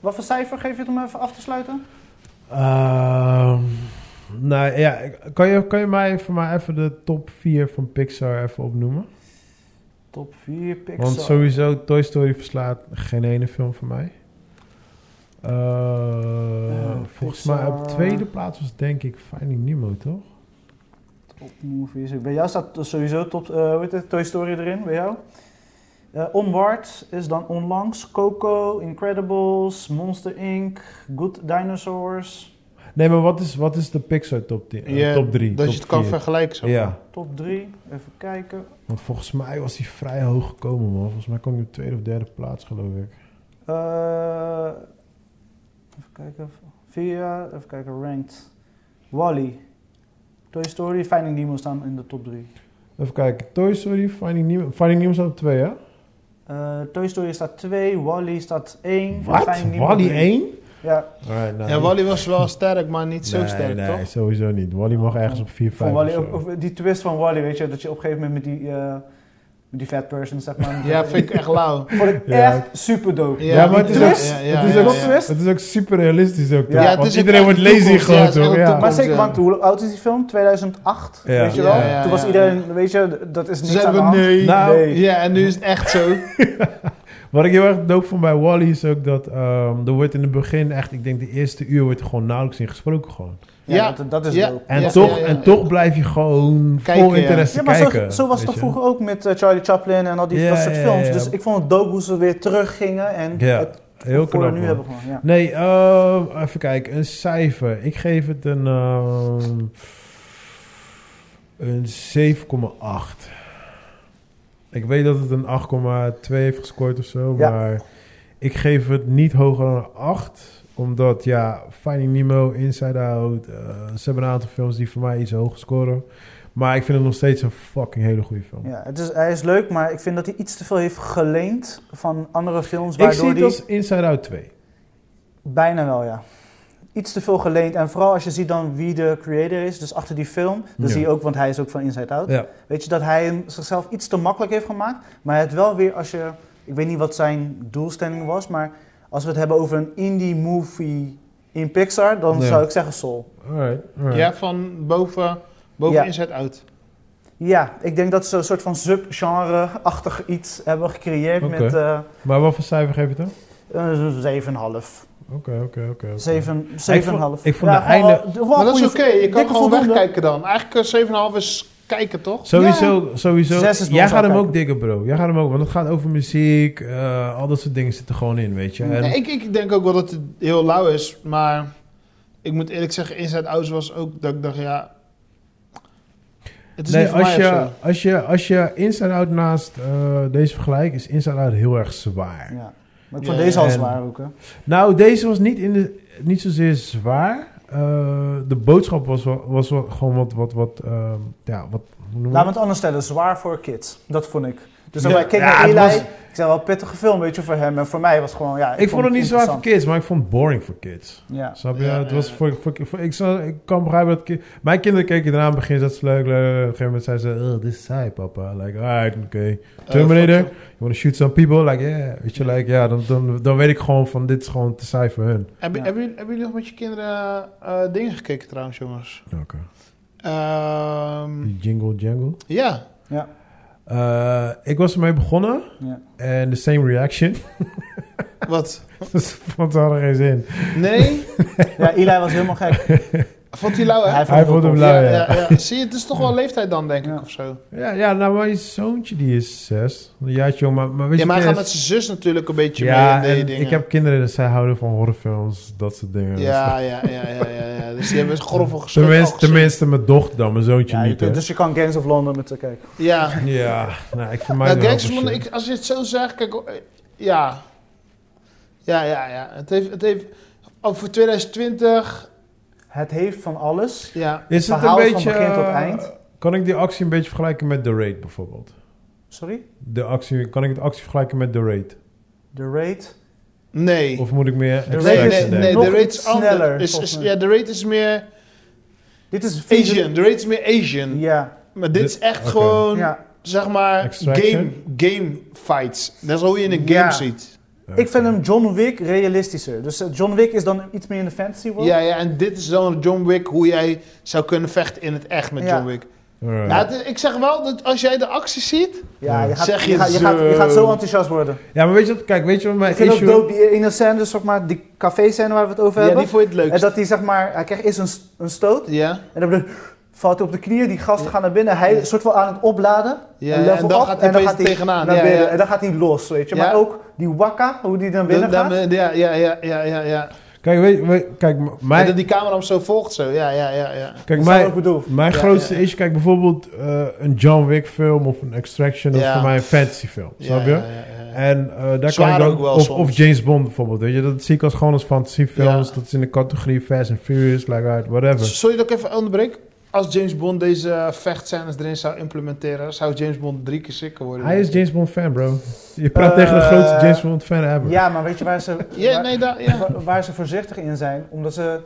wat voor cijfer geef je het om even af te sluiten?
ehm, nou ja, ik- kan je, kan je mij voor mij even de top 4 van Pixar even opnoemen?
Top 4 Pixar.
Want sowieso, Toy Story verslaat geen ene film van mij. Eh,
Nou,
volgens mij op
Pixar.
tweede plaats was denk ik Finding Nemo, toch?
Top movies. Bij jou staat sowieso top, eh, hoe heet het, Toy Story erin, bij jou. Eh Onward is dan onlangs. Coco, Incredibles, Monster Inc., Good Dinosaurs.
Nee, maar wat is, wat is de Pixar top 10? eh,
Ja,
top 3?
Dat
top
je het kan
vier?
vergelijken zo.
Ja,
Top 3, even kijken.
want volgens mij was hij vrij hoog gekomen, man. Volgens mij kwam hij op tweede of derde plaats, geloof ik.
Eh, even kijken. Via, even kijken, ranked. Wally. Toy Story, Finding Nemo staan in de top 3.
Even kijken. Toy Story, Finding Nemo. Finding Nemo staat op 2, hè?
Eh, Toy Story staat 2, Wally staat 1.
Wat? Wally 1?
Ja,
Alright, nou,
Ja, Wally was wel sterk, maar niet zo
nee,
sterk,
nee,
toch?
sowieso niet. Wally mag ergens op 4, 5
Van Wally,
of zo.
of, of die twist van Wally, weet je, dat je op een gegeven moment met die, eh, met die fat person, zeg maar.
Ja, vind ik echt lauw.
Vond ik
Ja.
echt super dope.
Ja,
maar
die
het is ook-
twist,
ja, ja,
die
ja, ja.
plot twist.
Het is ook super realistisch ook, toch?
Ja,
het
Want
is ook
iedereen
echt
wordt
de
lazy
toekomst, ja,
gewoon,
het is
toch?
echt de
Ja.
Maar
toekomst.
zeker,
Ja.
want hoe oud is die film? 2008,
Ja.
weet je wel?
Ja, ja,
Toen was
ja.
iedereen, weet je, dat is
Ze
niks aan de
zeiden
hand.
nee.
Nou,
Nee.
Ja, en nu is het echt zo.
Wat ik heel erg dope vond bij Wally is ook dat... ehm, er wordt in het begin echt... Ik denk de eerste uur wordt er gewoon nauwelijks in gesproken gewoon.
Ja,
Ja.
Dat, dat is
Ja.
dope.
En,
Ja,
toch,
ja, ja.
en toch blijf je gewoon
Kijken,
vol
ja.
interesse
Ja, maar
kijken.
zo, zo was
weet
het toch
je.
vroeger ook met eh, Charlie Chaplin en al die
Ja,
dat soort
ja,
films.
ja.
Dus ik vond het dope hoe ze weer teruggingen en
Ja,
het
Heel
voor
knap,
nu
man.
hebben gewoon. Ja.
Nee, eh, even kijken. Een cijfer. Ik geef het een... ehm, een 7,8. Ik weet dat het een 8,2 heeft gescoord of zo.
Ja.
Maar ik geef het niet hoger dan een 8. Omdat, ja, Finding Nemo, Inside Out... eh, ze hebben een aantal films die voor mij iets hoog scoren. Maar ik vind het nog steeds een fucking hele goede film.
Ja, het is, hij is leuk, maar ik vind dat hij iets te veel heeft geleend van andere films.
ik zie
Waardoor
het
die
als Inside Out 2.
Bijna wel, ja. iets te veel geleend. En vooral als je ziet dan wie de creator is, dus achter die film, dan
Ja.
zie je ook, want hij is ook van Inside Out.
Ja.
Weet je, dat hij hem zichzelf iets te makkelijk heeft gemaakt. Maar het wel weer, als je, ik weet niet wat zijn doelstelling was, maar als we het hebben over een indie movie in Pixar, dan
Ja.
zou ik zeggen Soul.
Alright, alright.
Ja, van boven, boven
Ja.
Inside Out.
Ja, ik denk dat ze een soort van subgenre-achtig iets hebben gecreëerd
Oké.
met eh
Maar wat voor cijfer geef je het dan?
eh, 7,5.
Oké, oké, oké. oké.
7, 7,5.
ik vond de einde-
Maar dat is oké, je kan
dikke
gewoon
voldoende.
wegkijken dan. Eigenlijk eh, 7,5 is kijken, toch?
Sowieso, sowieso.
Zes is bij
Jij
ons
gaat hem
uitkijken.
ook diggen, bro. Jij gaat hem ook, want het gaat over muziek, eh, al dat soort dingen zitten gewoon in, weet je. En,
Nee, ik, ik denk ook wel dat het heel lauw is, maar ik moet eerlijk zeggen, Inside Out was ook dat ik dacht, ja... Het is
nee,
niet voor
als,
mij
je,
of zo.
als, je, als je Inside Out naast eh, deze vergelijkt, is Inside Out heel erg zwaar.
Ja. Maar ik vond
Ja,
deze
ja,
al
en-
zwaar ook, hè.
Nou, deze was niet, in de, niet zozeer zwaar. Eh, de boodschap was, wel, was wel gewoon wat, wat, wat, ehm, ja, wat, hoe noem je
Laat me
dat?
het anders stellen, zwaar voor kids. Dat vond ik. Dus
Ja.
dan ik keek
Ja,
naar
het
Eli,
was-
ik zei wel pittige film, weet je, voor hem. En voor mij was het gewoon, ja,
ik, vond het niet zwaar voor
interessant.
kids, maar ik vond het boring voor kids.
Ja.
Snap je?
Ja,
het
ja,
was
ja.
voor, voor, voor- ik, zou- ik kan begrijpen dat... ki- Mijn kinderen keken eraan, in het begin dat is leuk, leuk. leuk. Op een gegeven moment zeiden ze... Oh, dit is saai, papa. Like, alright, oké. Terminator,
Eh,
you
fuck
wanna shoot some people? Like, yeah. Weet je, like, ja, dan, dan, dan weet ik gewoon van... Dit is gewoon te saai voor hun.
you. Hebben,
Ja.
hebben, jullie- hebben jullie nog met je kinderen eh, dingen gekeken trouwens, jongens?
Oké.
Ehm,
Hm. Die jingle jangle.
ja,
Eh, ik was ermee begonnen.
Ja.
En the same reaction.
wat?
dus vond ze hadden geen zin.
Nee?
ja, Eli was helemaal gek.
Vond die lauw, hè?
Hij
Hij vond hem
Ja,
lui, ja.
ja, ja. Zie je, het is toch wel leeftijd dan, denk ik,
Ja.
of zo.
Ja, ja, nou, mijn zoontje die is zes. Een jaartje jong, maar, maar weet
Ja,
je...
maar hij gaat
kids-
met zijn zus natuurlijk een beetje
ja,
mee in die
en
dingen.
ik heb kinderen, dus zij houden van horrorfilms, dat soort dingen.
Ja, ja, ja, ja, ja, ja. Dus die hebben grof
Dus
geschud. oh,
tenminste, tenminste, mijn dochter dan, mijn zoontje
Ja, je
niet.
kunt-
hè.
dus je kan Gangs of London met kijken.
Ja.
Ja, nou, ik vind mij
Nou, Gangs of London, ik, als je het zo zegt, kijk, eh, ja. Ja, ja, ja. Het heeft, het heeft, ook voor 2020,
Het heeft van alles.
ja.
Is het een
verhaal van
beetje...
begin tot
eh,
eind.
Kan ik die actie een beetje vergelijken met The Raid bijvoorbeeld?
Sorry?
De actie, kan ik de actie vergelijken met The Raid?
The Raid.
Nee.
Of moet ik meer...
Raid
Nee,
extraction
is-
nee,
denken?
nee,
nog
de rate
iets
is anders.
sneller,
Is-
volgens
is-
mij.
ja, de rate is meer
Dit is...
Asian. De rate is meer Asian.
Ja.
Maar dit
Dit-
is echt
oké.
gewoon,
ja.
zeg maar, game,
Extraction?
game fights. Dat is hoe je in een game
Ja.
ziet.
Oké.
Ik vind hem John Wick realistischer. Dus eh, John Wick is dan iets meer in de fantasy world.
Ja, ja, en dit is dan John Wick, hoe jij zou kunnen vechten in het echt met
Ja.
John Wick.
Alright.
Nou, het is- ik zeg wel dat als jij de actie ziet,
Ja, je, gaat,
Zeg
je,
je
gaat, je, gaat, je
zo.
gaat zo enthousiast worden.
Ja, maar weet je wat? Kijk, weet je wat mijn
Ik vind ook
issue...
dope die ene scène, dus zeg maar, die café-scène waar we het over
ja,
hebben.
die vond je het
en
leukst.
dat hij zeg maar, hij krijgt eerst een, s- een stoot.
Ja,
En dan valt hij op de knieën, die gasten gaan naar binnen. Hij is soort van aan het opladen.
ja,
een
ja,
level
en dan
up,
gaat hij
en dan
opeens
gaat hij
tegenaan.
naar
Ja,
binnen.
ja.
En dan gaat hij los, weet je.
Ja.
Maar ook die wakka, hoe die naar binnen
Dan-
gaat.
dan- Ja, ja, ja, ja, ja, ja.
Kijk, weet, weet- kijk, m-
En
mijn...
dat die camera hem zo volgt, zo. Ja, ja, ja, ja.
Kijk,
Dat is wat
mijn,
ik bedoel.
Mijn
Ja,
grootste
ja, ja.
issue, kijk bijvoorbeeld eh, een John Wick film of een Extraction, dat is
Ja.
voor mij een fantasy film, snap
ja,
je?
Ja, ja, ja.
En eh, daar
Zwaar
kan ik
ook wel
of,
soms.
of James Bond bijvoorbeeld, weet je, dat zie ik als gewoon als fantasiefilms,
Ja.
dat is in de categorie Fast and Furious, like right, whatever.
Sorry dat ik even onderbreek. Als James Bond deze eh, vechtscènes erin zou implementeren, zou James Bond drie keer sicker worden.
Hij is James Bond fan, bro. Je praat
Eh,
tegen de grootste James Bond fan ever.
Ja, maar weet je waar ze,
Ja,
waar,
nee, daar, ja.
waar- waar ze voorzichtig in zijn? Omdat ze,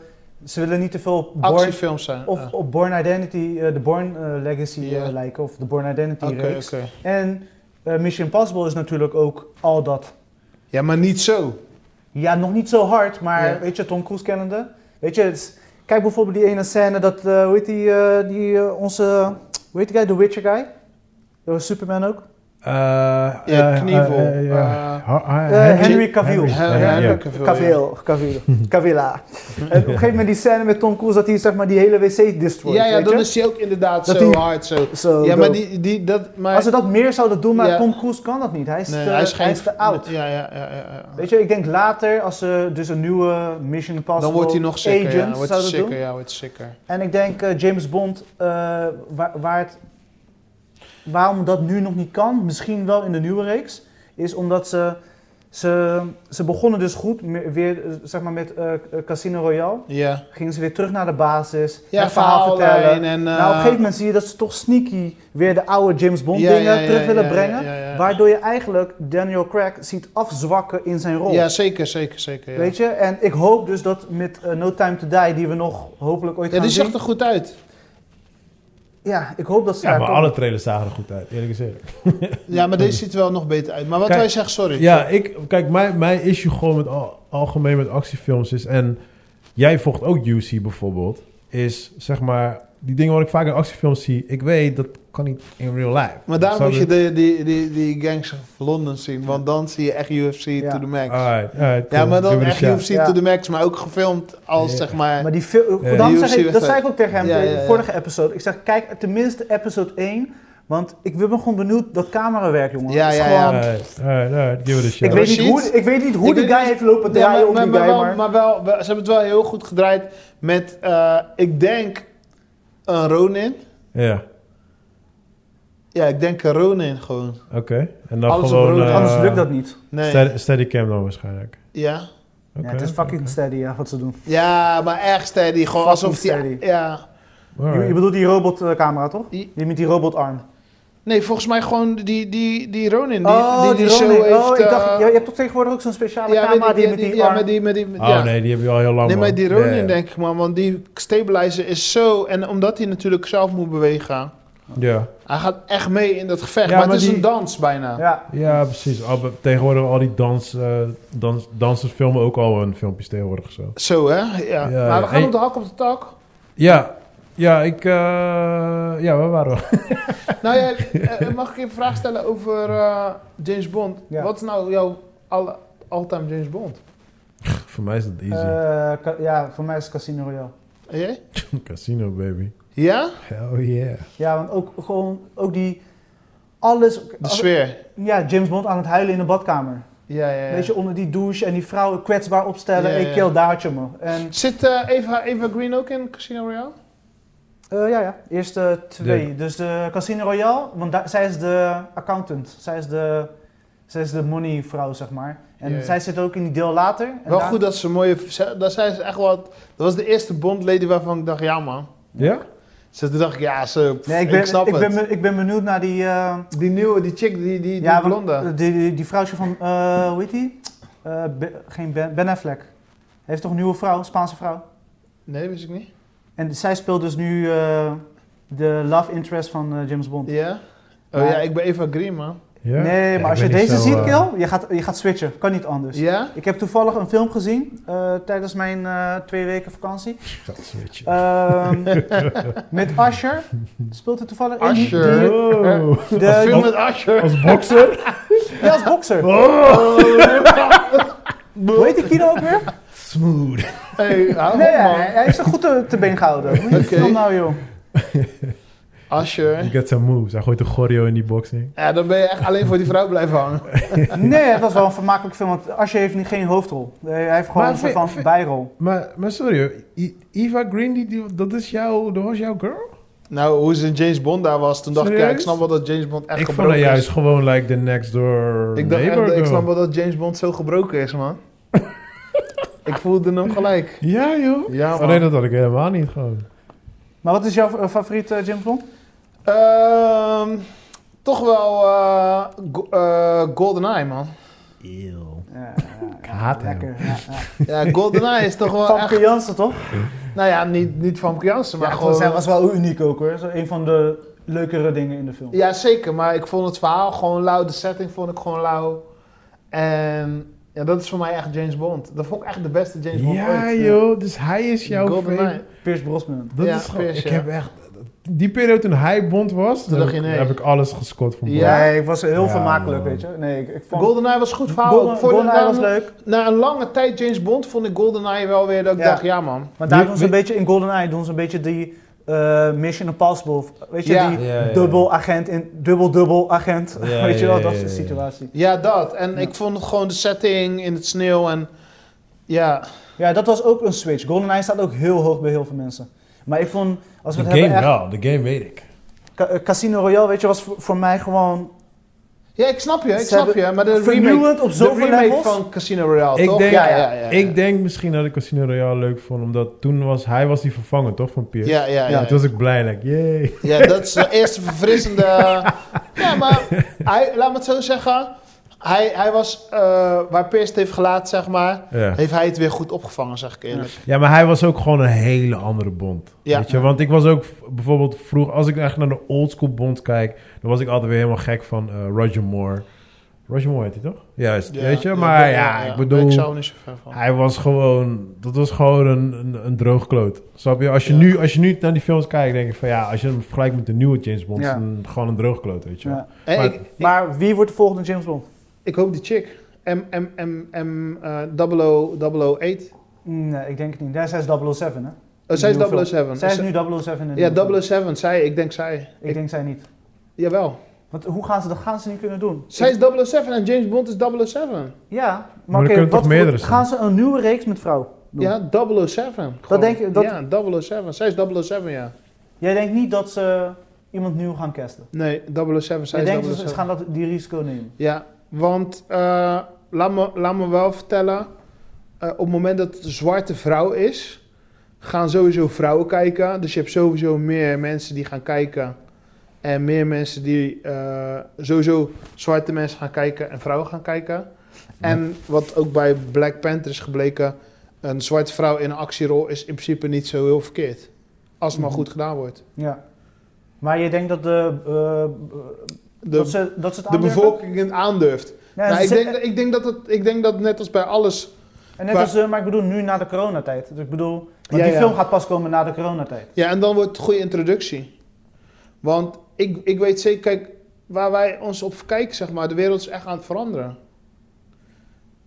ze willen niet te veel op Born,
Actiefilms zijn.
of,
Ah,
op Born Identity, eh, de Born eh, Legacy eh,
Ja.
lijken. Of de Born Identity
Oké,
reeks.
oké.
En eh, Mission Impossible is natuurlijk ook al dat.
Ja, maar niet zo.
Ja, nog niet zo hard, maar
Ja.
weet je, Tom Cruise kennende. Weet je, het is- kijk bijvoorbeeld die ene scène dat, eh, hoe heet die, eh, die eh, onze, hoe heet die guy, The Witcher guy? Dat was Superman ook.
Eh,
Ja,
eh,
Knievel,
eh, eh, ja.
eh,
Ha- ha-
eh, Henry Cavill.
Henry,
Henry
ja, ja.
Cavill, ja.
Cavill, Cavill, Cavilla. en op een gegeven moment die scène met Tom Cruise dat hij zeg maar die hele wc destroyt,
Ja, ja,
weet
dan
je?
is hij ook inderdaad
Dat
zo
die-
hard zo.
Zo
Ja, maar
dope.
die, die, dat, maar...
Als ze dat meer zouden doen, maar
Ja.
Tom Cruise kan dat niet. Hij is,
Nee,
te,
hij is geen-
te oud.
Ja, ja, ja, ja, ja.
Weet je, ik denk later, als ze dus een nieuwe Mission Impossible
Dan wordt hij nog sicker. Ja,
agent
dan wordt hij
zouden doen.
sicker, ja, wordt hij sicker.
En ik denk eh, James Bond, eh, waar, waar het, waarom dat nu nog niet kan, misschien wel in de nieuwe reeks, is omdat ze Ze, ze begonnen dus goed, me- weer eh, zeg maar met eh, Casino Royale.
Ja,
Gingen ze weer terug naar de basis,
ja
het verhaal vertellen.
verhaallijn en... eh,
nou, op een gegeven moment zie je dat ze toch sneaky weer de oude James Bond
ja,
dingen
ja, ja,
terug willen
ja,
brengen.
ja, ja, ja.
Waardoor je eigenlijk Daniel Craig ziet afzwakken in zijn rol.
Ja, zeker, zeker, zeker. Ja.
Weet je, en ik hoop dus dat met eh, No Time To Die, die we nog hopelijk ooit
Ja,
gaan
die
zien.
zag er goed uit.
Ja, ik hoop dat ze
Ja,
daar
maar
komen.
alle trailers zagen er goed uit, eerlijk gezegd.
Ja, maar deze ziet er wel nog beter uit. Maar wat
Kijk,
wij zeggen, sorry.
Ja, ik, kijk, mijn, mijn issue gewoon met al, algemeen met actiefilms is, en jij volgt ook UC bijvoorbeeld, is zeg maar, die dingen wat ik vaak in actiefilms zie, ik weet dat kan niet in real life.
Maar daarom
Zou
moet je de, die, die, die gangs of Londen zien, want dan zie je echt UFC
Ja. Ah,
to the max.
Alright, alright,
ja,
cool.
maar dan
Give it a
echt
shot.
UFC
Ja.
to the max, maar ook gefilmd als
Ja.
zeg maar.
Maar die fil-
Ja.
daarom
Die
zeg
UFC
ik, dat zei
wedstrijd.
ik ook tegen hem
Ja,
in de
ja, ja.
vorige episode. Ik zeg, kijk tenminste episode 1. Want ik ben gewoon benieuwd dat camerawerk, jongen.
Ja,
Het is
ja,
gewoon-
ja.
Alright, alright, alright, give it a shot.
Ik, weet niet
Rashid?
hoe, ik weet niet hoe
Ik
die
weet
guy
niet-
heeft lopen
Ja,
draaien op die guy,
wel,
maar...
maar wel, wel- ze hebben het wel heel goed gedraaid met, eh, ik denk, een Ronin.
Ja,
Ja, ik denk een Ronin gewoon.
oké. En dan
Alles op
gewoon...
rood,
eh,
Anders lukt dat niet.
Nee.
steady- Steadicam dan waarschijnlijk.
Ja.
Oké.
Ja, het is fucking steady, ja, wat ze doen.
ja, maar echt steady. Gewoon
Fucking
alsof die.
steady.
Ja.
Je, je
Alright.
bedoelt die robotcamera, toch?
Die-
Die met die robotarm.
Nee, volgens mij gewoon die, die, die Ronin. Die,
oh,
die,
die,
die, show
Ronin.
heeft.
Oh, ik dacht,
eh,
ja, je hebt toch tegenwoordig ook zo'n speciale
ja,
camera
weet ik,
die
ja,
met die,
ja,
arm...
met die, met die,
Oh
ja.
nee, die heb je al heel lang.
Nee, maar die
man.
Ronin
Ja, ja.
denk ik man, want die stabilizer is zo... En omdat hij natuurlijk zelf moet bewegen,
Ja,
hij gaat echt mee in dat gevecht.
Ja,
maar,
maar
het is
die-
een dans bijna.
Ja.
ja precies. Al be- Tegenwoordig al die dans, eh, dans, dansers filmen ook al hun filmpjes tegenwoordig zo.
Zo hè, ja.
Ja,
maar
ja.
we gaan
En-
op de hak op de tak.
Ja, ja, ik... eh, ja, we waren we?
nou ja, eh, mag ik je een vraag stellen over eh, James Bond?
Ja.
Wat is nou jouw alle- all-time James Bond?
Voor mij is dat easy.
Eh, ka- ja, voor mij is het Casino Royale.
En jij?
Casino, baby.
Ja?
Hell yeah.
Ja, want ook gewoon ook die alles.
De sfeer.
Ja, James Bond aan het huilen in de badkamer.
Ja, ja, ja.
Weet je, onder die douche en die vrouwen kwetsbaar opstellen.
Ja,
Ik
ja.
kill daar had je me. En
Zit eh, Eva, Eva Green ook in Casino Royale?
eh, ja, ja, eerste twee. Dus de Casino Royale, want daar- zij is de accountant. Zij is de, zij is de money vrouw, zeg maar. En
Ja, ja.
zij zit ook in die deel later. En
Wel
daar-
goed dat ze mooie... ze- Dat, zij is echt wat, dat was de eerste Bond-lady waarvan ik dacht, ja man...
Ja?
Dus toen dacht ik, ja, ze, pff,
Nee, ik
ik,
ben,
snap
ik
het.
ben, be- ik ben benieuwd naar die. eh,
Die nieuwe, die chick, die, die,
ja,
die
want
blonde.
Die, die, die vrouwtje van, eh, hoe heet die? Eh, Be- geen ben, ben Affleck. Heeft toch een nieuwe vrouw, Spaanse vrouw?
Nee, wist ik niet.
En zij speelt dus nu eh, de love interest van eh, James Bond.
Ja? Oh
Maar-
ja, ik ben Eva Green, man.
ja?
Nee,
Ja,
maar als
ik
je
ben niet
deze
zo,
ziet,
eh,
Kil, je gaat, je gaat switchen. Kan niet anders.
Ja?
Ik heb toevallig een film gezien eh, tijdens mijn eh, twee weken vakantie.
gaat switchen.
Ehm, met Asher. Speelt er toevallig in die-
Usher.
die-
Oh,
De,
De film
die-
met Asher.
als bokser?
ja, als bokser.
Oh,
Hoe heet die kino ook weer?
smooth.
Hey, hou
Nee,
op,
hij,
Oh, man.
hij is er goed te, te been gehouden. Hoe heet die
Oké.
film nou, joh?
You
Asher.
get some moves. Hij gooit een gorio in die boxing.
Ja, dan ben je echt alleen voor die vrouw blijven hangen.
Nee, het was wel een vermakelijk film, want Asje heeft niet, geen hoofdrol. Eh, Hij heeft gewoon
Maar
een soort
vind-
van bijrol.
Maar, maar sorry hoor, I- Eva Green, die, die- dat, is jouw, dat was jouw girl?
Nou, hoe ze in James Bond daar was, toen dacht ik, ja, ik
Serieus?
snap wel dat James Bond echt
ik vond
gebroken
haar juist
is.
gewoon like the next door
Ik dacht echt,
neighbor
dat- ik
girl.
snap wel dat James Bond zo gebroken is, man. ik voelde hem gelijk.
Ja joh.
Ja, man.
Oh, nee, dat had ik helemaal niet gewoon.
Maar wat is jouw eh, favoriet, eh, James Bond?
Ehm, toch wel eh Go- eh, GoldenEye, man.
Eeuw.
Ja,
haat hem.
lekker. Ja, ja.
Ja, GoldenEye is toch wel echt...
Famke Jansen, toch?
Nou ja, niet, niet van Jansen, maar
ja,
gewoon...
Zij was wel uniek ook, hoor. Zo een van de leukere dingen in de film.
Ja, zeker. Maar ik vond het verhaal gewoon lauw. De setting vond ik gewoon lauw. En ja, dat is voor mij echt James Bond. Dat vond ik echt de beste James Bond
Ja
ooit.
joh, dus hij is jouw
GoldenEye.
favorite.
Pierce Brosnan.
Dat
Ja,
is gewoon,
Pierce,
ik
ja.
heb echt, die periode toen hij bond was,
Toen
heb,
dacht
ik-
je nee.
heb ik alles gescot van
Ja.
Ja,
Bond.
ik was heel
Ja,
vermakelijk,
man.
weet je. Nee, ik, ik vond...
GoldenEye was een goed verhaal.
Golden-
Ik vond het
GoldenEye was
na-
leuk.
Na een lange tijd James Bond vond ik GoldenEye wel weer dat ik
Ja.
dacht, ja man.
Maar daar
Wie-
doen ze een beetje, in GoldenEye doen ze een beetje die eh, Mission Impossible. Weet je,
Ja.
die
Ja, ja.
dubbel agent in dubbel-dubbel agent.
Ja,
weet je
ja,
wel,
ja,
dat
ja,
soort
ja.
situatie.
Ja, dat. En
Ja.
ik vond het gewoon de setting in het sneeuw en... Ja,
Ja, dat was ook een switch. GoldenEye staat ook heel hoog bij heel veel mensen. Maar ik vond, als we
De
het
game
hebben echt...
wel, de game weet ik.
Ca- eh, Casino Royale, weet je, was voor, voor mij gewoon...
Ja, ik snap je, ik
Ze
snap
hebben
je. Maar de remake,
Vernieuwend op
de
zoveel
remake
levels.
van Casino Royale,
Ik
toch?
denk-
ja, ja, ja, ja.
Ik denk misschien dat ik Casino Royale leuk vond, omdat toen was hij was die vervanger, toch, van Pierce?
Ja, ja, ja.
toen was ik blij, like, yay.
Ja, dat is de eerste verfrissende... ja, maar hij, laat me het zo zeggen. Hij, hij was, eh, waar Pierce het heeft gelaten, zeg maar...
Ja.
Heeft hij het weer goed opgevangen, zeg ik eerlijk.
Ja, maar hij was ook gewoon een hele andere bond.
Ja.
Weet je? Want ik was ook v- bijvoorbeeld vroeg, als ik echt naar de oldschool bond kijk, dan was ik altijd weer helemaal gek van eh, Roger Moore. Roger Moore heet hij toch? Juist,
Ja,
weet je? Maar ja, ik bedoel,
Ik zou er niet zo ver van.
hij was gewoon, dat was gewoon een, een, een droog kloot. Snap je? Als je,
Ja.
nu, als je nu naar die films kijkt, denk ik van ja, als je hem vergelijkt met de nieuwe James Bond,
Ja.
is het een- gewoon een droog kloot, weet je?
Ja.
wel.
En
maar-
ik, ik-
Maar wie wordt de volgende James Bond?
ik hoop die chick. M, M, M, M, eh 0008.
Nee, ik denk het niet. Ja, zij is 007, hè?
Oh, zij is
Nieuwe film.
007.
Zij is
Ze-
nu 007 in de nieuwe film.
ja, 007, zij. Ik denk zij.
Ik denk zij niet.
Jawel.
Want hoe gaan ze dat gaan ze niet kunnen doen?
Zij is 007 en James Bond is 007.
Ja,
Maar
maar,
er
oké,
kunnen
wat
toch meerdere
voor- gaan ze een nieuwe reeks met vrouw doen?
Ja, 007. gewoon.
denk je- dat-
Ja, 007. Zij is 007, ja.
Jij denkt niet dat ze iemand nieuw gaan casten.
Nee, 007, zij
Jij denkt
is
dat
007.
ze ze gaan dat, die risico nemen.
Ja, want eh, laat, me, laat me wel vertellen... eh, op het moment dat het een zwarte vrouw is... gaan sowieso vrouwen kijken. Dus je hebt sowieso meer mensen die gaan kijken... en meer mensen die eh, sowieso zwarte mensen gaan kijken... en vrouwen gaan kijken. En wat ook bij Black Panther is gebleken... een zwarte vrouw in een actierol is in principe niet zo heel verkeerd. Als het maar
Mhm.
goed gedaan wordt.
Ja. Maar je denkt dat, de, eh, eh,
De-
dat, ze, dat ze het
de
aandurven?
bevolking het aandurft.
Ja,
nou,
ze
ik, denk,
zeggen-
dat- ik, denk dat het, ik denk dat net als bij alles.
en net
maar-
als, eh, maar ik bedoel, nu na de coronatijd. Dus ik bedoel, want
Ja,
die
ja.
film gaat pas komen na de coronatijd.
Ja, en dan wordt het een goede introductie. Want ik, ik weet zeker, kijk, waar wij ons op kijken, zeg maar, de wereld is echt aan het veranderen.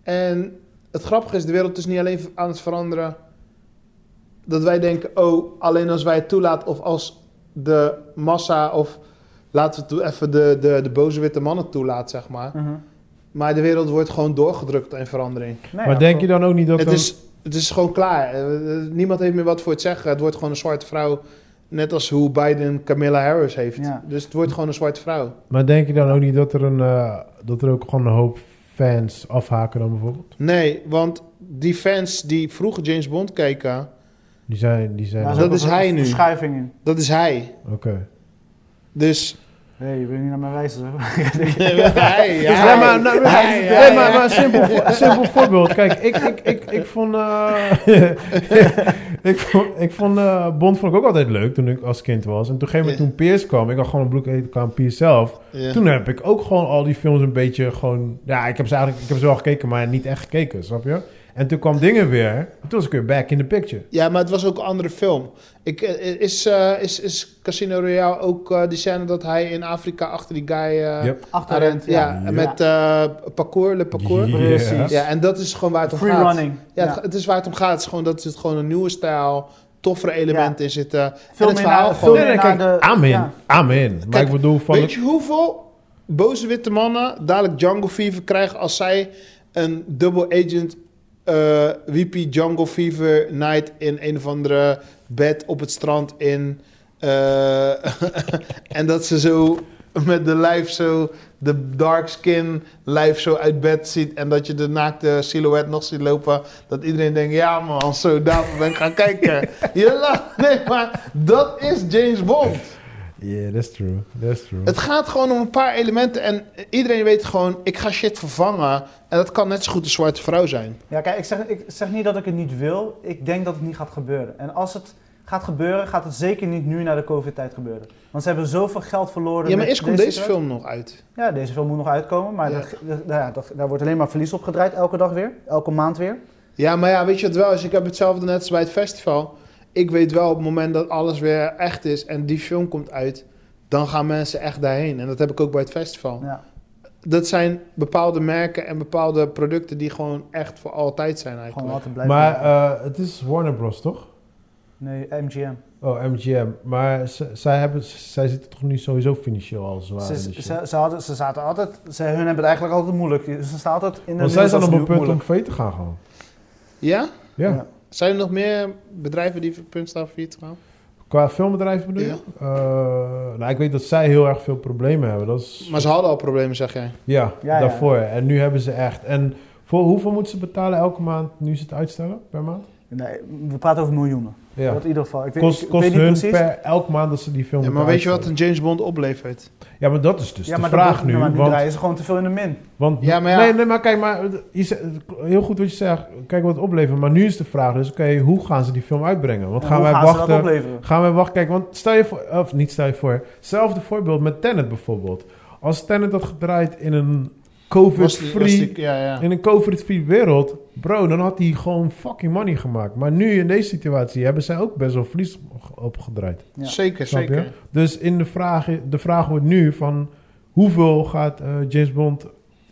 En het grappige is, de wereld is niet alleen aan het veranderen dat wij denken, oh, alleen als wij het toelaten of als de massa of laten we het even de, de, de boze witte mannen toelaten, zeg maar.
Mhm.
Maar de wereld wordt gewoon doorgedrukt in verandering.
Nee,
maar
ja,
denk
klopt.
je dan ook niet dat...
Het
dan-
is, het is gewoon klaar. Eh, eh, Niemand heeft meer wat voor het zeggen. Het wordt gewoon een zwarte vrouw. Net als hoe Biden Camilla Harris heeft.
Ja.
Dus het wordt gewoon een zwarte vrouw.
Maar denk je dan ook niet dat er, een, eh, dat er ook gewoon een hoop fans afhaken dan bijvoorbeeld?
Nee, want die fans die vroeger James Bond keken,
Die zijn... Die zijn
Daar
dat
ook
is
een
hij nu.
Verschuiving in.
dat is hij.
Oké.
Dus
Nee, je bent niet naar mijn wijze.
hij,
Ja,
hij.
maar, nou, nou,
Hij,
nee,
hij,
maar,
hij.
maar een simpel, voor- een simpel voorbeeld. Kijk, ik, ik, ik, ik vond... eh, ik vond, ik vond eh, Bond vond ik ook altijd leuk toen ik als kind was. En toen, op een gegeven moment, toen Pierce kwam, ik had gewoon een broek eten aan Pierce zelf.
Ja.
Toen heb ik ook gewoon al die films een beetje gewoon... Ja, ik heb ze eigenlijk ik heb ze wel gekeken, maar niet echt gekeken, snap je? En toen kwam dingen weer. En toen was ik weer back in the picture.
Ja, maar het was ook een andere film. Ik, eh, is, eh, is, is Casino Royale ook eh, die scène dat hij in Afrika achter die guy eh
Yep.
rent?
Achterend,
Ja,
ja.
en met eh, parcours, le parcours.
Ja.
Precies.
Ja, en dat is gewoon waar het om
Free
gaat.
running.
Ja, Het, het is waar het om gaat. Het is gewoon dat het gewoon een nieuwe stijl, toffere elementen in zitten.
Veel
en het
meer
verhaal
naar-
gewoon.
veel
Nee, nee,
naar de-
kijk, amen,
ja.
amen. Maar
Kijk,
ik bedoel van...
Weet je hoeveel boze witte mannen dadelijk Jungle Fever krijgen als zij een double agent eh wiepie Jungle Fever night in een of andere bed op het strand in. eh, en dat ze zo met de lijf zo, de dark skin lijf zo uit bed ziet. En dat je de naakte silhouet nog ziet lopen. Dat iedereen denkt, ja man, zo daarvoor ben ik gaan kijken. Je lacht, nee maar dat is James Bond.
Yeah, that's true. That's true.
Het gaat gewoon om een paar elementen en iedereen weet gewoon, ik ga shit vervangen. En dat kan net zo goed een zwarte vrouw zijn.
Ja, kijk, ik zeg, ik zeg niet dat ik het niet wil. Ik denk dat het niet gaat gebeuren. En als het gaat gebeuren, gaat het zeker niet nu na de COVID-tijd gebeuren. Want ze hebben zoveel geld verloren.
Ja, maar
met
eerst komt deze
situatie.
film nog uit.
Ja, deze film moet nog uitkomen. Maar
Ja.
dat- dat- nou ja, dat- daar wordt alleen maar verlies op gedraaid, elke dag weer. Elke maand weer.
Ja, maar ja, weet je wat wel is? Ik heb hetzelfde net als bij het festival. Ik weet wel op het moment dat alles weer echt is en die film komt uit, dan gaan mensen echt daarheen. En dat heb ik ook bij het festival.
Ja.
Dat zijn bepaalde merken en bepaalde producten die gewoon echt voor altijd zijn
Gewoon
eigenlijk.
altijd blijven.
maar eh, het is Warner Bros, toch?
nee, MGM.
Oh, MGM. Maar ze- zij, hebben, zij zitten toch nu sowieso financieel al zwaar
Ze,
in de shit?
ze, ze, hadden, ze zaten altijd... Ze, hun hebben het eigenlijk altijd moeilijk. Ze staan altijd in een...
Want zij zijn op een
moeilijk.
punt om vee te gaan gewoon.
Ja?
Ja.
Ja.
Zijn er nog meer bedrijven die op het punt staan failliet te gaan?
Qua filmbedrijf bedoel je?
Ja.
Eh, nou, ik weet dat zij heel erg veel problemen hebben. Dat is,
Maar ze hadden al problemen, zeg jij.
ja,
Ja, ja.
daarvoor. En nu hebben ze echt. En voor hoeveel moeten ze betalen elke maand nu ze het uitstellen per maand?
Nee, we praten over miljoenen.
Ja.
Dat in ieder geval. Ik weet,
Kost,
ik
kost
weet niet
hun
precies.
per elke maand dat ze die film
Ja, maar
moeten
weet je wat
uitstellen.
een James Bond oplevert?
Ja, maar dat is dus
ja,
de
maar
vraag
dat, nou
nu.
Maar nu
want,
draaien ze gewoon te veel in de min.
want,
Ja, maar ja.
Nee, nee, maar kijk, maar, eh, je zegt- heel goed wat je zegt. Kijk wat het oplevert. Maar nu is de vraag dus, oké, hoe gaan ze die film uitbrengen? Want
En
gaan
hoe
wij
gaan ze dat
wachten...
opleveren?
Gaan we wachten. Kijk, want stel je voor, of niet stel je voor, hetzelfde voorbeeld met Tenet bijvoorbeeld. Als Tenet had gedraaid in een
Was die- was
COVID-free,
die- ja, ja.
in een COVID-free wereld, bro, dan had hij gewoon fucking money gemaakt. Maar nu in deze situatie hebben zij ook best wel verlies opgedraaid.
Ja.
Zeker,
Snap je?
zeker.
Dus in de vraag, de vraag wordt nu van hoeveel gaat eh, James Bond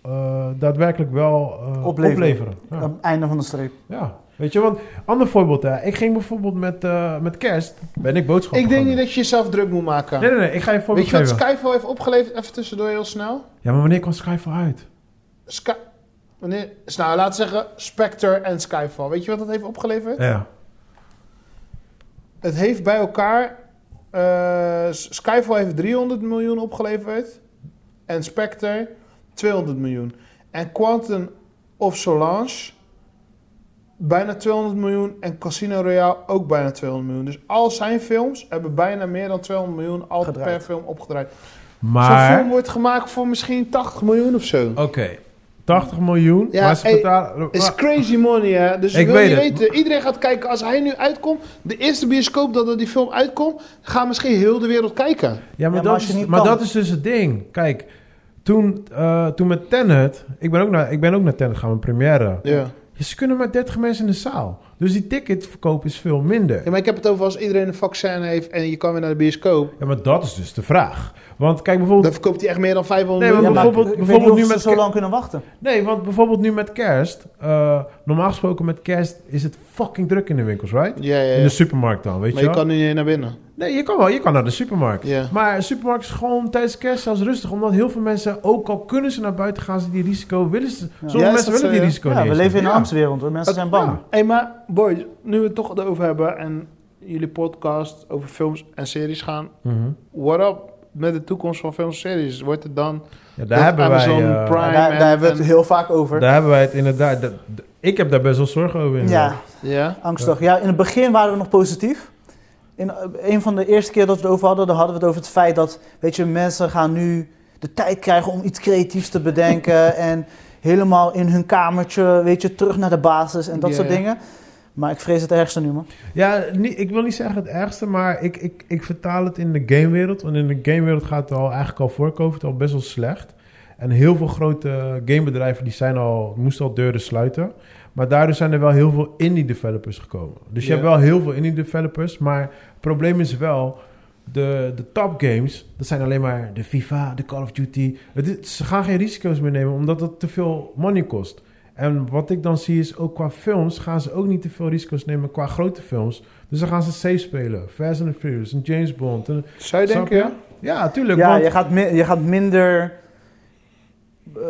eh, daadwerkelijk wel eh,
Opleveren.
opleveren? Ja.
Aan het Einde van de streep.
Ja. Weet je, want ander voorbeeld, hè. ik ging bijvoorbeeld met, eh, met kerst, ben ik boodschappen
Ik denk
gaan
niet
doen.
dat je jezelf druk moet maken.
Nee, nee, nee, ik ga je een
Weet
voorbeeld
je wat
geven.
Skyfall heeft opgeleverd? Even tussendoor heel snel.
Ja, maar wanneer kwam Skyfall uit?
Sky... Wanneer... Dus Nou, laten we zeggen Spectre en Skyfall. Weet je wat dat heeft opgeleverd?
Ja.
Het heeft bij elkaar... eh, Skyfall heeft 300 miljoen opgeleverd. En Spectre 200 miljoen. En Quantum of Solange... Bijna 200 miljoen. En Casino Royale ook bijna 200 miljoen. Dus al zijn films hebben bijna meer dan 200 miljoen... al
Gedraaid.
per film opgedraaid. Zo'n film
Maar,
wordt gemaakt voor misschien 80 miljoen of zo.
oké, 80 miljoen,
Ja,
maar ze
hey,
betalen...
Het is
maar-
crazy money, hè? Dus
Ik
ik wil
weet
je
het.
weten, iedereen gaat kijken. Als hij nu uitkomt, de eerste bioscoop dat er die film uitkomt, gaan misschien heel de wereld kijken.
ja, maar,
maar
dat,
als je
is,
niet
maar
kan.
dat is dus het ding. Kijk, toen, eh, toen met Tenet, ik ben ook naar, ik ben ook naar Tenet gaan, mijn première.
Ja.
Ja, ze kunnen maar 30 mensen in de zaal. Dus die ticketverkoop is veel minder.
maar ik heb het over als iedereen een vaccin heeft en je kan weer naar de bioscoop.
Ja, maar dat is dus de vraag. Want kijk bijvoorbeeld...
Dan verkoopt hij echt meer dan 500
Nee, maar
miljoen.
maar
bijvoorbeeld-
ik weet
bijvoorbeeld
niet of
nu
ze
met
zo
Ke-
lang kunnen wachten.
Nee, want bijvoorbeeld nu met kerst. eh, normaal gesproken met kerst is het fucking druk in de winkels, right?
Ja, ja,
In
ja.
de supermarkt dan, weet
Maar
je
je
wel?
kan nu niet naar binnen.
Nee, je kan wel. Je kan naar de supermarkt.
Ja.
Maar de supermarkt is gewoon tijdens kerst zelfs rustig. Omdat heel veel mensen, ook al kunnen ze naar buiten gaan, ze die risico willen ze. Sommige
Ja, is
mensen
dat
willen
zo,
die
ja?
risico
Ja,
niet
we
eens
leven in
nemen.
een
Ja.
ambtswereld. hoor. Mensen zijn bang.
Ja.
Hé, maar boys, nu we het toch erover hebben en jullie podcast over films en series gaan.
Mhm.
What up met de toekomst van films en series? Wordt het dan...
Ja, daar,
Dat
hebben wij,
Amazon
eh,
Prime-
Daar, daar hebben we
en-
het heel vaak over.
daar hebben wij het inderdaad. dat- d- ik heb daar best wel zorgen over. inderdaad.
Ja,
Ja?
angstig. Ja, in het begin waren we nog positief. In eh, een van de eerste keer dat we het over hadden, dan hadden we het over het feit dat, weet je, mensen gaan nu de tijd krijgen om iets creatiefs te bedenken en helemaal in hun kamertje, weet je, terug naar de basis en dat
Ja,
soort
ja.
dingen. Maar ik vrees het ergste nu, man.
Ja, niet, ik wil niet zeggen het ergste, maar ik, ik, ik vertaal het in de gamewereld. Want in de gamewereld gaat het al eigenlijk al voor COVID al best wel slecht. En heel veel grote gamebedrijven die zijn al, moesten al deuren sluiten. Maar daardoor zijn er wel heel veel indie developers gekomen. Dus je
Ja.
hebt wel heel veel indie developers. Maar het probleem is wel, de, de top games, dat zijn alleen maar de FIFA, de Call of Duty. Het is- ze gaan geen risico's meer nemen, omdat dat te veel money kost. En wat ik dan zie is, ook qua films gaan ze ook niet te veel risico's nemen qua grote films. Dus dan gaan ze safe spelen. Fast and the Furious, een James Bond. En,
Zou je
Snap
denken?
je? ja, tuurlijk.
Ja,
want,
je gaat, mi- je gaat minder. eh,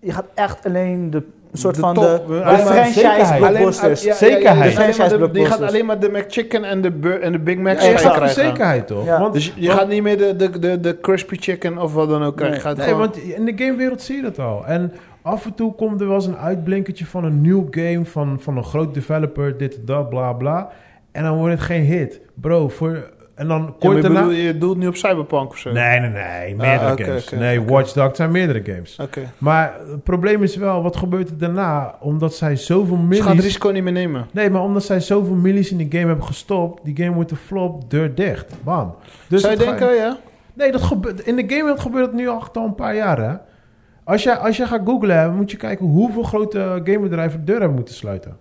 je gaat echt alleen de soort
De
van
top,
de,
we-
de
alleen maar
franchise
zekerheid.
blockbusters.
Alleen- ah,
Zekerheid.
die gaan-
Franchise
de- Die
blockbusters.
gaat alleen maar de McChicken en de, bur- en de Big Mac
Ja,
je
gaan
exact.
gaat de
krijgen.
zekerheid toch?
Ja.
Want,
Dus je gaat niet meer de, de, de, de crispy chicken of wat dan ook krijgen. Je gaat
nee,
gewoon-
want in de gamewereld zie je dat al. En af en toe komt er wel eens een uitblinkertje van een nieuw game, van, van een groot developer, dit, dat, bla, bla. En dan wordt het geen hit. Bro, voor... En dan
Ja, maar
kort
ik
daarna...
bedoel, je doelt niet op Cyberpunk of zo?
Nee, nee, nee. Meerdere
Ah, oké,
games.
oké,
nee, Watch Dogs zijn meerdere games.
Oké.
Maar het probleem is wel, wat gebeurt er daarna? Omdat zij zoveel
Dus je gaat het
millies...
risico niet meer nemen.
Nee, maar omdat zij zoveel millies in die game hebben gestopt... die game wordt een flop, deur dicht. Bam. Dus
Zou je
het ga-
denken, ja?
Nee, dat gebeurt, in de gamewereld gebeurt dat nu al al een paar jaar, hè? Als jij, als jij gaat googlen, hè, moet je kijken hoeveel grote gamebedrijven de deur hebben moeten sluiten.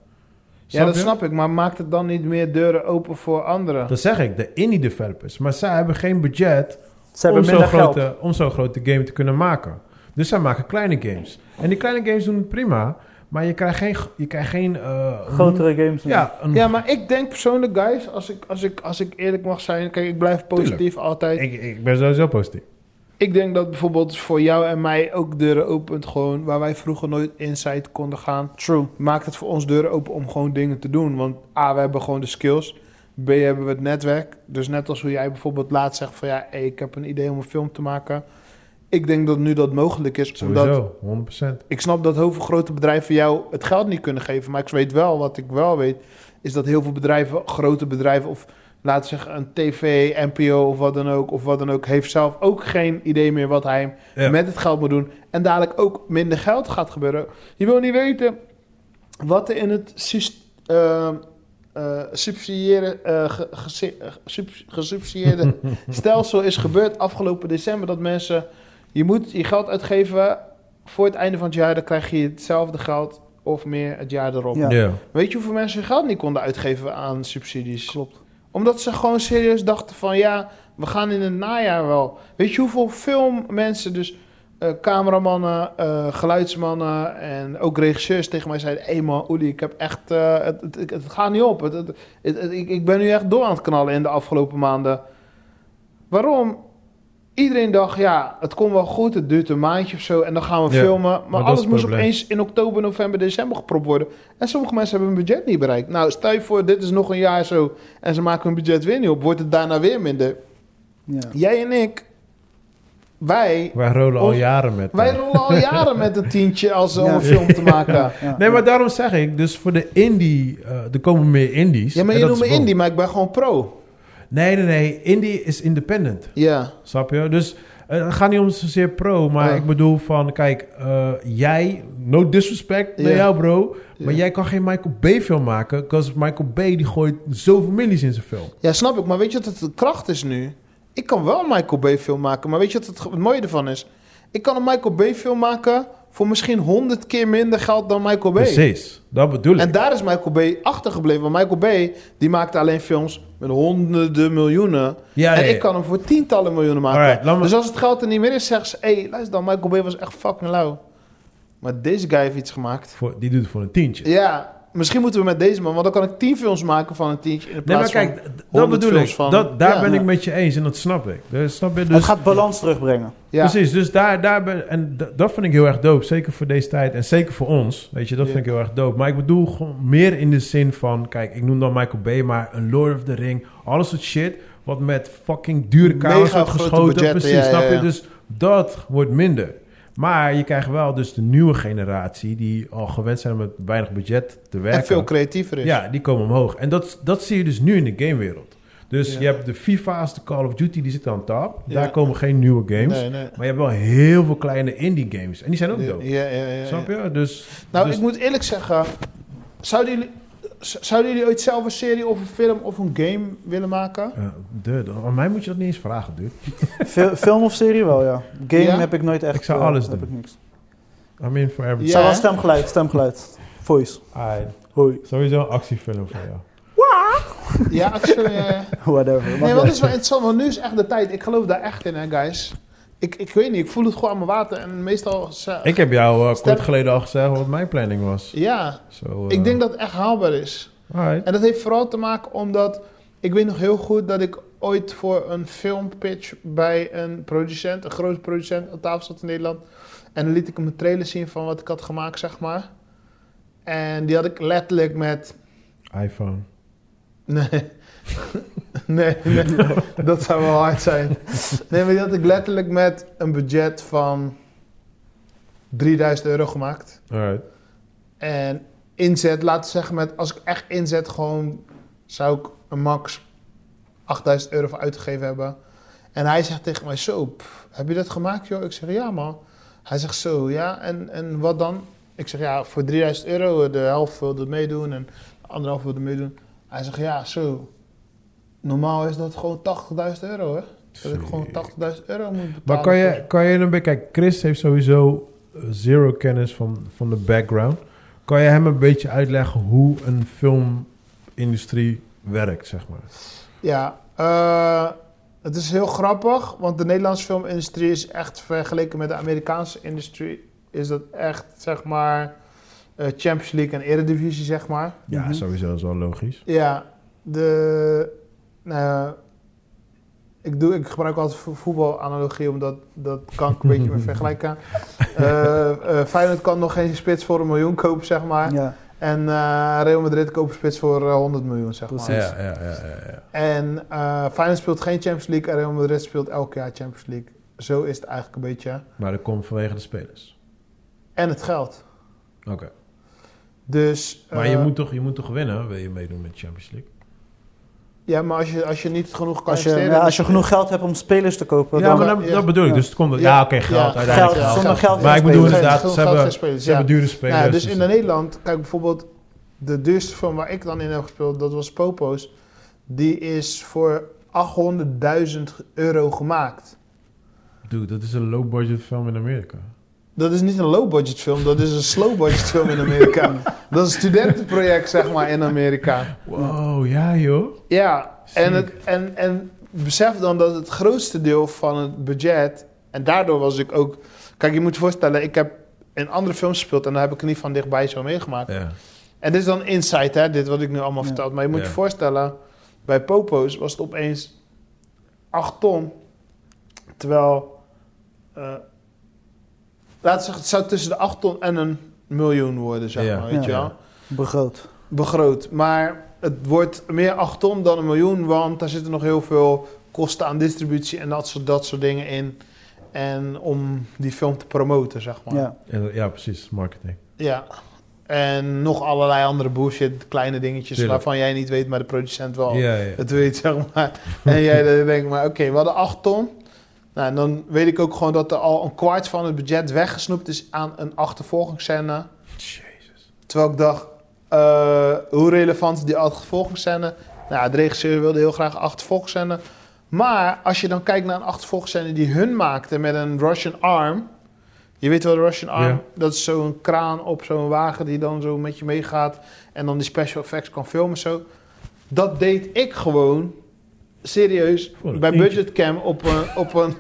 Ja, dat
je?
snap ik. Maar maakt het dan niet meer deuren open voor anderen?
Dat zeg ik, de indie developers. Maar zij hebben geen budget
Ze hebben
om zo'n
minder geld.
grote, om zo'n grote game te kunnen maken. Dus zij maken kleine games. En die kleine games doen het prima, maar je krijgt geen... Je krijgt geen eh,
Grotere games.
Ja, een,
Ja, maar ik denk persoonlijk, guys, als ik, als ik, als ik eerlijk mag zijn... Kijk, ik blijf positief altijd.
ik, ik ben sowieso positief.
Ik denk dat bijvoorbeeld voor jou en mij ook deuren opent gewoon... waar wij vroeger nooit inside konden gaan.
True.
maakt het voor ons deuren open om gewoon dingen te doen. Want A, we hebben gewoon de skills. B, B hebben we het netwerk. Dus net als hoe jij bijvoorbeeld laat zegt van ja, hey, ik heb een idee om een film te maken. Ik denk dat nu dat mogelijk is. Omdat
Sowieso, 100%.
ik snap dat heel veel grote bedrijven jou het geld niet kunnen geven. Maar ik weet wel, wat ik wel weet, is dat heel veel bedrijven, grote bedrijven of laten we zeggen een tv, NPO of wat dan ook, of wat dan ook, heeft zelf ook geen idee meer wat hij
Ja.
met het geld moet doen. En dadelijk ook minder geld gaat gebeuren. Je wil niet weten wat er in het sys- eh, eh, subsidiëren, eh, ge- gese- eh, subs- gesubsidieerde stelsel is gebeurd afgelopen december. Dat mensen, je moet je geld uitgeven voor het einde van het jaar, dan krijg je hetzelfde geld of meer het jaar erop.
Ja.
Ja.
Weet je hoeveel mensen hun geld niet konden uitgeven aan subsidies? Klopt. Omdat ze gewoon serieus dachten van ja, we gaan in het najaar wel. Weet je hoeveel filmmensen, dus eh, cameramannen, eh, geluidsmannen en ook regisseurs tegen mij zeiden... Hé man, Oeli, ik heb echt... eh, het, het, het- het gaat niet op. Het, het, het- het- ik, ik ben nu echt door aan het knallen in de afgelopen maanden. Waarom? Iedereen dacht, ja, het komt wel goed. Het duurt een maandje of zo en dan gaan we
Ja,
filmen. Maar,
maar dat is
alles
het
moest
probleem.
opeens in oktober, november, december gepropt worden. En sommige mensen hebben hun budget niet bereikt. Nou, stel je voor, dit is nog een jaar zo en ze maken hun budget weer niet op. Wordt het daarna weer minder.
Ja.
Jij en ik, wij,
Wij rollen al
Ons-
jaren met
wij
eh,
rollen al jaren met een tientje als om
Ja.
een film te maken.
Ja.
Nee, maar daarom zeg ik, dus voor de indie, eh, er komen meer indies.
Ja, maar
En
je
dat
noemt me
is wel-
indie, maar ik ben gewoon pro.
Nee, nee, nee, indie is independent.
Ja,
Snap je? Dus eh, het gaat niet om zozeer pro, maar
Ja.
ik bedoel van, kijk, eh, jij, no disrespect naar
Ja.
jou bro, maar
Ja.
jij kan geen Michael Bay film maken, because Michael Bay die gooit zoveel millies in zijn film.
ja, snap ik. Maar weet je wat het de kracht is nu? Ik kan wel een Michael Bay film maken, maar weet je wat het, het mooie ervan is? Ik kan een Michael Bay film maken voor misschien honderd keer minder geld dan Michael Bay.
Precies, dat bedoel ik.
En daar is Michael Bay achtergebleven. Want Michael Bay, die maakte alleen films met honderden miljoenen.
Ja,
en
ja, ja.
ik kan hem voor tientallen miljoenen maken.
Alright, laat me-
Dus als het geld er niet meer is, zeggen ze... Hé, hey, luister dan, Michael Bay was echt fucking lauw. Maar deze guy heeft iets gemaakt.
Voor, die doet het voor een tientje.
Ja, misschien moeten we met deze man... Want dan kan ik tien films maken van een tientje in
nee, maar
plaats
kijk,
van...
d- dat
100
bedoel ik.
films van-
dat, daar
Ja,
ben
ja.
ik met je eens en dat snap ik. Dus, snap je?
Het
Dus,
gaat balans terugbrengen.
Ja,
Precies, dus daar, daar ben En d- dat vind ik heel erg dope. Zeker voor deze tijd en zeker voor ons. Weet je, dat
Ja.
vind ik heel erg dope. Maar ik bedoel gewoon meer in de zin van... Kijk, ik noem dan Michael Bay, maar een Lord of the Ring. Alles soort shit wat met fucking dure camera's
Mega
wordt
grote
geschoten.
budgetten,
precies,
ja, ja,
snap je?
ja.
Dus dat wordt minder. Maar je krijgt wel dus de nieuwe generatie... die al gewend zijn om met weinig budget te werken.
en veel creatiever is.
Ja, die komen omhoog. En dat, dat zie je dus nu in de gamewereld. Dus
Ja.
je hebt de FIFA's, de Call of Duty, die zitten aan top.
Ja.
Daar komen geen nieuwe games.
Nee, nee.
Maar je hebt wel heel veel kleine indie games. En die zijn ook dope.
Ja, ja, ja, ja.
Snap je? Dus,
Nou,
dus-
ik moet eerlijk zeggen... Zouden jullie, z- zouden jullie ooit zelf een serie of een film of een game willen maken?
Eh, dude, aan mij moet je dat niet eens vragen, dude.
Fil- film of serie wel, ja. Game
Ja?
heb ik nooit echt.
Ik zou
eh,
alles
heb
doen.
Ik niks.
I'm in for everything.
Ja,
Zou wel
hè?
stemgeluid, stemgeluid. Voice.
Ai,
Hoi.
Sowieso een actiefilm voor jou.
Ja, actually, ja, ja.
Whatever.
Nee, want
Mag wel.
dat is wel interessant, want nu is echt de tijd. Ik geloof daar echt in, hè, guys. Ik, ik weet niet, ik voel het gewoon aan mijn water. En meestal... ze-
Ik heb jou eh,
Stem-
kort geleden al gezegd wat mijn planning was.
Ja,
Zo, eh,
ik denk dat het echt haalbaar is.
alright.
En dat heeft vooral te maken omdat... Ik weet nog heel goed dat ik ooit voor een filmpitch bij een producent... een grote producent aan tafel zat in Nederland. En dan liet ik hem een trailer zien van wat ik had gemaakt, zeg maar. En die had ik letterlijk met...
iPhone.
Nee. nee, nee, dat zou wel hard zijn. Nee, maar die had ik letterlijk met een budget van 3000 euro gemaakt.
Alright.
En inzet, laten we zeggen, met, als ik echt inzet, gewoon zou ik een max 8000 euro voor uitgegeven hebben. En hij zegt tegen mij: Zo, pff, heb je dat gemaakt, joh? Ik zeg: Ja, man. Hij zegt: Zo, ja. En, en wat dan? Ik zeg: Ja, voor 3000 euro, de helft wilde meedoen en de andere helft wilde meedoen. Hij zegt: Ja, zo. Normaal is dat gewoon 80.000 euro, hè? Dat ik gewoon 80.000 euro moet betalen.
Maar kan je,
voor-
kan je een beetje... Kijk, Chris heeft sowieso eh, zero kennis van, van de background. Kan je hem een beetje uitleggen hoe een filmindustrie werkt, zeg maar?
Ja, eh, het is heel grappig, want de Nederlandse filmindustrie is echt vergeleken met de Amerikaanse industrie, is dat echt zeg maar eh, Champions League en Eredivisie, zeg maar.
Ja,
Mhm.
sowieso is wel logisch.
Ja, de. eh, ik, doe, ik gebruik altijd vo- voetbalanalogie, omdat dat kan ik een beetje mee vergelijken. Eh eh Feyenoord kan nog geen spits voor een miljoen kopen, zeg maar.
Ja.
En eh, Real Madrid koopt spits voor eh, 100 miljoen, zeg maar.
Ja, ja, ja, ja, ja.
En eh Feyenoord speelt geen Champions League en Real Madrid speelt elk jaar Champions League. Zo is het eigenlijk een beetje.
Maar dat komt vanwege de spelers.
En het geld.
Oké.
Dus,
Maar
eh,
je, moet toch, je moet toch winnen, wil je meedoen met de Champions League?
Ja, maar als je, als je niet genoeg kan
Als je,
investeren...
ja, als je genoeg geld hebt om spelers te kopen,
Ja,
dan
maar
maar-
dat,
ja.
dat bedoel ik. Dus het komt... Ja,
Ja.
oké, geld
Ja.
uiteindelijk.
Geld,
Geld,
zonder geld
Maar ik
geen
bedoel
spelers.
inderdaad,
Geen
ze
geld,
hebben,
geen spelers,
ze
ja.
hebben dure spelers.
Nou, dus in Nederland, kijk bijvoorbeeld de duurste film waar ik dan in heb gespeeld, dat was Popo's. Die is voor 800.000 euro gemaakt.
Dude, dat is een low-budget film in Amerika.
Dat is niet een low-budget film, dat is een slow-budget film in Amerika. Dat is een studentenproject, zeg maar, in Amerika.
Wow, ja joh.
Ja, en,
Ziek.
het, en, en besef dan dat het grootste deel van het budget... En daardoor was ik ook... Kijk, je moet je voorstellen, ik heb in andere films gespeeld... en daar heb ik niet van dichtbij zo meegemaakt.
Ja.
En dit is dan insight, hè, dit wat ik nu allemaal
Ja.
vertel. Maar je moet
Ja.
je voorstellen, bij Popo's was het opeens 8 ton. Terwijl, eh, laten we zeggen, het zou tussen de 8 ton en een miljoen worden, zeg
Ja.
maar, weet
Ja.
je wel.
begroot.
Begroot. Maar het wordt meer 8 ton dan een miljoen, want daar zitten nog heel veel kosten aan distributie en dat soort, dat soort dingen in. En om die film te promoten, zeg maar.
Ja.
En- ja, precies. Marketing.
Ja. En nog allerlei andere bullshit, kleine dingetjes
Tuurlijk.
waarvan jij niet weet, maar de producent wel
Ja, ja.
het weet, zeg maar. En jij dan denkt, maar oké, we hadden 8 ton. Nou, en dan weet ik ook gewoon dat er al een kwart van het budget weggesnoept is aan een achtervolgingsscène.
Jezus.
Terwijl ik dacht, eh, hoe relevant is die achtervolgingsscène? Nou, de regisseur wilde heel graag een achtervolgingsscène. Maar als je dan kijkt naar een achtervolgingsscène die hun maakte met een Russian arm. Je weet wel, de Russian arm,
Ja.
dat is zo'n kraan op zo'n wagen die dan zo met je meegaat. En dan die special effects kan filmen zo. Dat deed ik gewoon, serieus,
Voor een
bij
tientje.
budgetcam op een, op, een,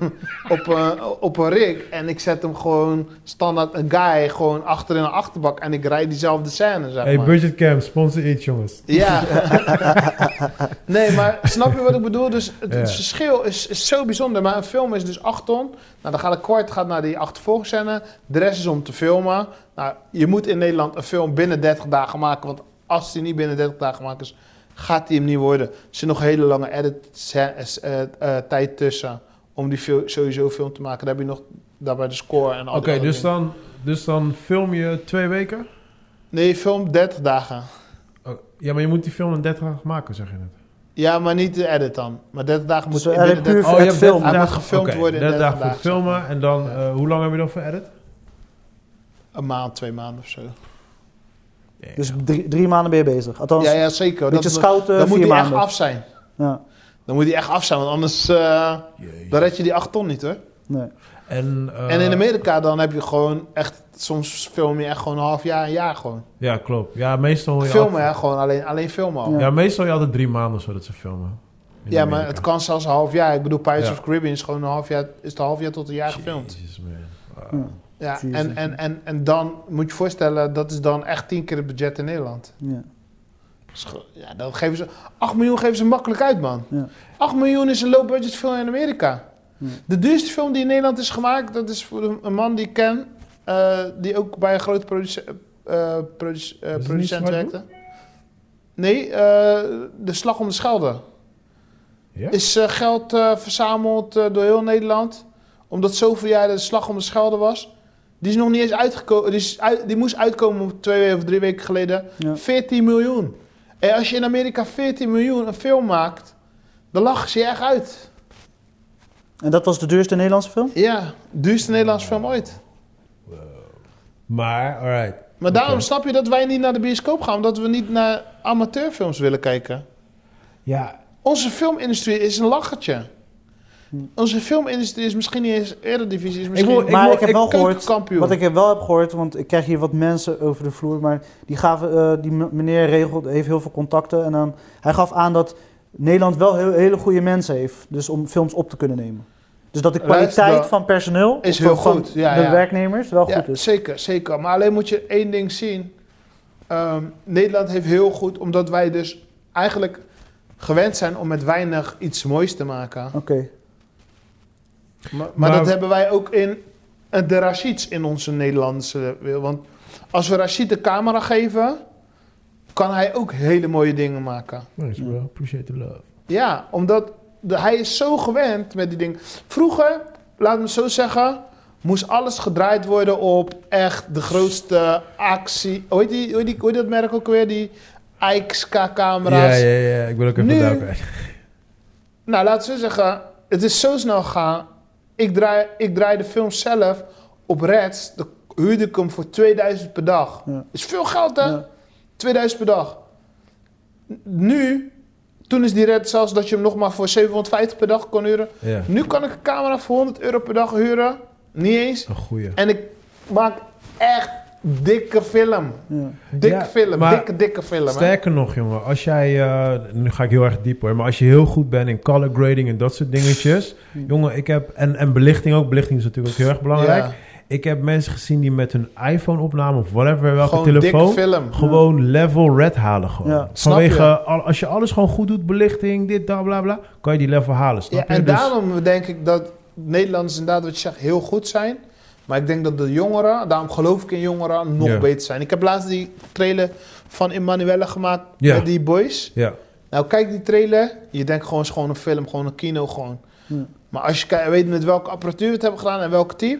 op, een, op een rig. En ik zet hem gewoon standaard een guy gewoon achter in een achterbak. En ik rijd diezelfde scène, zeg
Hey,
maar.
Budget Camp, sponsor iets, jongens.
Ja. nee, maar snap je wat ik bedoel? Dus het, het
Ja.
verschil is, is zo bijzonder. Maar een film is dus 8 ton. Nou, dan gaat een kwart gaat naar die achtervolgscène. De rest is om te filmen. Nou, je moet in Nederland een film binnen 30 dagen maken. Want als die niet binnen 30 dagen gemaakt is, gaat die hem niet worden. Er zit nog een hele lange edit eh, eh, tijd tussen. Om die fil- sowieso film te maken. Dan heb je nog daarbij de score en al
Oké,
die andere
dus,
dingen.
dan, dus dan film je twee weken?
Nee, film 30 dagen.
Oh, ja, maar je moet die film in 30 dagen maken, zeg je net.
Ja, maar niet de edit dan. Maar 30 dagen moet
Dus
Oh, je
we hebben
binnen 30
puur voor het
Hij
filmen.
moet gefilmd
oké,
worden in
30 dagen voor het
30 dagen,
filmen.
zeg
En dan,
Ja.
eh, hoe lang heb je dan voor edit?
Een maand, twee maanden of zo.
Ja.
Dus drie, drie maanden ben je bezig. Althans,
Ja, ja zeker.
een beetje
Dat,
scout eh,
dan moet
vier
die echt
maanden.
af zijn.
Ja,
Dan moet die echt af zijn, want anders eh,
Jezus.
dan red je die 8 ton niet hoor.
nee.
en, eh,
en in Amerika dan heb je gewoon echt, soms film je echt gewoon een half jaar, een jaar gewoon.
Ja, klopt. Ja, meestal hoor je
Filmen
altijd-
hè, gewoon alleen, alleen filmen al.
Ja.
Ja,
Ja, meestal je altijd drie maanden zodat ze filmen. In
maar
Amerika.
het kan zelfs een half jaar. Ik bedoel, Pirates
Ja.
of the Caribbean is gewoon een half jaar, is het een half jaar tot een jaar gefilmd.
Jezus, man. Wow.
Ah.
Ja.
Ja,
Jezus.
en, en, en, en dan moet je je voorstellen, dat is dan echt tien keer het budget in Nederland.
Ja.
Scho- Ja, dan geven ze... 8 miljoen geven ze makkelijk uit, man.
Ja.
8 miljoen is een low-budget film in Amerika.
Ja.
De duurste film die in Nederland is gemaakt... dat is voor een- een man die ik ken... eh, die ook bij een grote produce- eh, produce- eh,
het niet
producent
Zwart
werkte. Nee, eh, De Slag om de Schelde.
Ja?
Is eh, geld eh, verzameld eh, door heel Nederland... omdat zoveel jaar De Slag om de Schelde was... Die is nog niet eens uitgekomen. Die, is uit- die moest uitkomen twee of drie weken geleden.
Ja.
14 miljoen. En als je in Amerika 14 miljoen een film maakt, dan lachen ze je echt uit.
En dat was de duurste Nederlandse film?
Ja, duurste Nederlandse film ooit.
Maar, alright.
Maar daarom
Oké.
snap je dat wij niet naar de bioscoop gaan, omdat we niet naar amateurfilms willen kijken.
Ja,
Onze filmindustrie is een lachertje. Onze filmindustrie is misschien niet eens eredivisie, is misschien
wil- Ik
maar
mo-
Hm. ik heb
ik
wel gehoord,
keukenkampioen.
wat ik heb wel heb gehoord, want ik krijg hier wat mensen over de vloer, maar die, gaven, eh, die m- meneer regelt, heeft heel veel contacten en dan, hij gaf aan dat Nederland wel heel, hele goede mensen heeft, dus om films op te kunnen nemen. Dus dat de
Luister,
kwaliteit
dat
van personeel,
is
of van-
heel
van
goed, ja,
de
ja.
werknemers, wel
ja,
goed is.
Zeker, zeker. Maar alleen moet je één ding zien. Ehm, Nederland heeft heel goed, omdat wij dus eigenlijk gewend zijn om met weinig iets moois te maken.
Oké,
Maar, maar
Maar-
dat hebben wij ook in eh, de Rashids in onze Nederlandse wil. Want als we Rashid de camera geven, kan hij ook hele mooie dingen maken.
Nice bro, appreciate the love.
Ja, omdat de- hij is zo gewend met die dingen. Vroeger, laat me het zo zeggen, moest alles gedraaid worden op echt de grootste actie. Hoe heet, die, hoe heet, die, hoe heet dat merk ook weer? Die
Ja,
IXK-camera's.
ja, ja, ik wil ook even
Nu-
daar kwijt.
Nou, laten we zo zeggen, het is zo snel gegaan. Ik draai, ik draai de film zelf op Reds. Dan huurde ik hem voor 2000 per dag.
Ja.
Is veel geld, hè?
Ja.
2000 per dag. N- Nu, toen is die Red zelfs dat je hem nog maar voor 750 per dag kon huren.
Ja,
Nu kan ik een camera voor 100 euro per dag huren. Niet eens.
een goeie.
En ik maak echt dikke film.
Ja.
Dikke
Ja,
film.
maar-
dikke, dikke film. hè.
Sterker nog, jongen, als jij, eh, nu ga ik heel erg diep hoor, maar als je heel goed bent in color grading en dat soort dingetjes.
Hmm.
jongen, ik heb, en, en belichting ook, belichting is natuurlijk ook heel erg belangrijk.
Ja.
Ik heb mensen gezien die met hun iPhone-opname of whatever, welke
Gewoon
telefoon,
dikke film.
gewoon level red halen. Gewoon.
Ja.
Snap
Vanwege,
je?
al- als je alles gewoon goed doet, belichting, dit, dat, bla, bla, kan je die level halen. Snap
Ja,
je?
en
Dus-
daarom denk ik dat Nederlanders inderdaad, wat je zegt, heel goed zijn. Maar ik denk dat de jongeren, daarom geloof ik in jongeren, nog
Ja.
beter zijn. Ik heb laatst die trailer van Emanuelle gemaakt
Ja.
met die boys.
ja.
Nou, kijk die trailer. Je denkt gewoon, het is gewoon een film, gewoon een kino, gewoon.
Ja.
Maar als je kijkt- weet met welke apparatuur we het hebben gedaan en welk team.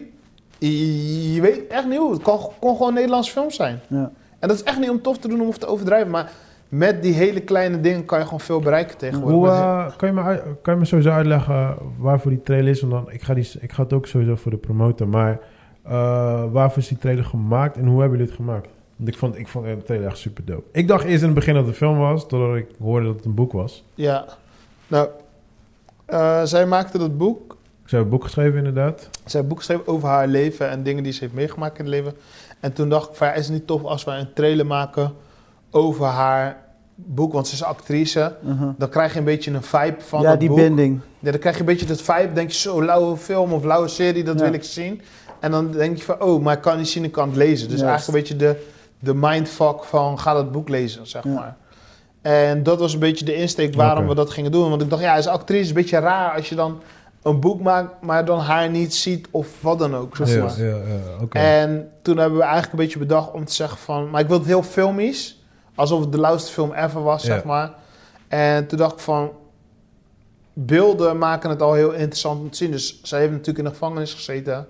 Je, je weet echt niet hoe. Het kon, kon gewoon een Nederlands film zijn.
Ja.
En dat is echt niet om tof te doen of te overdrijven. Maar met die hele kleine dingen kan je gewoon veel bereiken tegenwoordig.
Hoe,
Met-
eh, kan, je me, uit- kan je me sowieso uitleggen waarvoor die trailer is? Want dan, ik, ga die, ik ga het ook sowieso voor de promotor. Maar eh, waarvoor is die trailer gemaakt en hoe hebben jullie het gemaakt? Want ik vond, ik vond eh, de trailer echt super dope. Ik dacht eerst in het begin dat het een film was, totdat ik hoorde dat het een boek was.
Ja. Nou, eh, zij maakte dat boek.
Ze hebben een boek geschreven inderdaad.
Zij heeft boek geschreven over haar leven en dingen die ze heeft meegemaakt in het leven. En toen dacht ik, van, ja, is het niet tof als wij een trailer maken over haar boek? Want ze is actrice.
Uh-huh.
Dan krijg je een beetje een vibe van
Ja,
dat
die
boek.
binding.
Ja, dan krijg je een beetje dat vibe. denk je, zo, lauwe film of lauwe serie, dat
Ja.
wil ik zien. En dan denk je van, oh, maar ik kan niet zien, ik kan het lezen. Dus
Juist.
eigenlijk een beetje de, de mindfuck van, ga dat boek lezen, zeg
Ja.
maar. En dat was een beetje de insteek waarom
Oké.
we dat gingen doen. Want ik dacht, ja, als actrice is een beetje raar als je dan een boek maakt, maar dan haar niet ziet of wat dan ook, zeg maar.
ja, ja, oké.
En toen hebben we eigenlijk een beetje bedacht om te zeggen van... Maar ik wil het heel filmisch. Alsof het de lauwste film ever was,
Ja.
zeg maar. En toen dacht ik van... Beelden maken het al heel interessant om te zien. Dus zij heeft natuurlijk in de gevangenis gezeten.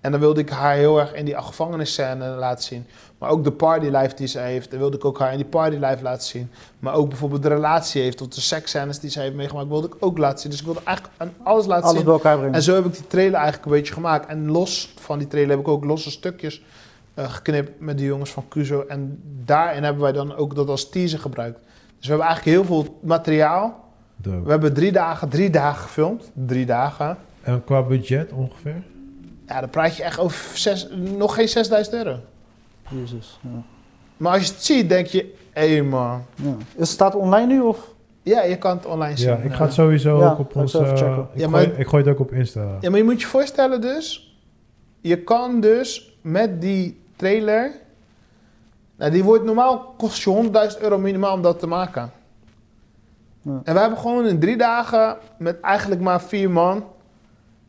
En dan wilde ik haar heel erg in die gevangenisscène laten zien. Maar ook de partylife die ze heeft. Dan wilde ik ook haar in die partylife laten zien. Maar ook bijvoorbeeld de relatie heeft. Of de seksscènes die ze heeft meegemaakt, wilde ik ook laten zien. Dus ik wilde eigenlijk aan alles laten zien.
Alles bij elkaar brengen.
En zo heb ik die trailer eigenlijk een beetje gemaakt. En los van die trailer heb ik ook losse stukjes eh, geknipt met de jongens van Cuso. En daarin hebben wij dan ook dat als teaser gebruikt. Dus we hebben eigenlijk heel veel materiaal.
Dope.
We hebben drie dagen, drie dagen gefilmd. Drie dagen.
En qua budget ongeveer?
Ja, dan praat je echt over zes, nog geen 6000 euro.
Jezus. Ja.
Maar als je het ziet, denk je, hé man.
Ja. Is het staat online nu of?
Ja, je kan het online zien.
Ja, ik ga het sowieso
Ja,
ook op
ga ik
ons...
zo even
eh,
checken.
ik,
Ja,
gooi,
maar-
ik gooi het ook op Insta.
Ja, maar je moet je voorstellen dus... Je kan dus met die trailer... Nou, die wordt normaal... Kost je 100.000 euro minimaal om dat te maken.
Ja.
En we hebben gewoon in drie dagen... Met eigenlijk maar vier man...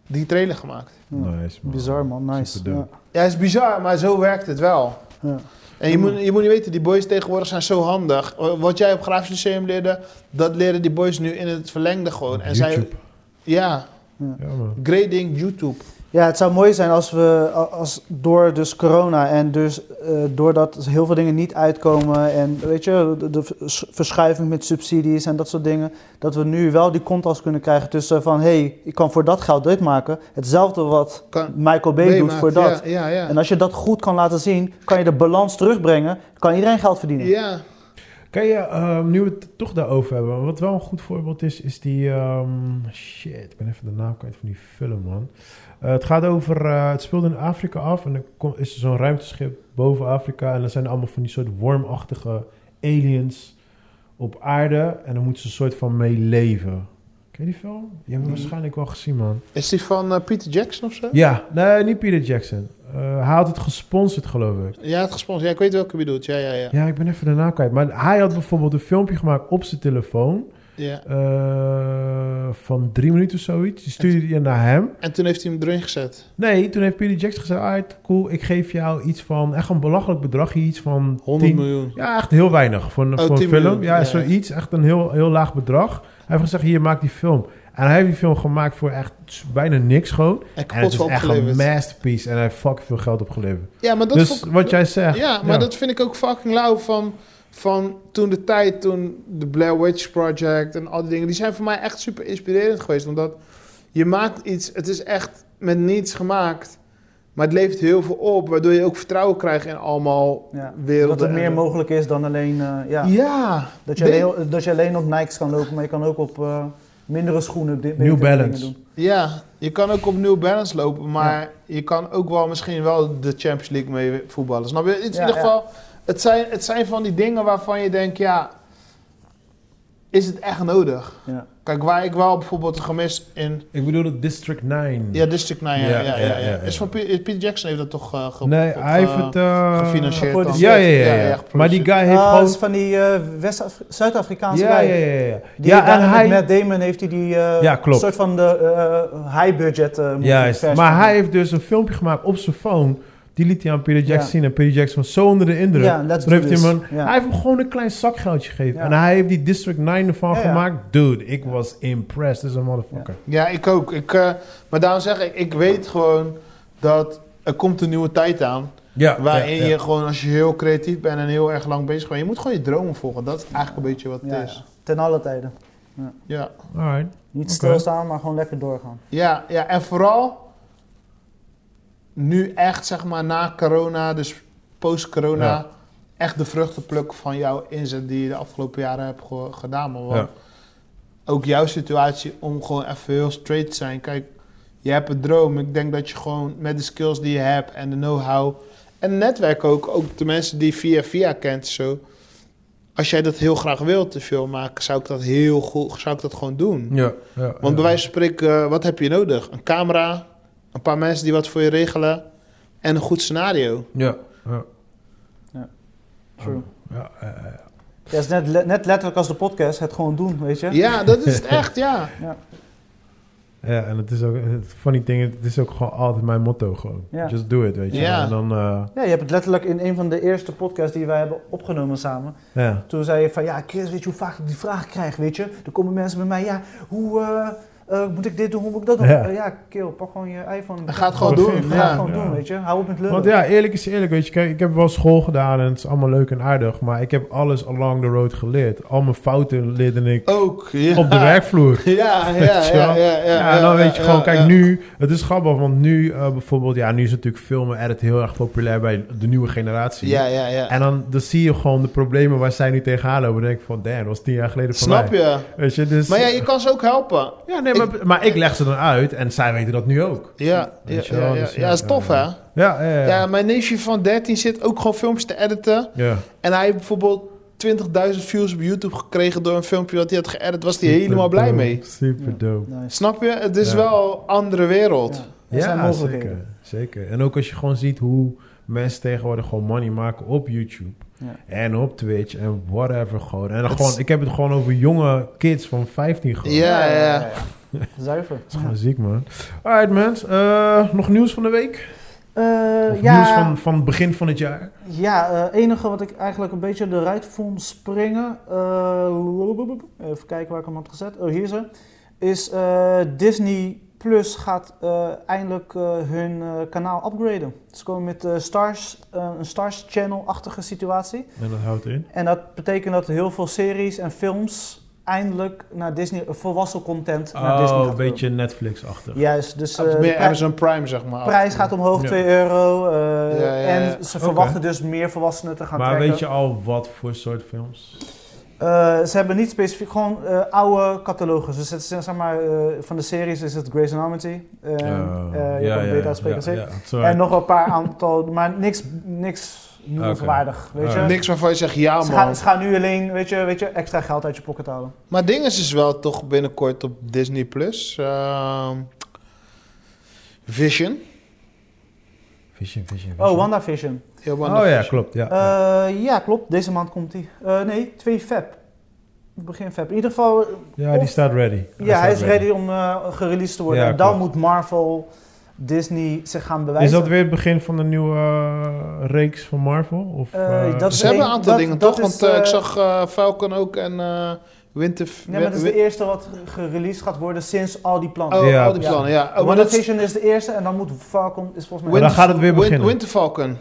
Die trailer gemaakt.
Ja.
Nice man.
Bizar man, nice. Ja.
Superdope.
Ja, is bizar, maar zo werkt het wel.
Ja.
En
Mm.
je moet, je moet niet weten, die boys tegenwoordig zijn zo handig. Eh, Wat jij op Grafisch Lyceum leerde... Dat leren die boys nu in het verlengde gewoon. En zij...
YouTube.
Ja,
Ja man.
grading YouTube.
ja, het zou mooi zijn als we a- als door dus corona en dus eh, doordat heel veel dingen niet uitkomen en weet je, de, de vers- verschuiving met subsidies en dat soort dingen, dat we nu wel die contrast kunnen krijgen tussen van hé, hey, ik kan voor dat geld dit maken. Hetzelfde wat
Kan,
Michael Bay doet
meemaakt,
voor dat.
Ja, ja, ja.
En als je dat goed kan laten zien, kan je de balans terugbrengen, kan iedereen geld verdienen.
ja.
Kan je, ehm, nu we het toch daarover hebben, wat wel een goed voorbeeld is, is die. ehm, shit, ik ben even de naam kwijt van die film, man. Eh, het gaat over. eh, het speelde in Afrika af en er kom- is er zo'n ruimteschip boven Afrika. En dan zijn er allemaal van die soort wormachtige aliens op aarde. En dan moeten ze een soort van mee leven. Ken je die film? Je hebt hem
Nee.
waarschijnlijk wel gezien, man.
Is die van eh, Peter Jackson of zo?
Ja, nee, niet Peter Jackson. Eh, hij had het gesponsord, geloof ik.
Ja, het gesponsord. Ja, ik weet welke je bedoelt. Ja, ja, ja.
Ja, ik ben even de naam kwijt. Maar hij had bijvoorbeeld een filmpje gemaakt op zijn telefoon.
Ja.
eh, van drie minuten of zoiets. Die stuurde je naar hem.
En toen heeft hij hem erin gezet.
Nee, toen heeft Peter Jackson gezegd, alright, cool, ik geef jou iets van, echt een belachelijk bedragje, iets van
100
10
miljoen.
Ja, echt heel weinig voor een,
Oh,
voor een
10
film.
miljoen.
Ja,
Ja.
zoiets. Echt een heel, heel laag bedrag. Hij heeft gezegd, hier, maak die film. En hij heeft die film gemaakt voor echt s- bijna niks gewoon.
En
En het
kapot
is
wel
echt een
opgeleverd.
masterpiece. En hij heeft fucking veel geld opgeleverd.
Ja, maar dat
dus
vond ik-
wat jij zegt.
Ja, maar dat vind ik ook fucking lauw van, van toen de tijd, toen de Blair Witch Project en al die dingen, die zijn voor mij echt super inspirerend geweest. Omdat je maakt iets, het is echt met niets gemaakt, maar het levert heel veel op, waardoor je ook vertrouwen krijgt in allemaal
Ja.
werelden.
Dat er meer
en-
mogelijk is dan alleen... eh,
Ja,
ja.
ja.
Dat, je
Nee.
alleen, dat je alleen op Nikes kan lopen, maar je kan ook op eh, mindere schoenen... dit-
New
betere
Balance.
dingen doen.
je kan ook op New Balance lopen, maar je kan ook wel misschien wel de Champions League mee voetballen. Snap je? Het is in
Ja,
ieder
ja.
geval, het zijn, het zijn van die dingen waarvan je denkt, ja, is het echt nodig?
Ja.
Kijk, waar ik wel bijvoorbeeld gemist in...
Ik bedoel het District 9.
Ja, District 9, ja, ja, ja. ja,
ja, ja.
Is van Pe- Peter Jackson heeft dat toch eh ge-
nee,
op,
hij heeft
eh,
het... eh,
gefinancierd dan?
Ja, ja, ja. ja.
geproduceerd.
maar die guy heeft
Ah, dat
gewoon...
is van die eh, West-Afri- Zuid-Afrikaanse
Ja,
guy.
ja, ja. ja.
Die
ja,
heeft daar met
en hij...
Matt Damon heeft hij die eh,
Ja, klopt.
soort van de eh, high-budget eh movie
Juist,
versie.
maar hij heeft dus een filmpje gemaakt op zijn phone. Die liet hij aan Peter Jackson
Ja.
zien. En Peter Jackson was zo onder de indruk.
Ja, let's
Toen
do
heeft hij,
this.
hem een-
Ja.
hij heeft hem gewoon een klein zakgeldje gegeven.
Ja.
En hij heeft die District 9 ervan
Ja, ja.
gemaakt. Dude, ik was impressed. as a motherfucker.
Ja, ik ook. Ik, eh, maar daarom zeg ik, ik weet gewoon dat er komt een nieuwe tijd aan.
Ja,
Waarin
ja, ja.
je gewoon, als je heel creatief bent en heel erg lang bezig bent, je moet gewoon je dromen volgen. Dat is eigenlijk een beetje wat het
Ja,
is.
ja. Dus, Ten alle tijden.
Ja.
Alright.
Niet
Oké.
stilstaan, maar gewoon lekker doorgaan.
Ja, ja, en vooral nu echt, zeg maar, na corona, dus post-corona,
Ja.
echt de vruchten plukken van jouw inzet die je de afgelopen jaren hebt ge- gedaan. Man. Want
Ja.
ook jouw situatie om gewoon even heel straight te zijn. Kijk, je hebt een droom. Ik denk dat je gewoon met de skills die je hebt en de know-how en het netwerk ook, ook de mensen die je via via kent, zo. Als jij dat heel graag wilt, de film maken, zou ik dat heel goed, zou ik dat gewoon doen.
Ja, ja, ja.
Want bij wijze van spreken, eh, wat heb je nodig? Een camera, een paar mensen die wat voor je regelen en een goed scenario.
Ja, ja.
True.
Ah, ja, eh, eh.
Ja, het is net, le- net letterlijk als de podcast, het gewoon doen, weet je?
Ja, dat is het echt, ja.
Ja, en het is ook... Het funny thing, het is ook gewoon altijd mijn motto gewoon.
Ja.
Just do it, weet je.
Ja.
En dan... eh,
Ja, je hebt het letterlijk in een van de eerste podcasts die wij hebben opgenomen samen.
ja.
Toen zei je van, ja Chris, weet je hoe vaak ik die vraag krijg, weet je? Er komen mensen bij mij, ja, hoe eh, eh, moet ik dit doen, hoe moet ik dat doen?
Ja.
Ja, ja kill, pak gewoon je iPhone.
Ga het gewoon doen,
Ga
ja.
het gewoon
Ja.
doen, weet je? Hou op met lullen.
Want ja, eerlijk is eerlijk, weet je. Kijk, ik heb wel school gedaan en het is allemaal leuk en aardig. Maar ik heb alles along the road geleerd. Al mijn fouten leerde ik
Ook, ja.
op de werkvloer.
Ja, ja, ja,
Weet je
ja,
wel?
ja,
Ja, en dan
ja,
weet je
ja,
gewoon,
ja,
kijk
ja.
nu, het is grappig, want nu eh, bijvoorbeeld, ja, nu is natuurlijk filmen edit heel erg populair bij de nieuwe generatie.
Ja, ja, ja.
En dan, dan zie je gewoon de problemen waar zij nu tegenaan lopen. Dan denk ik van, damn, dat was tien jaar geleden voor
Snap
mij.
je?
Weet je, dus...
Maar ja, je kan ze ook helpen.
Ja, nee, maar, maar ik leg ze dan uit en zij weten dat nu ook.
Ja, ja,
Weet je
ja,
wel,
ja,
dus
Ja, dat is tof, hè?
Ja, ja, ja.
Ja, mijn neefje van 13 zit ook gewoon films te editen.
Ja.
En hij heeft bijvoorbeeld 20.000 views op YouTube gekregen door een filmpje dat hij had geëdit. Was hij helemaal blij mee.
Super dope.
Nice.
Snap je? Het is
Ja.
wel een andere wereld.
Ja,
Ja,
er zijn mogelijkheden.
zeker, zeker. En ook als je gewoon ziet hoe mensen tegenwoordig gewoon money maken op YouTube.
Ja.
En op Twitch en whatever gewoon. En dan
Het-
gewoon, ik heb het gewoon over jonge kids van 15 gewoon.
Ja, ja, ja.
Zuiver.
Dat is gewoon ziek, man. Alright, man. Eh, nog nieuws van de week?
Eh,
Of
ja,
nieuws van, van het begin van het jaar?
ja eh, enige wat ik eigenlijk een beetje eruit vond springen. eh, even kijken waar ik hem had gezet. Oh, hier ze. Is eh, Disney Plus gaat eh, eindelijk eh, hun eh, kanaal upgraden. Ze komen met eh, Stars, eh, een Stars Channel-achtige situatie.
En dat houdt in?
En dat betekent dat heel veel series en films eindelijk naar Disney, eh, volwassen content naar Disney
Oh,
gaat
een
komen.
beetje Netflix-achtig.
Juist, dus eh,
Het is
de
Ah, meer
pri-
Amazon Prime, zeg maar.
prijs gaat omhoog,
Ja.
2 euro. eh,
Ja, ja, ja.
En ze
Oké.
verwachten dus meer volwassenen te gaan
Maar
trekken.
weet je al wat voor soort films?
Eh, ze hebben niet specifiek, gewoon eh, oude catalogus. Dus het is, zeg maar, eh, van de series is het Grey's Anatomy. Eh,
Oh.
eh, je kan het beter uitspreken, zeker. En nog wel een paar aantal, maar niks, niks noemenswaardig, weet je.
Oké.
Niks waarvan je zegt, ja
Ze gaan,
man.
ze gaan nu alleen, weet je, weet je, extra geld uit je pocket halen.
Maar Dinges is wel toch binnenkort op Disney+. Plus. ehm, Vision.
Vision, Vision,
Oh,
Vision.
WandaVision.
Ja,
Oh ja,
WandaVision.
klopt. Ja.
Eh ja, klopt. Deze maand komt die. Eh, nee, 2 Eh, feb. begin feb. In ieder geval,
Ja, die
Of-
staat ready.
ja, hij
staat
is ready om eh, gereleased te worden.
Ja,
en dan
klopt.
moet Marvel, Disney zich gaan
Is
bewijzen.
dat weer het begin van de nieuwe eh, reeks van Marvel? Of,
Eh,
eh,
dat is-
Ze hebben een
Nee,
aantal
dat-
dingen,
dat
toch?
is,
Want eh,
eh,
ik zag eh, Falcon ook en eh Winter...
Nee, maar dat is de eerste wat gereleased gaat worden sinds al die plannen.
Oh,
Ja,
al die
precies.
plannen, ja. Oh, maar
Wonder
dat is
Vision is de eerste en dan moet Falcon is volgens mij...
Maar dan gaat het weer
Win-
beginnen.
Winter Falcon.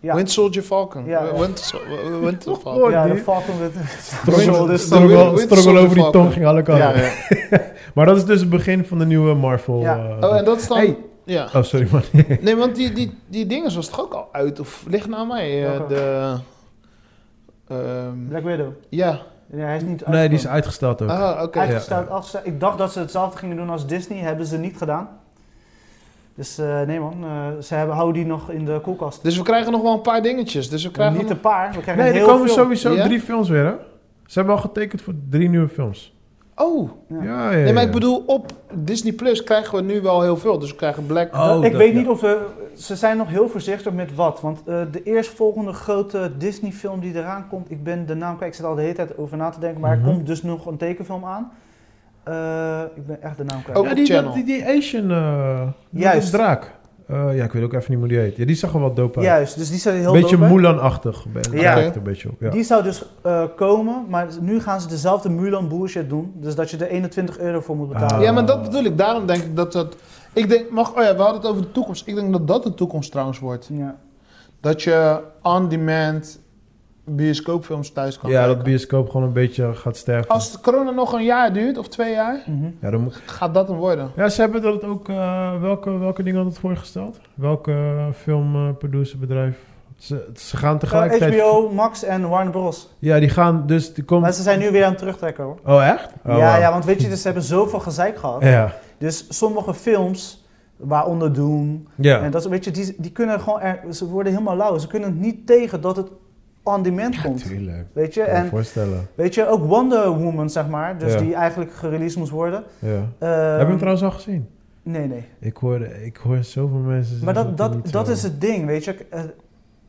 Ja.
Winter Soldier Falcon.
Ja, ja.
Winter, Sol- eh, Winter Falcon.
Oh,
ja, de
die-
Falcon met...
Struggle,
Winter-
struggle-
Winter
struggle
Soldier
over die
Falcon.
tong ging alle kanten.
Ja, ja.
Maar dat is dus het begin van de nieuwe Marvel.
Ja.
eh,
Oh, en dat is dan...
Hey.
Ja.
oh, sorry man.
Nee, want die, die, die dinges was toch ook al uit? Of ligt nou aan mij? eh,
Welke?
de... ehm,
Black Widow.
ja.
Nee, hij is niet
Nee, die is
uitgekomen.
uitgesteld ook.
Ah, oké.
Uit-
Uitgesteld, afgesteld. Ik dacht dat ze hetzelfde gingen doen als Disney, hebben ze niet gedaan. Dus eh, nee man, eh, ze hebben, houden die nog in de koelkast.
Dus we krijgen nog wel een paar dingetjes. Dus we krijgen
niet
nog-
een paar, we krijgen
nee, er
heel
komen
veel.
sowieso
Ja?
drie films weer, hè? Ze hebben al getekend voor drie nieuwe films.
Oh,
Ja.
Ja, ja, ja.
nee, maar ik
ja.
bedoel, op Disney Plus krijgen we nu wel heel veel. Dus we krijgen Black...
Oh,
ik
dat-
weet
ja.
niet of we, ze zijn nog heel voorzichtig met wat. Want eh, de eerstvolgende grote Disney film die eraan komt, ik ben de naam kwijt, ik zit al de hele tijd over na te denken, maar
Mhm.
er komt dus nog een tekenfilm aan. Eh, ik ben echt de naam kwijt.
Ook
Ja,
op
die,
channel.
die, die Asian eh
Juist.
Juist. draak. Eh, ja, ik weet ook even niet hoe die heet. Ja, die zag er wel dope uit.
Juist, dus die zijn heel
Oh. beetje
dope, hè?
Mulan-achtig. ben-
Ja.
lijkt het Een beetje op, ja.
Die zou dus eh, komen, maar nu gaan ze dezelfde Mulan bullshit doen. Dus dat je er 21 euro voor moet betalen.
Ah.
Ja, maar dat bedoel ik. Daarom denk ik dat dat... Ik denk, mag, oh ja, we hadden het over de toekomst. Ik denk dat dat de toekomst trouwens
Ah.
wordt.
Ja.
Dat je on-demand bioscoopfilms thuis kan
ja, dat
kijken.
bioscoop gewoon een beetje gaat sterven.
Als de corona nog een jaar duurt, of twee jaar,
Mhm.
Ja, dan moet...
gaat dat hem worden.
ja, ze hebben dat ook... eh, welke, welke dingen hadden het voorgesteld? Welke filmproducerbedrijf? Ze, ze gaan tegelijkertijd...
Eh, HBO, Max en Warner Bros.
Ja, die gaan dus... Die
Maar
komt...
ze zijn nu weer aan het terugtrekken hoor.
Oh, echt? Oh,
ja,
wauw.
ja, want weet je, dus ze hebben zoveel gezeik gehad.
Ja,
Dus sommige films, waaronder Doom,
ja.
en dat, weet je, die, die kunnen gewoon, er- ze worden helemaal lauw. Ze kunnen het niet tegen dat het on demand komt.
Tuurlijk.
Weet je,
Ik kan me
en
voorstellen.
weet je, ook Wonder Woman, zeg maar, dus
Ja.
die eigenlijk gereleased moest worden.
Ja.
Ehm,
Heb je hem trouwens al gezien?
Nee, nee.
Ik hoor, ik hoor zoveel mensen zeggen
Maar dat,
hij niet
dat, dat
zo-
is het ding, weet je. Ik, eh,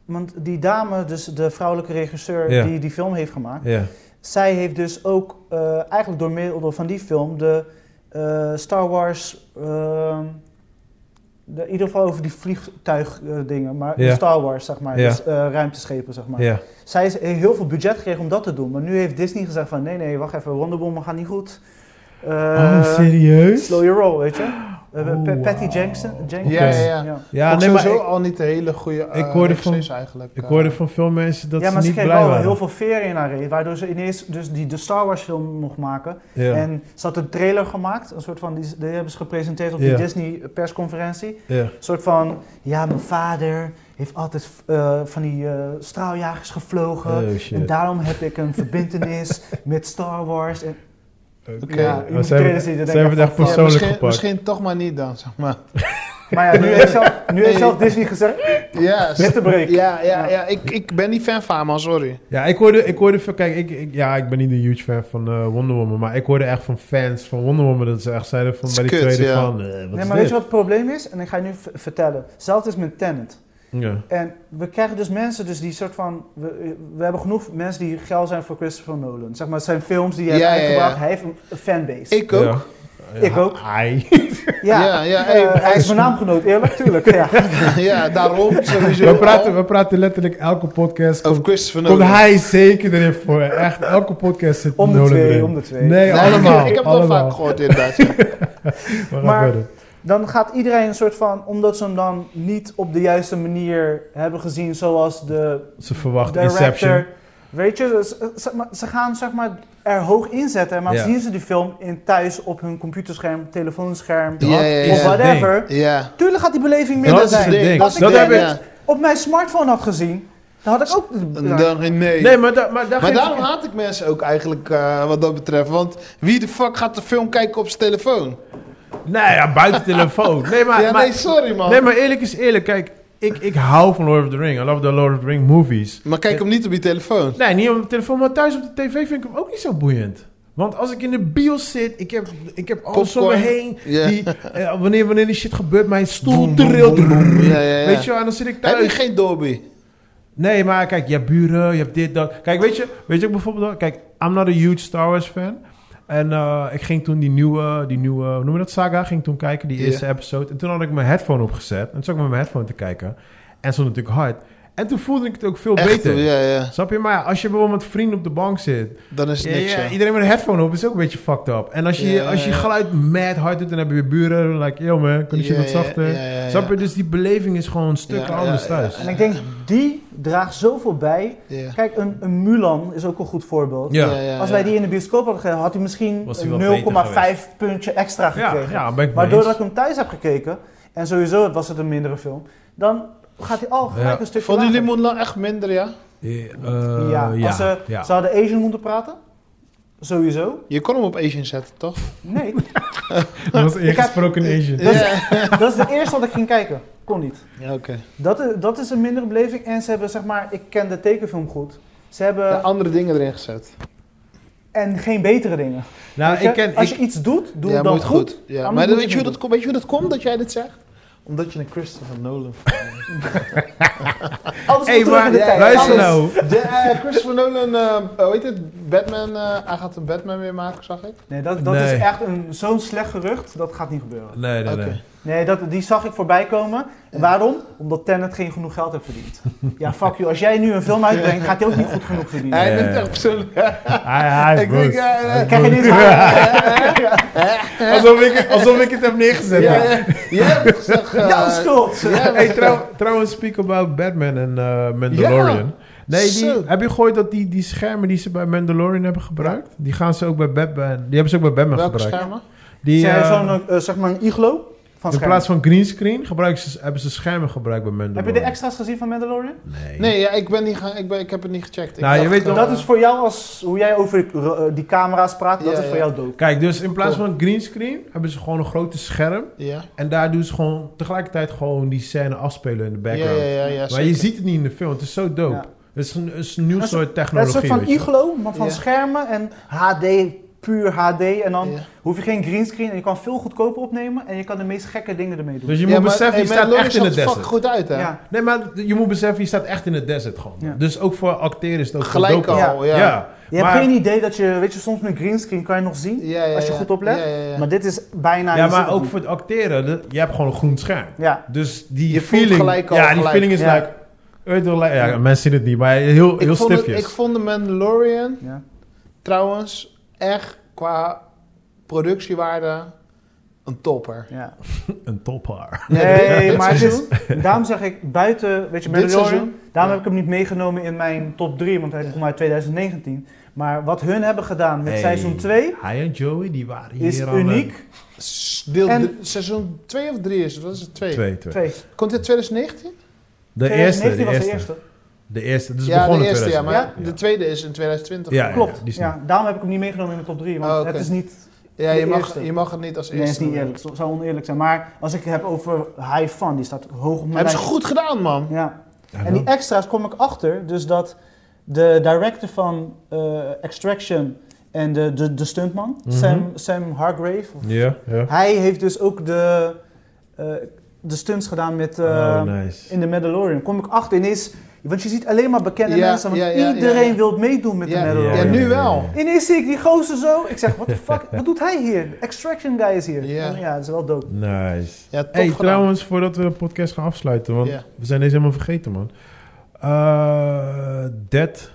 want die dame, dus de vrouwelijke regisseur
Ja.
die die film heeft gemaakt,
Ja,
zij heeft dus ook eh, eigenlijk door middel van die film de eh, Star Wars, ehm, de, in ieder geval over die vliegtuigdingen, dingen, maar de
Ja.
Star Wars zeg maar,
Ja.
dus eh, ruimteschepen zeg maar.
ja.
Zij is- heeft heel veel budget gekregen om dat te doen, maar nu heeft Disney gezegd van nee nee wacht even Wonder Woman gaat niet goed. Eh,
oh, serieus?
slow your roll, weet je. Eh,
Oh,
Pa- Patty
wauw.
Jenkins. Jenkins.
Ja, ja, ja.
Ja, nee,
nee,
maar
sowieso
ik,
al niet de hele goede eh,
ik hoorde van-
regisseurs eigenlijk.
ik
eh.
hoorde van veel mensen dat
ja, maar
ze
ze
niet
kreeg
blij
wel
waren.
heel veel veer in haar reet, waardoor ze ineens dus die de Star Wars film mocht maken.
Ja,
En ze had een trailer gemaakt, een soort van, die, die hebben ze gepresenteerd op
Ja.
die Disney persconferentie.
ja.
Een soort van, ja, mijn vader heeft altijd eh, van die eh, straaljagers gevlogen.
Oh,
en
shit.
daarom heb ik een verbindenis met Star Wars. En,
Oké.
Ja,
Ja,
je moet
ze hebben,
trailers zien, dan
ze
denk
hebben
ik
het echt
van,
misschien-
persoonlijk
misschien,
gepakt.
toch maar niet dan, zeg maar.
maar ja, nu heeft zelf, nu heeft zelf Disney gezegd,
Ja,
Met de break.
Ja, ja,
Ja.
ja. Ik, ik ben niet fan van hem, man, sorry.
Ja, ik hoorde, ik hoorde van, kijk, ik, ik, ja, ik ben niet een huge fan van eh, Wonder Woman, maar ik hoorde echt van fans van Wonder Woman dat ze echt zeiden van
Dat
bij
is
die
kut,
tweede
ja.
van, eh, wat
nee,
is
maar weet
dit?
je wat het probleem is? En ik ga je nu v- vertellen. Zelfs is met Tenet.
Ja,
En we krijgen dus mensen dus die soort van... We, we hebben genoeg mensen die geil zijn voor Christopher Nolan. Zeg maar, het zijn films die hij
Ja,
heeft
ja, ja.
uitgebracht. Hij heeft een een fanbase.
Ik ook.
Ja.
Ik ook.
Ai.
ja,
Ja, ja,
eh,
hey,
hij is mijn naamgenoot, eerlijk, tuurlijk. Ja.
Ja, daarom sowieso.
We praten,
al.
we praten letterlijk elke podcast.
over
Komt,
Christopher
komt
Nolan.
hij zeker erin voor. Echt, elke podcast zit
Om de
Nolan
twee,
erin.
om de twee.
Nee, oh.
Nee,
allemaal.
Ik, heb het al
allemaal.
vaak gehoord inderdaad. ja.
We gaan
Maar-
verder.
Dan gaat iedereen een soort van... Omdat ze hem dan niet op de juiste manier hebben gezien zoals de
Ze verwachten
director...
Inception.
Weet je, ze, ze- maar ze gaan zeg maar er hoog in zetten, maar
Ja.
zien ze die film in thuis op hun computerscherm, telefoonscherm,
Ja, ja, ja.
of whatever.
Ja.
Tuurlijk gaat die beleving
Dat
minder
is het
zijn.
ding.
Dat is
Dat
het
heb
ding,
ik.
ja.
op mijn smartphone had gezien, dan had ik ook.
En dan geen nee.
Nee, maar, da, maar, daar
maar
geef-
daarom haat ik mensen ook eigenlijk eh, wat dat betreft. Want wie de fuck gaat de film kijken op zijn telefoon?
Nee, ja, buiten telefoon. Nee, maar,
ja,
maar,
nee, sorry man.
nee, maar eerlijk is eerlijk. Kijk, ik, ik hou van Lord of the Ring. I love the Lord of the Ring movies.
Maar kijk hem niet op je telefoon.
Nee, niet op de telefoon, maar thuis op de tv vind ik hem ook niet zo boeiend. Want als ik in de bios zit, ik heb, ik heb alles om me
Popcorn.
heen.
Ja.
Die, eh, wanneer, wanneer die shit gebeurt, mijn stoel
Boem, boem,
trilt.
boem, boem. Ja, ja, ja.
Weet je wel, en dan zit ik
Heb je
thuis.
geen Dolby?
Nee, maar kijk, je hebt buren, je hebt dit, dat. Kijk, weet je, weet je ook bijvoorbeeld... wel- Kijk, I'm not a huge Star Wars fan. En eh, ik ging toen die nieuwe, die nieuwe, hoe noem je dat, saga? Ging toen kijken, die
Ja.
eerste episode. En toen had ik mijn headphone opgezet. En toen zat ik met mijn headphone te kijken. En stond natuurlijk hard. En toen voelde ik het ook veel
Echt,
beter.
ja, ja.
Snap je? Maar ja, als je bijvoorbeeld met vrienden op de bank zit...
Dan is het
Ja,
niks,
ja,
ja.
Iedereen met een headphone op is ook een beetje fucked up. En als je,
Ja,
als je
ja.
geluid mad hard doet, dan heb je weer buren. Like, yo man, kun je
Ja,
wat
ja,
zachter?
ja, ja, ja.
Snap je? Dus die beleving is gewoon een stuk
Ja,
anders
ja,
thuis.
En ik denk, die draagt zoveel bij.
Ja.
Kijk, een, een Mulan is ook een goed voorbeeld.
Ja.
Als wij die in de bioscoop hadden gegeven, had hij misschien
Was die wel beter
0,5 puntje extra
Ja,
gekregen.
ja, ben ik
Maar
mee eens.
doordat ik hem thuis heb gekeken, en sowieso was het een mindere film, dan gaat hij al gelijk
Ja.
een stukje
Vonden jullie
lager.
Moonlight echt minder, ja?
Eh,
ja,
ja,
als ze,
ja.
ze hadden Asian moeten praten, sowieso.
Je kon hem op Asian zetten, toch?
Nee,
Dat was
Ik heb-
ingesproken Asian.
Dat is- dat is de eerste wat ik ging kijken. Kon niet.
Ja, oké.
Dat is, dat is een mindere beleving. En ze hebben, zeg maar, ik ken de tekenfilm goed. Ze hebben,
Ja, andere dingen erin gezet.
en geen betere dingen.
Nou,
Weet je?
ik ken...
Als
Ik,
je iets doet, doe
ja,
het dan
moet
goed.
Ja,
Anders
maar
moet
weet je,
je
hoe
het
dat, komt- weet je hoe dat komt dat jij dit zegt? Omdat je een Christopher Nolan fan bent.
Alles
hey,
moet terug
maar
in de tijd.
luister
Alles.
nou.
De, eh, Christopher Nolan, eh, hoe heet het? Batman, eh, hij gaat een Batman weer maken, zag ik.
Nee, dat, dat
Nee.
is echt een- zo'n slecht gerucht. Dat gaat niet gebeuren.
Nee, nee, nee.
Oké.
Nee, dat, die zag ik voorbij komen. En waarom? Omdat Tenet geen genoeg geld heeft verdiend. Ja, fuck you. Als jij nu een film uitbrengt, gaat hij ook niet goed genoeg verdienen.
Hij
Ja.
neemt echt persoonlijk.
Hij, hij is
Ik denk, eh,
boos.
ja, ja.
Hij is
Krijg je
boos.
dit aan?
alsof, ik, alsof ik het heb neergezet.
Ja, ja. Je hebt gezegd, eh,
Jouw schuld!
ja,
hey, trouw- trouwens, speak about Batman en eh, Mandalorian. Nee, die,
Zo.
heb je gehoord dat die, die schermen die ze bij Mandalorian hebben gebruikt, die gaan ze ook bij Batman, die hebben ze ook bij Batman
Welke
gebruikt.
schermen?
Die,
Zijn
eh,
zo'n, eh, zeg maar, een iglo van
in
schermen.
plaats van greenscreen gebruiken ze, hebben ze schermen gebruikt bij
Heb
Mandalorian.
je de extra's gezien van Mandalorian?
Nee.
Nee, ja, ik, ben niet gaan, ik, ben, ik heb het niet gecheckt. Ik
Nou, je
dacht,
weet
eh,
toch-
Dat is voor jou, als, hoe jij over eh, die camera's praat, dat
Ja,
is voor
ja.
jou dood.
Kijk, dus in plaats van een greenscreen hebben ze gewoon een grote scherm
Ja,
en daar doen ze gewoon tegelijkertijd gewoon die scène afspelen in
ja,
de background.
ja, ja. ja,
maar je
zeker.
ziet het niet in de film, het is zo dope.
Ja.
Het is een, het is een nieuw
Dat is-
soort
Het is een
technologie.
soort van
Oh, weet je.
iglo, maar van
Ja.
schermen en HD, puur HD. En dan
Ja.
hoef je geen greenscreen en je kan veel goedkoper opnemen en je kan de meest gekke dingen ermee doen.
Dus je
Ja,
moet
maar,
beseffen,
hey,
je staat
Mandalorian
echt in de
zag er
desert.
fucking goed uit, hè?
ja.
Nee, maar je moet beseffen, je staat echt in de desert gewoon.
Ja.
Dus ook voor acteren is het ook
Gelijk
dope.
al, Oh,
Ja.
ja.
Ja.
Ja,
Je
maar,
hebt geen idee dat je, weet je, soms met greenscreen kan je nog zien,
ja, ja,
als je
ja.
goed oplet.
Ja, ja, ja.
Maar dit is bijna... je
ja,
ziet
maar
het
ook
niet.
voor het acteren, de- je hebt gewoon een groen scherm.
Ja.
Dus die
Je voelt
feeling,
gelijk al,
ja, die
gelijk.
feeling is
Ja.
like, weet je wel, like- ja, mensen zien het niet, maar heel, heel
ik, vond het,
stifjes.
ik vond de Mandalorian
ja.
trouwens echt qua productiewaarde een topper.
Ja.
Een tophaar.
Nee,
dit
maar het is,
seizoen?
daarom zeg ik, buiten, weet je,
Dit
Mandalorian,
seizoen?
daarom heb ik hem niet meegenomen in mijn top 3, want hij komt uit 2019. Maar wat hun hebben gedaan met
Hey.
seizoen 2
Hij en Joey, die waren
is
hier al, eh,
uniek.
S- Deel
En-
drie- seizoen 2 of 3 is het? Wat is het? 2.
Twee, twee.
Twee.
Komt dit 2019?
De eerste,
2019
de
was
eerste.
de eerste.
De eerste, dus
ja,
begonnen
de eerste, ja. Maar de
Ja.
tweede is in 2020.
Ja, ja.
Klopt.
die is Ah,
Ja, daarom heb ik hem niet meegenomen in mijn top 3, want
Oh, oké.
het is niet,
Ja,
De
je, mag,
eerste.
je mag het niet als
nee, het is
eerste.
niet eerlijk. Het zou oneerlijk zijn. Maar als ik het heb over high fun, die staat hoog op mijn
Hebben ze
lijst.
goed gedaan, man.
Ja.
Ja,
En die extra's kom ik achter, dus dat de director van eh, Extraction en de, de, de stuntman,
Mhm.
Sam, Sam Hargrave, of-
Ja, ja.
hij heeft dus ook de, eh, de stunts gedaan met, eh,
Oh, nice.
in de Mandalorian. Kom ik achter ineens, want je ziet alleen maar bekende
Ja,
mensen, want
ja, ja,
iedereen
ja, ja.
wil meedoen met
Ja,
de
ja,
Mandalorian.
nu wel.
Ineens zie ik die gozer zo, ik zeg, what the fuck, wat doet hij hier? De Extraction guy is hier.
Ja.
Ja, dat is wel dope.
Nice.
Ja, top
Hey,
gedaan.
trouwens, voordat we de podcast gaan afsluiten, want
Ja.
we zijn deze helemaal vergeten, man. Eh Dead,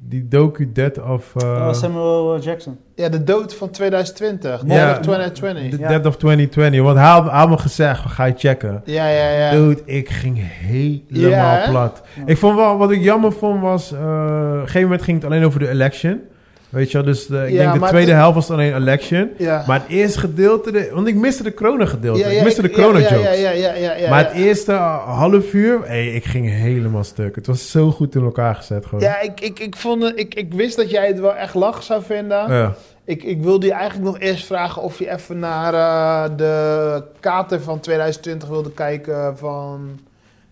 die docu Dead of... eh,
Oh,
Eh, Samuel eh, Jackson.
Ja, de dood van 2020.
Ja.
Ja. 2020.
The
ja.
Dead of 2020, want hij had- hij had me gezegd, ga je checken.
Ja, ja, ja.
Dude, ik ging helemaal
Ja, hè?
plat.
Ja.
Ik vond wel, wat ik jammer vond was, eh, op een gegeven moment ging het alleen over de election. Weet je wel, dus de- ik
Ja,
denk de
maar
tweede
het-
helft was alleen election.
Ja.
Maar het eerste gedeelte, de- want ik miste de corona gedeelte.
ja, ja,
ik miste de
ja,
corona
ja,
jokes.
Ja, ja, ja, ja, ja.
maar
ja.
het eerste half uur, hey, ik ging helemaal stuk. Het was zo goed in elkaar gezet gewoon.
Ja, ik, ik, ik, vond, het- ik, ik wist dat jij het wel echt lach zou vinden.
Ja.
Ik, ik wilde je eigenlijk nog eerst vragen of je even naar eh, de kater van 2020 wilde kijken van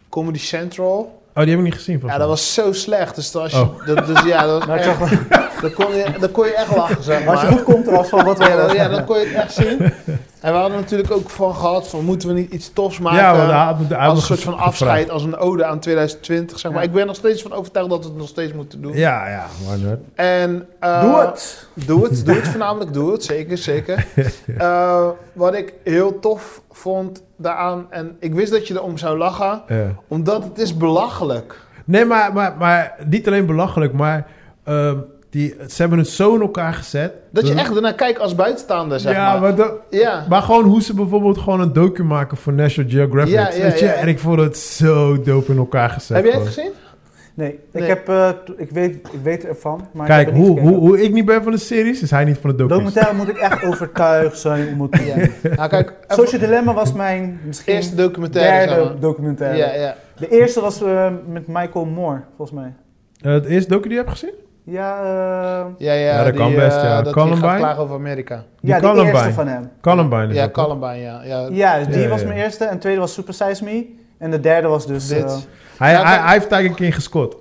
Comedy Central.
Oh, die heb ik niet gezien
Ja,
volgens
dat
mij.
was zo slecht. Dus, dat, als je,
Oh.
dat, dus ja, dat, was
Nou, ik
echt,
zag
dat, kon je, dat kon je echt lachen, zeg
Als je
maar.
goed komt, er was van wat
Ja,
wel.
dat, ja, dat kon je echt zien. En we hadden natuurlijk ook van gehad van moeten we niet iets tofs maken.
ja, want hij had, hij had
eh, als een
nog
soort van
gevraagd.
afscheid, als een ode aan 2020, zeg maar.
Ja.
Ik ben nog steeds van overtuigd dat we het nog steeds moeten doen.
Ja, ja, why not?
En, eh,
Doe het!
Doe het, doe het voornamelijk, doe het, zeker, zeker. Eh, wat ik heel tof vond daaraan, en ik wist dat je erom zou lachen,
Ja.
omdat het is belachelijk.
Nee, maar, maar, maar niet alleen belachelijk, maar ehm, die, ze hebben het zo in elkaar gezet.
Dat je echt ernaar kijkt als buitenstaander, zeg
ja,
maar.
maar dat-
Ja,
Maar gewoon hoe ze bijvoorbeeld gewoon een docu maken voor National Geographic.
Ja, ja,
weet je?
ja.
En ik vond het zo dope in elkaar gezet.
heb jij het
gewoon.
gezien?
Nee,
Nee.
ik, heb, eh, t- ik, weet, ik weet ervan, maar ik
Kijk,
heb er niet
hoe, hoe,
gekeken.
hoe ik niet ben van de series, is hij niet van de docu.
Documentaire moet ik echt overtuigd zijn om het te
Ja.
doen.
Nou, kijk, even
Social Dilemma was mijn misschien
eerste documentaire.
derde
zeg maar.
documentaire.
Ja, ja.
De eerste was eh, met Michael Moore, volgens mij.
Eh het eerste docu die je hebt gezien?
Ja, eh,
Ja, ja,
Ja, dat
die,
kan best, ja.
eh, dat die
Columbine?
gaat klagen over Amerika.
Die
ja de
Columbine.
eerste van hem.
Columbine. is
Ja,
dat, toch?
Columbine, ja. ja.
Ja, dus die
Ja,
was
ja.
mijn eerste. En de tweede was Super Size Me. En de derde was dus...
Dit.
eh,
Hij,
Ja,
hij,
kijk.
hij heeft Tiger King gescot.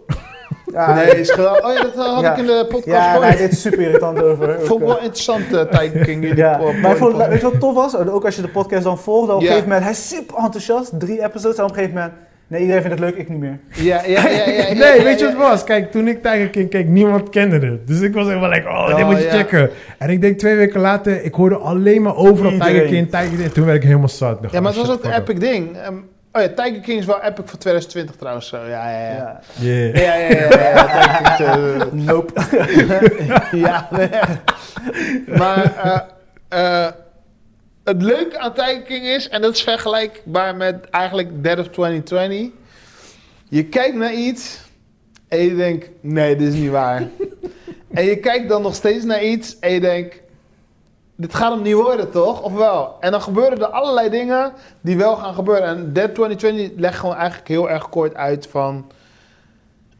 ja,
nee, is Oh, geweldig. Oh ja, dat had
Ja.
ik in de podcast
ja,
gehoord.
nee, dit is super irritant over.
Vond ik wel interessant, eh Tiger King. jullie
Ja,
po-
maar ik vond-
podcast.
weet je wat tof was? Ook als je de podcast dan volgt, dan op een
Ja.
gegeven moment, hij is super enthousiast, drie episodes, en op een gegeven moment, nee, iedereen vindt het leuk, ik niet meer.
Ja, ja, ja, ja, ja,
Nee,
ja,
weet je
ja.
wat het was? Kijk, toen ik Tiger King keek, niemand kende dit. Dus ik was helemaal like, oh, dit
Oh,
moet je
ja.
checken. En ik denk twee weken later, ik hoorde alleen maar overal Tiger
Iedereen.
King, Tiger King. Toen werd ik helemaal zat. Ik dacht,
Ja, maar het
oh,
was ook
shit,
een
fuck
epic ding. Ehm, oh ja, Tiger King is wel epic voor 2020 trouwens. Zo. Ja, ja, ja.
Ja.
up. Yeah.
Ja, ja, ja. ja, ja, Tiger King, eh,
Nope.
ja, nee, echt. Maar eh, eh, het leuke aan Tiger King is, en dat is vergelijkbaar met eigenlijk Dead of 2020. Je kijkt naar iets en je denkt, nee, dit is niet waar. en je kijkt dan nog steeds naar iets en je denkt, dit gaat hem niet worden, toch? Of wel? En dan gebeuren er allerlei dingen die wel gaan gebeuren. En Dead 2020 legt gewoon eigenlijk heel erg kort uit van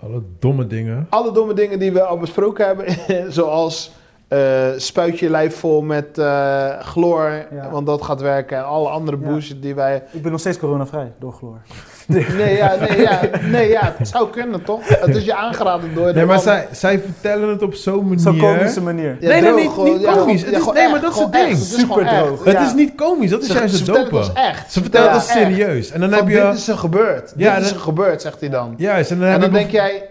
Alle domme dingen.
alle domme dingen die we al besproken hebben, zoals eh, spuit je lijf vol met eh, chloor,
Ja.
want dat gaat werken. En alle andere
Ja.
bullshit die wij...
Ik ben nog steeds coronavrij, door chloor.
Nee ja, nee, ja, nee, ja, het zou kunnen, toch? Het is je aangeraden door... de
Nee, maar
man.
zij, zij vertellen het op zo'n manier.
Zo'n komische manier.
Ja,
Nee, nee,
droog,
niet-
gewoon-
niet
ja, gewoon-
komisch.
ja,
Het is-
gewoon
nee,
echt,
maar dat is het
gewoon
ding.
echt. Het is gewoon
Superdroog.
echt,
Het
ja.
is niet komisch, dat is
Ze-
juist
ze
het
vertellen
dope.
ons echt.
Ze vertellen
Ja,
het als
echt.
serieus. En dan
Van,
heb
dit
je...
is er gebeurd.
Ja,
dit is
dat-
er gebeurd, zegt hij dan.
Juist, en dan,
En
heb
dan
je,
denk jij,
bijv-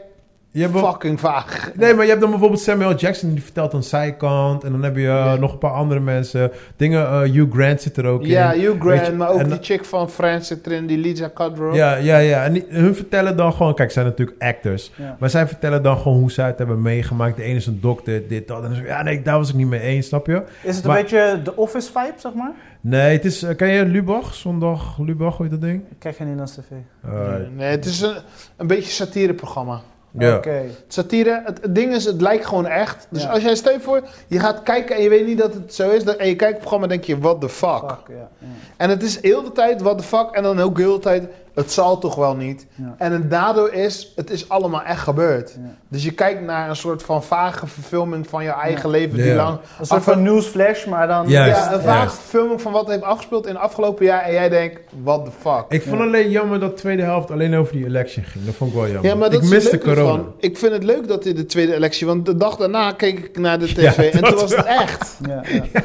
je hebt wel-
fucking vaag.
Nee, maar je hebt dan bijvoorbeeld Samuel Jackson, die vertelt aan zijn kant. En dan heb je eh,
Ja.
nog een paar andere mensen. Dingen, eh, Hugh Grant zit er ook
Ja,
in.
Hugh
Weet je,
Grant, maar ook
en-
die chick van Friends zit erin, die Lisa Kudrow.
Ja, ja, ja. En die- hun vertellen dan gewoon... Kijk, zij zijn natuurlijk actors.
Ja.
Maar zij vertellen dan gewoon hoe zij het hebben meegemaakt. De ene is een dokter, dit, dat. En dan zeg je, ja, nee, daar was ik niet mee eens, snap je?
Is het een
Maar-
beetje de office vibe, zeg maar?
Nee, het is... eh, ken je Lubach? Zondag Lubach, hoe heet dat ding? Eh,
Ik krijg geen Nederlands tv.
Alright.
Nee, het is een, een beetje een satireprogramma.
Ja.
Oké.
Satire, het, het ding is, het lijkt gewoon echt. Dus
Ja.
als jij steun voor, je gaat kijken en je weet niet dat het zo is. dan- en je kijkt het programma en denk je, what the fuck.
Fuck, ja. ja.
En het is heel de tijd, what the fuck. En dan ook heel de tijd, het zal toch wel niet.
Ja.
En het daardoor is, het is allemaal echt gebeurd.
Ja.
Dus je kijkt naar een soort van vage verfilming van je eigen leven. Die
Ja.
lang
Een soort van nieuwsflash, maar dan...
Juist.
ja, een vage verfilming van wat heeft afgespeeld in het afgelopen jaar. En jij denkt, what the fuck.
Ik vond
Ja.
alleen jammer dat de tweede helft alleen over die election ging. Dat vond ik wel jammer.
Ja, maar dat
ik
is het
miste
leuke
corona.
ervan. Ik vind het leuk dat in de tweede electie, want de dag daarna keek ik naar de tv
Ja,
en toen
dat
was het echt.
Ja, ja.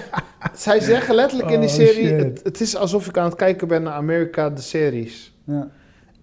Zij zeggen letterlijk in die
Oh,
serie,
shit.
het, het is alsof ik aan het kijken ben naar Amerika, de series.
ja.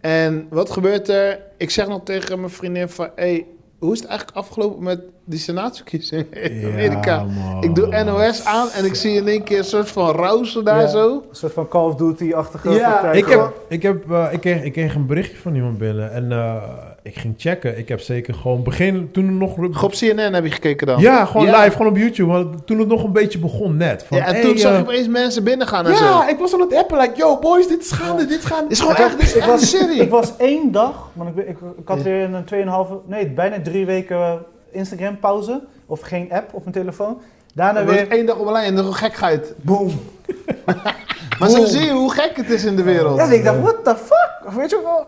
En wat gebeurt er? Ik zeg nog tegen mijn vriendin van, hey, hoe is het eigenlijk afgelopen met die senaatsverkiezingen in
Ja,
Amerika?
man.
Ik doe NOS aan en ik zie in één keer een soort van rauzen daar
Ja.
zo.
Een soort van Call of Duty-achtige
Ja,
partij.
Ik, heb, ik, heb, eh, ik, kreeg, ik kreeg een berichtje van iemand binnen en eh, ik ging checken. Ik heb zeker gewoon begin, toen het nog...
Op CNN heb je gekeken dan?
Ja, gewoon
Ja.
live, gewoon op YouTube. Want toen het nog een beetje begon net. Van,
Ja, en
hey,
toen zag
eh,
je opeens mensen binnengaan en zo.
ja, ik was aan het appen, like, yo boys, dit is gaande, dit is gaande.
Is gewoon echt, dit is
Ik
echt
was-
een serie.
Ik was één dag, want ik, ben- ik, ik had
Ja.
weer een 2,5, nee, bijna drie weken eh, Instagram pauze. Of geen app op mijn telefoon. Daarna
Dan weer
weer.
één dag op een lijn en dan gekheid.
Boom.
Maar zo
Boom.
zie je hoe gek het is in de wereld.
Ja, ik dacht, what the fuck? Weet je wel?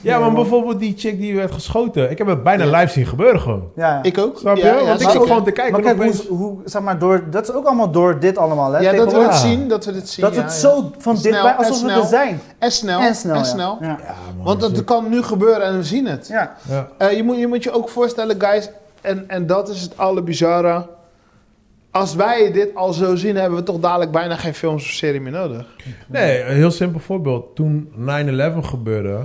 Ja, maar bijvoorbeeld die chick die werd geschoten. Ik heb het bijna live zien gebeuren gewoon.
Ja,
Ik ook.
Snap je?
Ja, ja,
Want ik
zeker.
zat gewoon te kijken.
maar
en
kijk,
opeens-
hoe, hoe, zeg maar, door, dat is ook allemaal door dit allemaal, hè?
Ja, dat we
tegenwoordig.
het zien, dat we het zien.
Dat we
ja,
het
ja.
zo van
Snel
dichtbij,
en
alsof we
snel.
er zijn.
En snel.
En snel, ja. Ja.
Ja, man,
Want dat
shit.
kan nu gebeuren en we zien het.
Ja.
Ja.
Eh, je, moet, je moet je ook voorstellen, guys, en, en dat is het alle bizarre. Als wij dit al zo zien, hebben we toch dadelijk bijna geen films of serie meer nodig.
Nee, een heel simpel voorbeeld. Toen 9-11 gebeurde,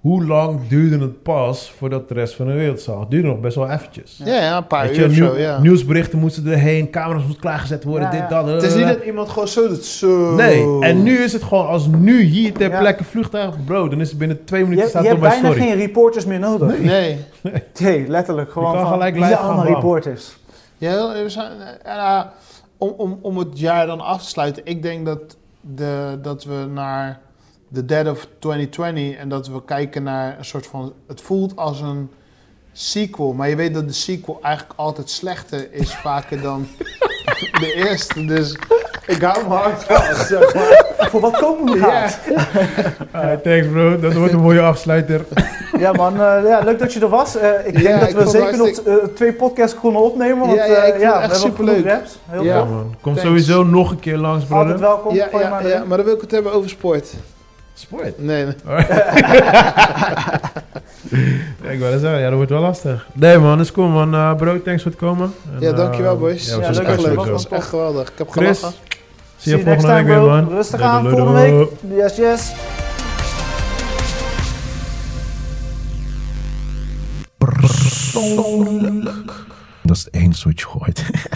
hoe lang duurde het pas voordat de rest van de wereld zag? Het duurde nog best wel eventjes.
Ja, ja een paar
Weet
uur
je,
of
nieuw-
zo, ja.
Nieuwsberichten moesten erheen, camera's moesten klaargezet worden,
Ja, ja.
dit, dat.
Het is niet dat iemand gewoon zo doet. Zo.
Nee, en nu is het gewoon als nu hier ter
Oh. Ja.
plekke vliegtuig, bro, dan is het binnen twee
Je,
minuten
je
staat het
hebt
op mijn
bijna
story.
geen reporters meer nodig. Nee,
Nee.
letterlijk. Gewoon
kan
van,
gelijk
wie zijn
live gaan
allemaal
bouwen.
reporters.
Ja, we zijn, eh, ja, om, om, om het jaar dan af te sluiten. Ik denk dat, de, dat we naar de dead of 2020 en dat we kijken naar een soort van... Het voelt als een sequel, maar je weet dat de sequel eigenlijk altijd slechter is vaker dan de eerste. Dus ik hou me hard vast, zeg maar.
Voor wat komen we
Ja.
gaat?
Ah, thanks bro, dat wordt een mooie afsluiter.
Ja man, eh, ja, leuk dat je er was. Eh, ik
Ja,
denk dat
ik
we
vond het
zeker nog eh, twee podcasts konden opnemen. Want
Ja,
eh,
ja,
ja,
ik vond
ja,
het echt
we hebben
superleuk.
genoeg raps. Heel
Ja.
Ja,
tof.
man. Kom
Thanks.
sowieso nog een keer langs,
Altijd
brother.
welkom.
Ja,
Gooi
ja,
maar
ja,
erin.
maar dan wil ik het hebben over sport.
Sport.
Nee, nee.
Ja, ik wil het zeggen, ja, dat wordt wel lastig. Nee man, is cool man. Eh, bro, thanks voor het komen. En,
ja dankjewel
eh,
boys.
Ja,
het
we
Ja,
zijn
was
leuk
echt
dat
straks
je
leuk.
was,
Het was
weer zo.
echt geweldig. Ik heb
Chris,
gelachen.
zie je
See you next
volgende week
time,
weer
bro.
man.
Rustig
Doei,
aan,
doei,
volgende
doei.
week. Yes, yes.
Dat is één switch gooit.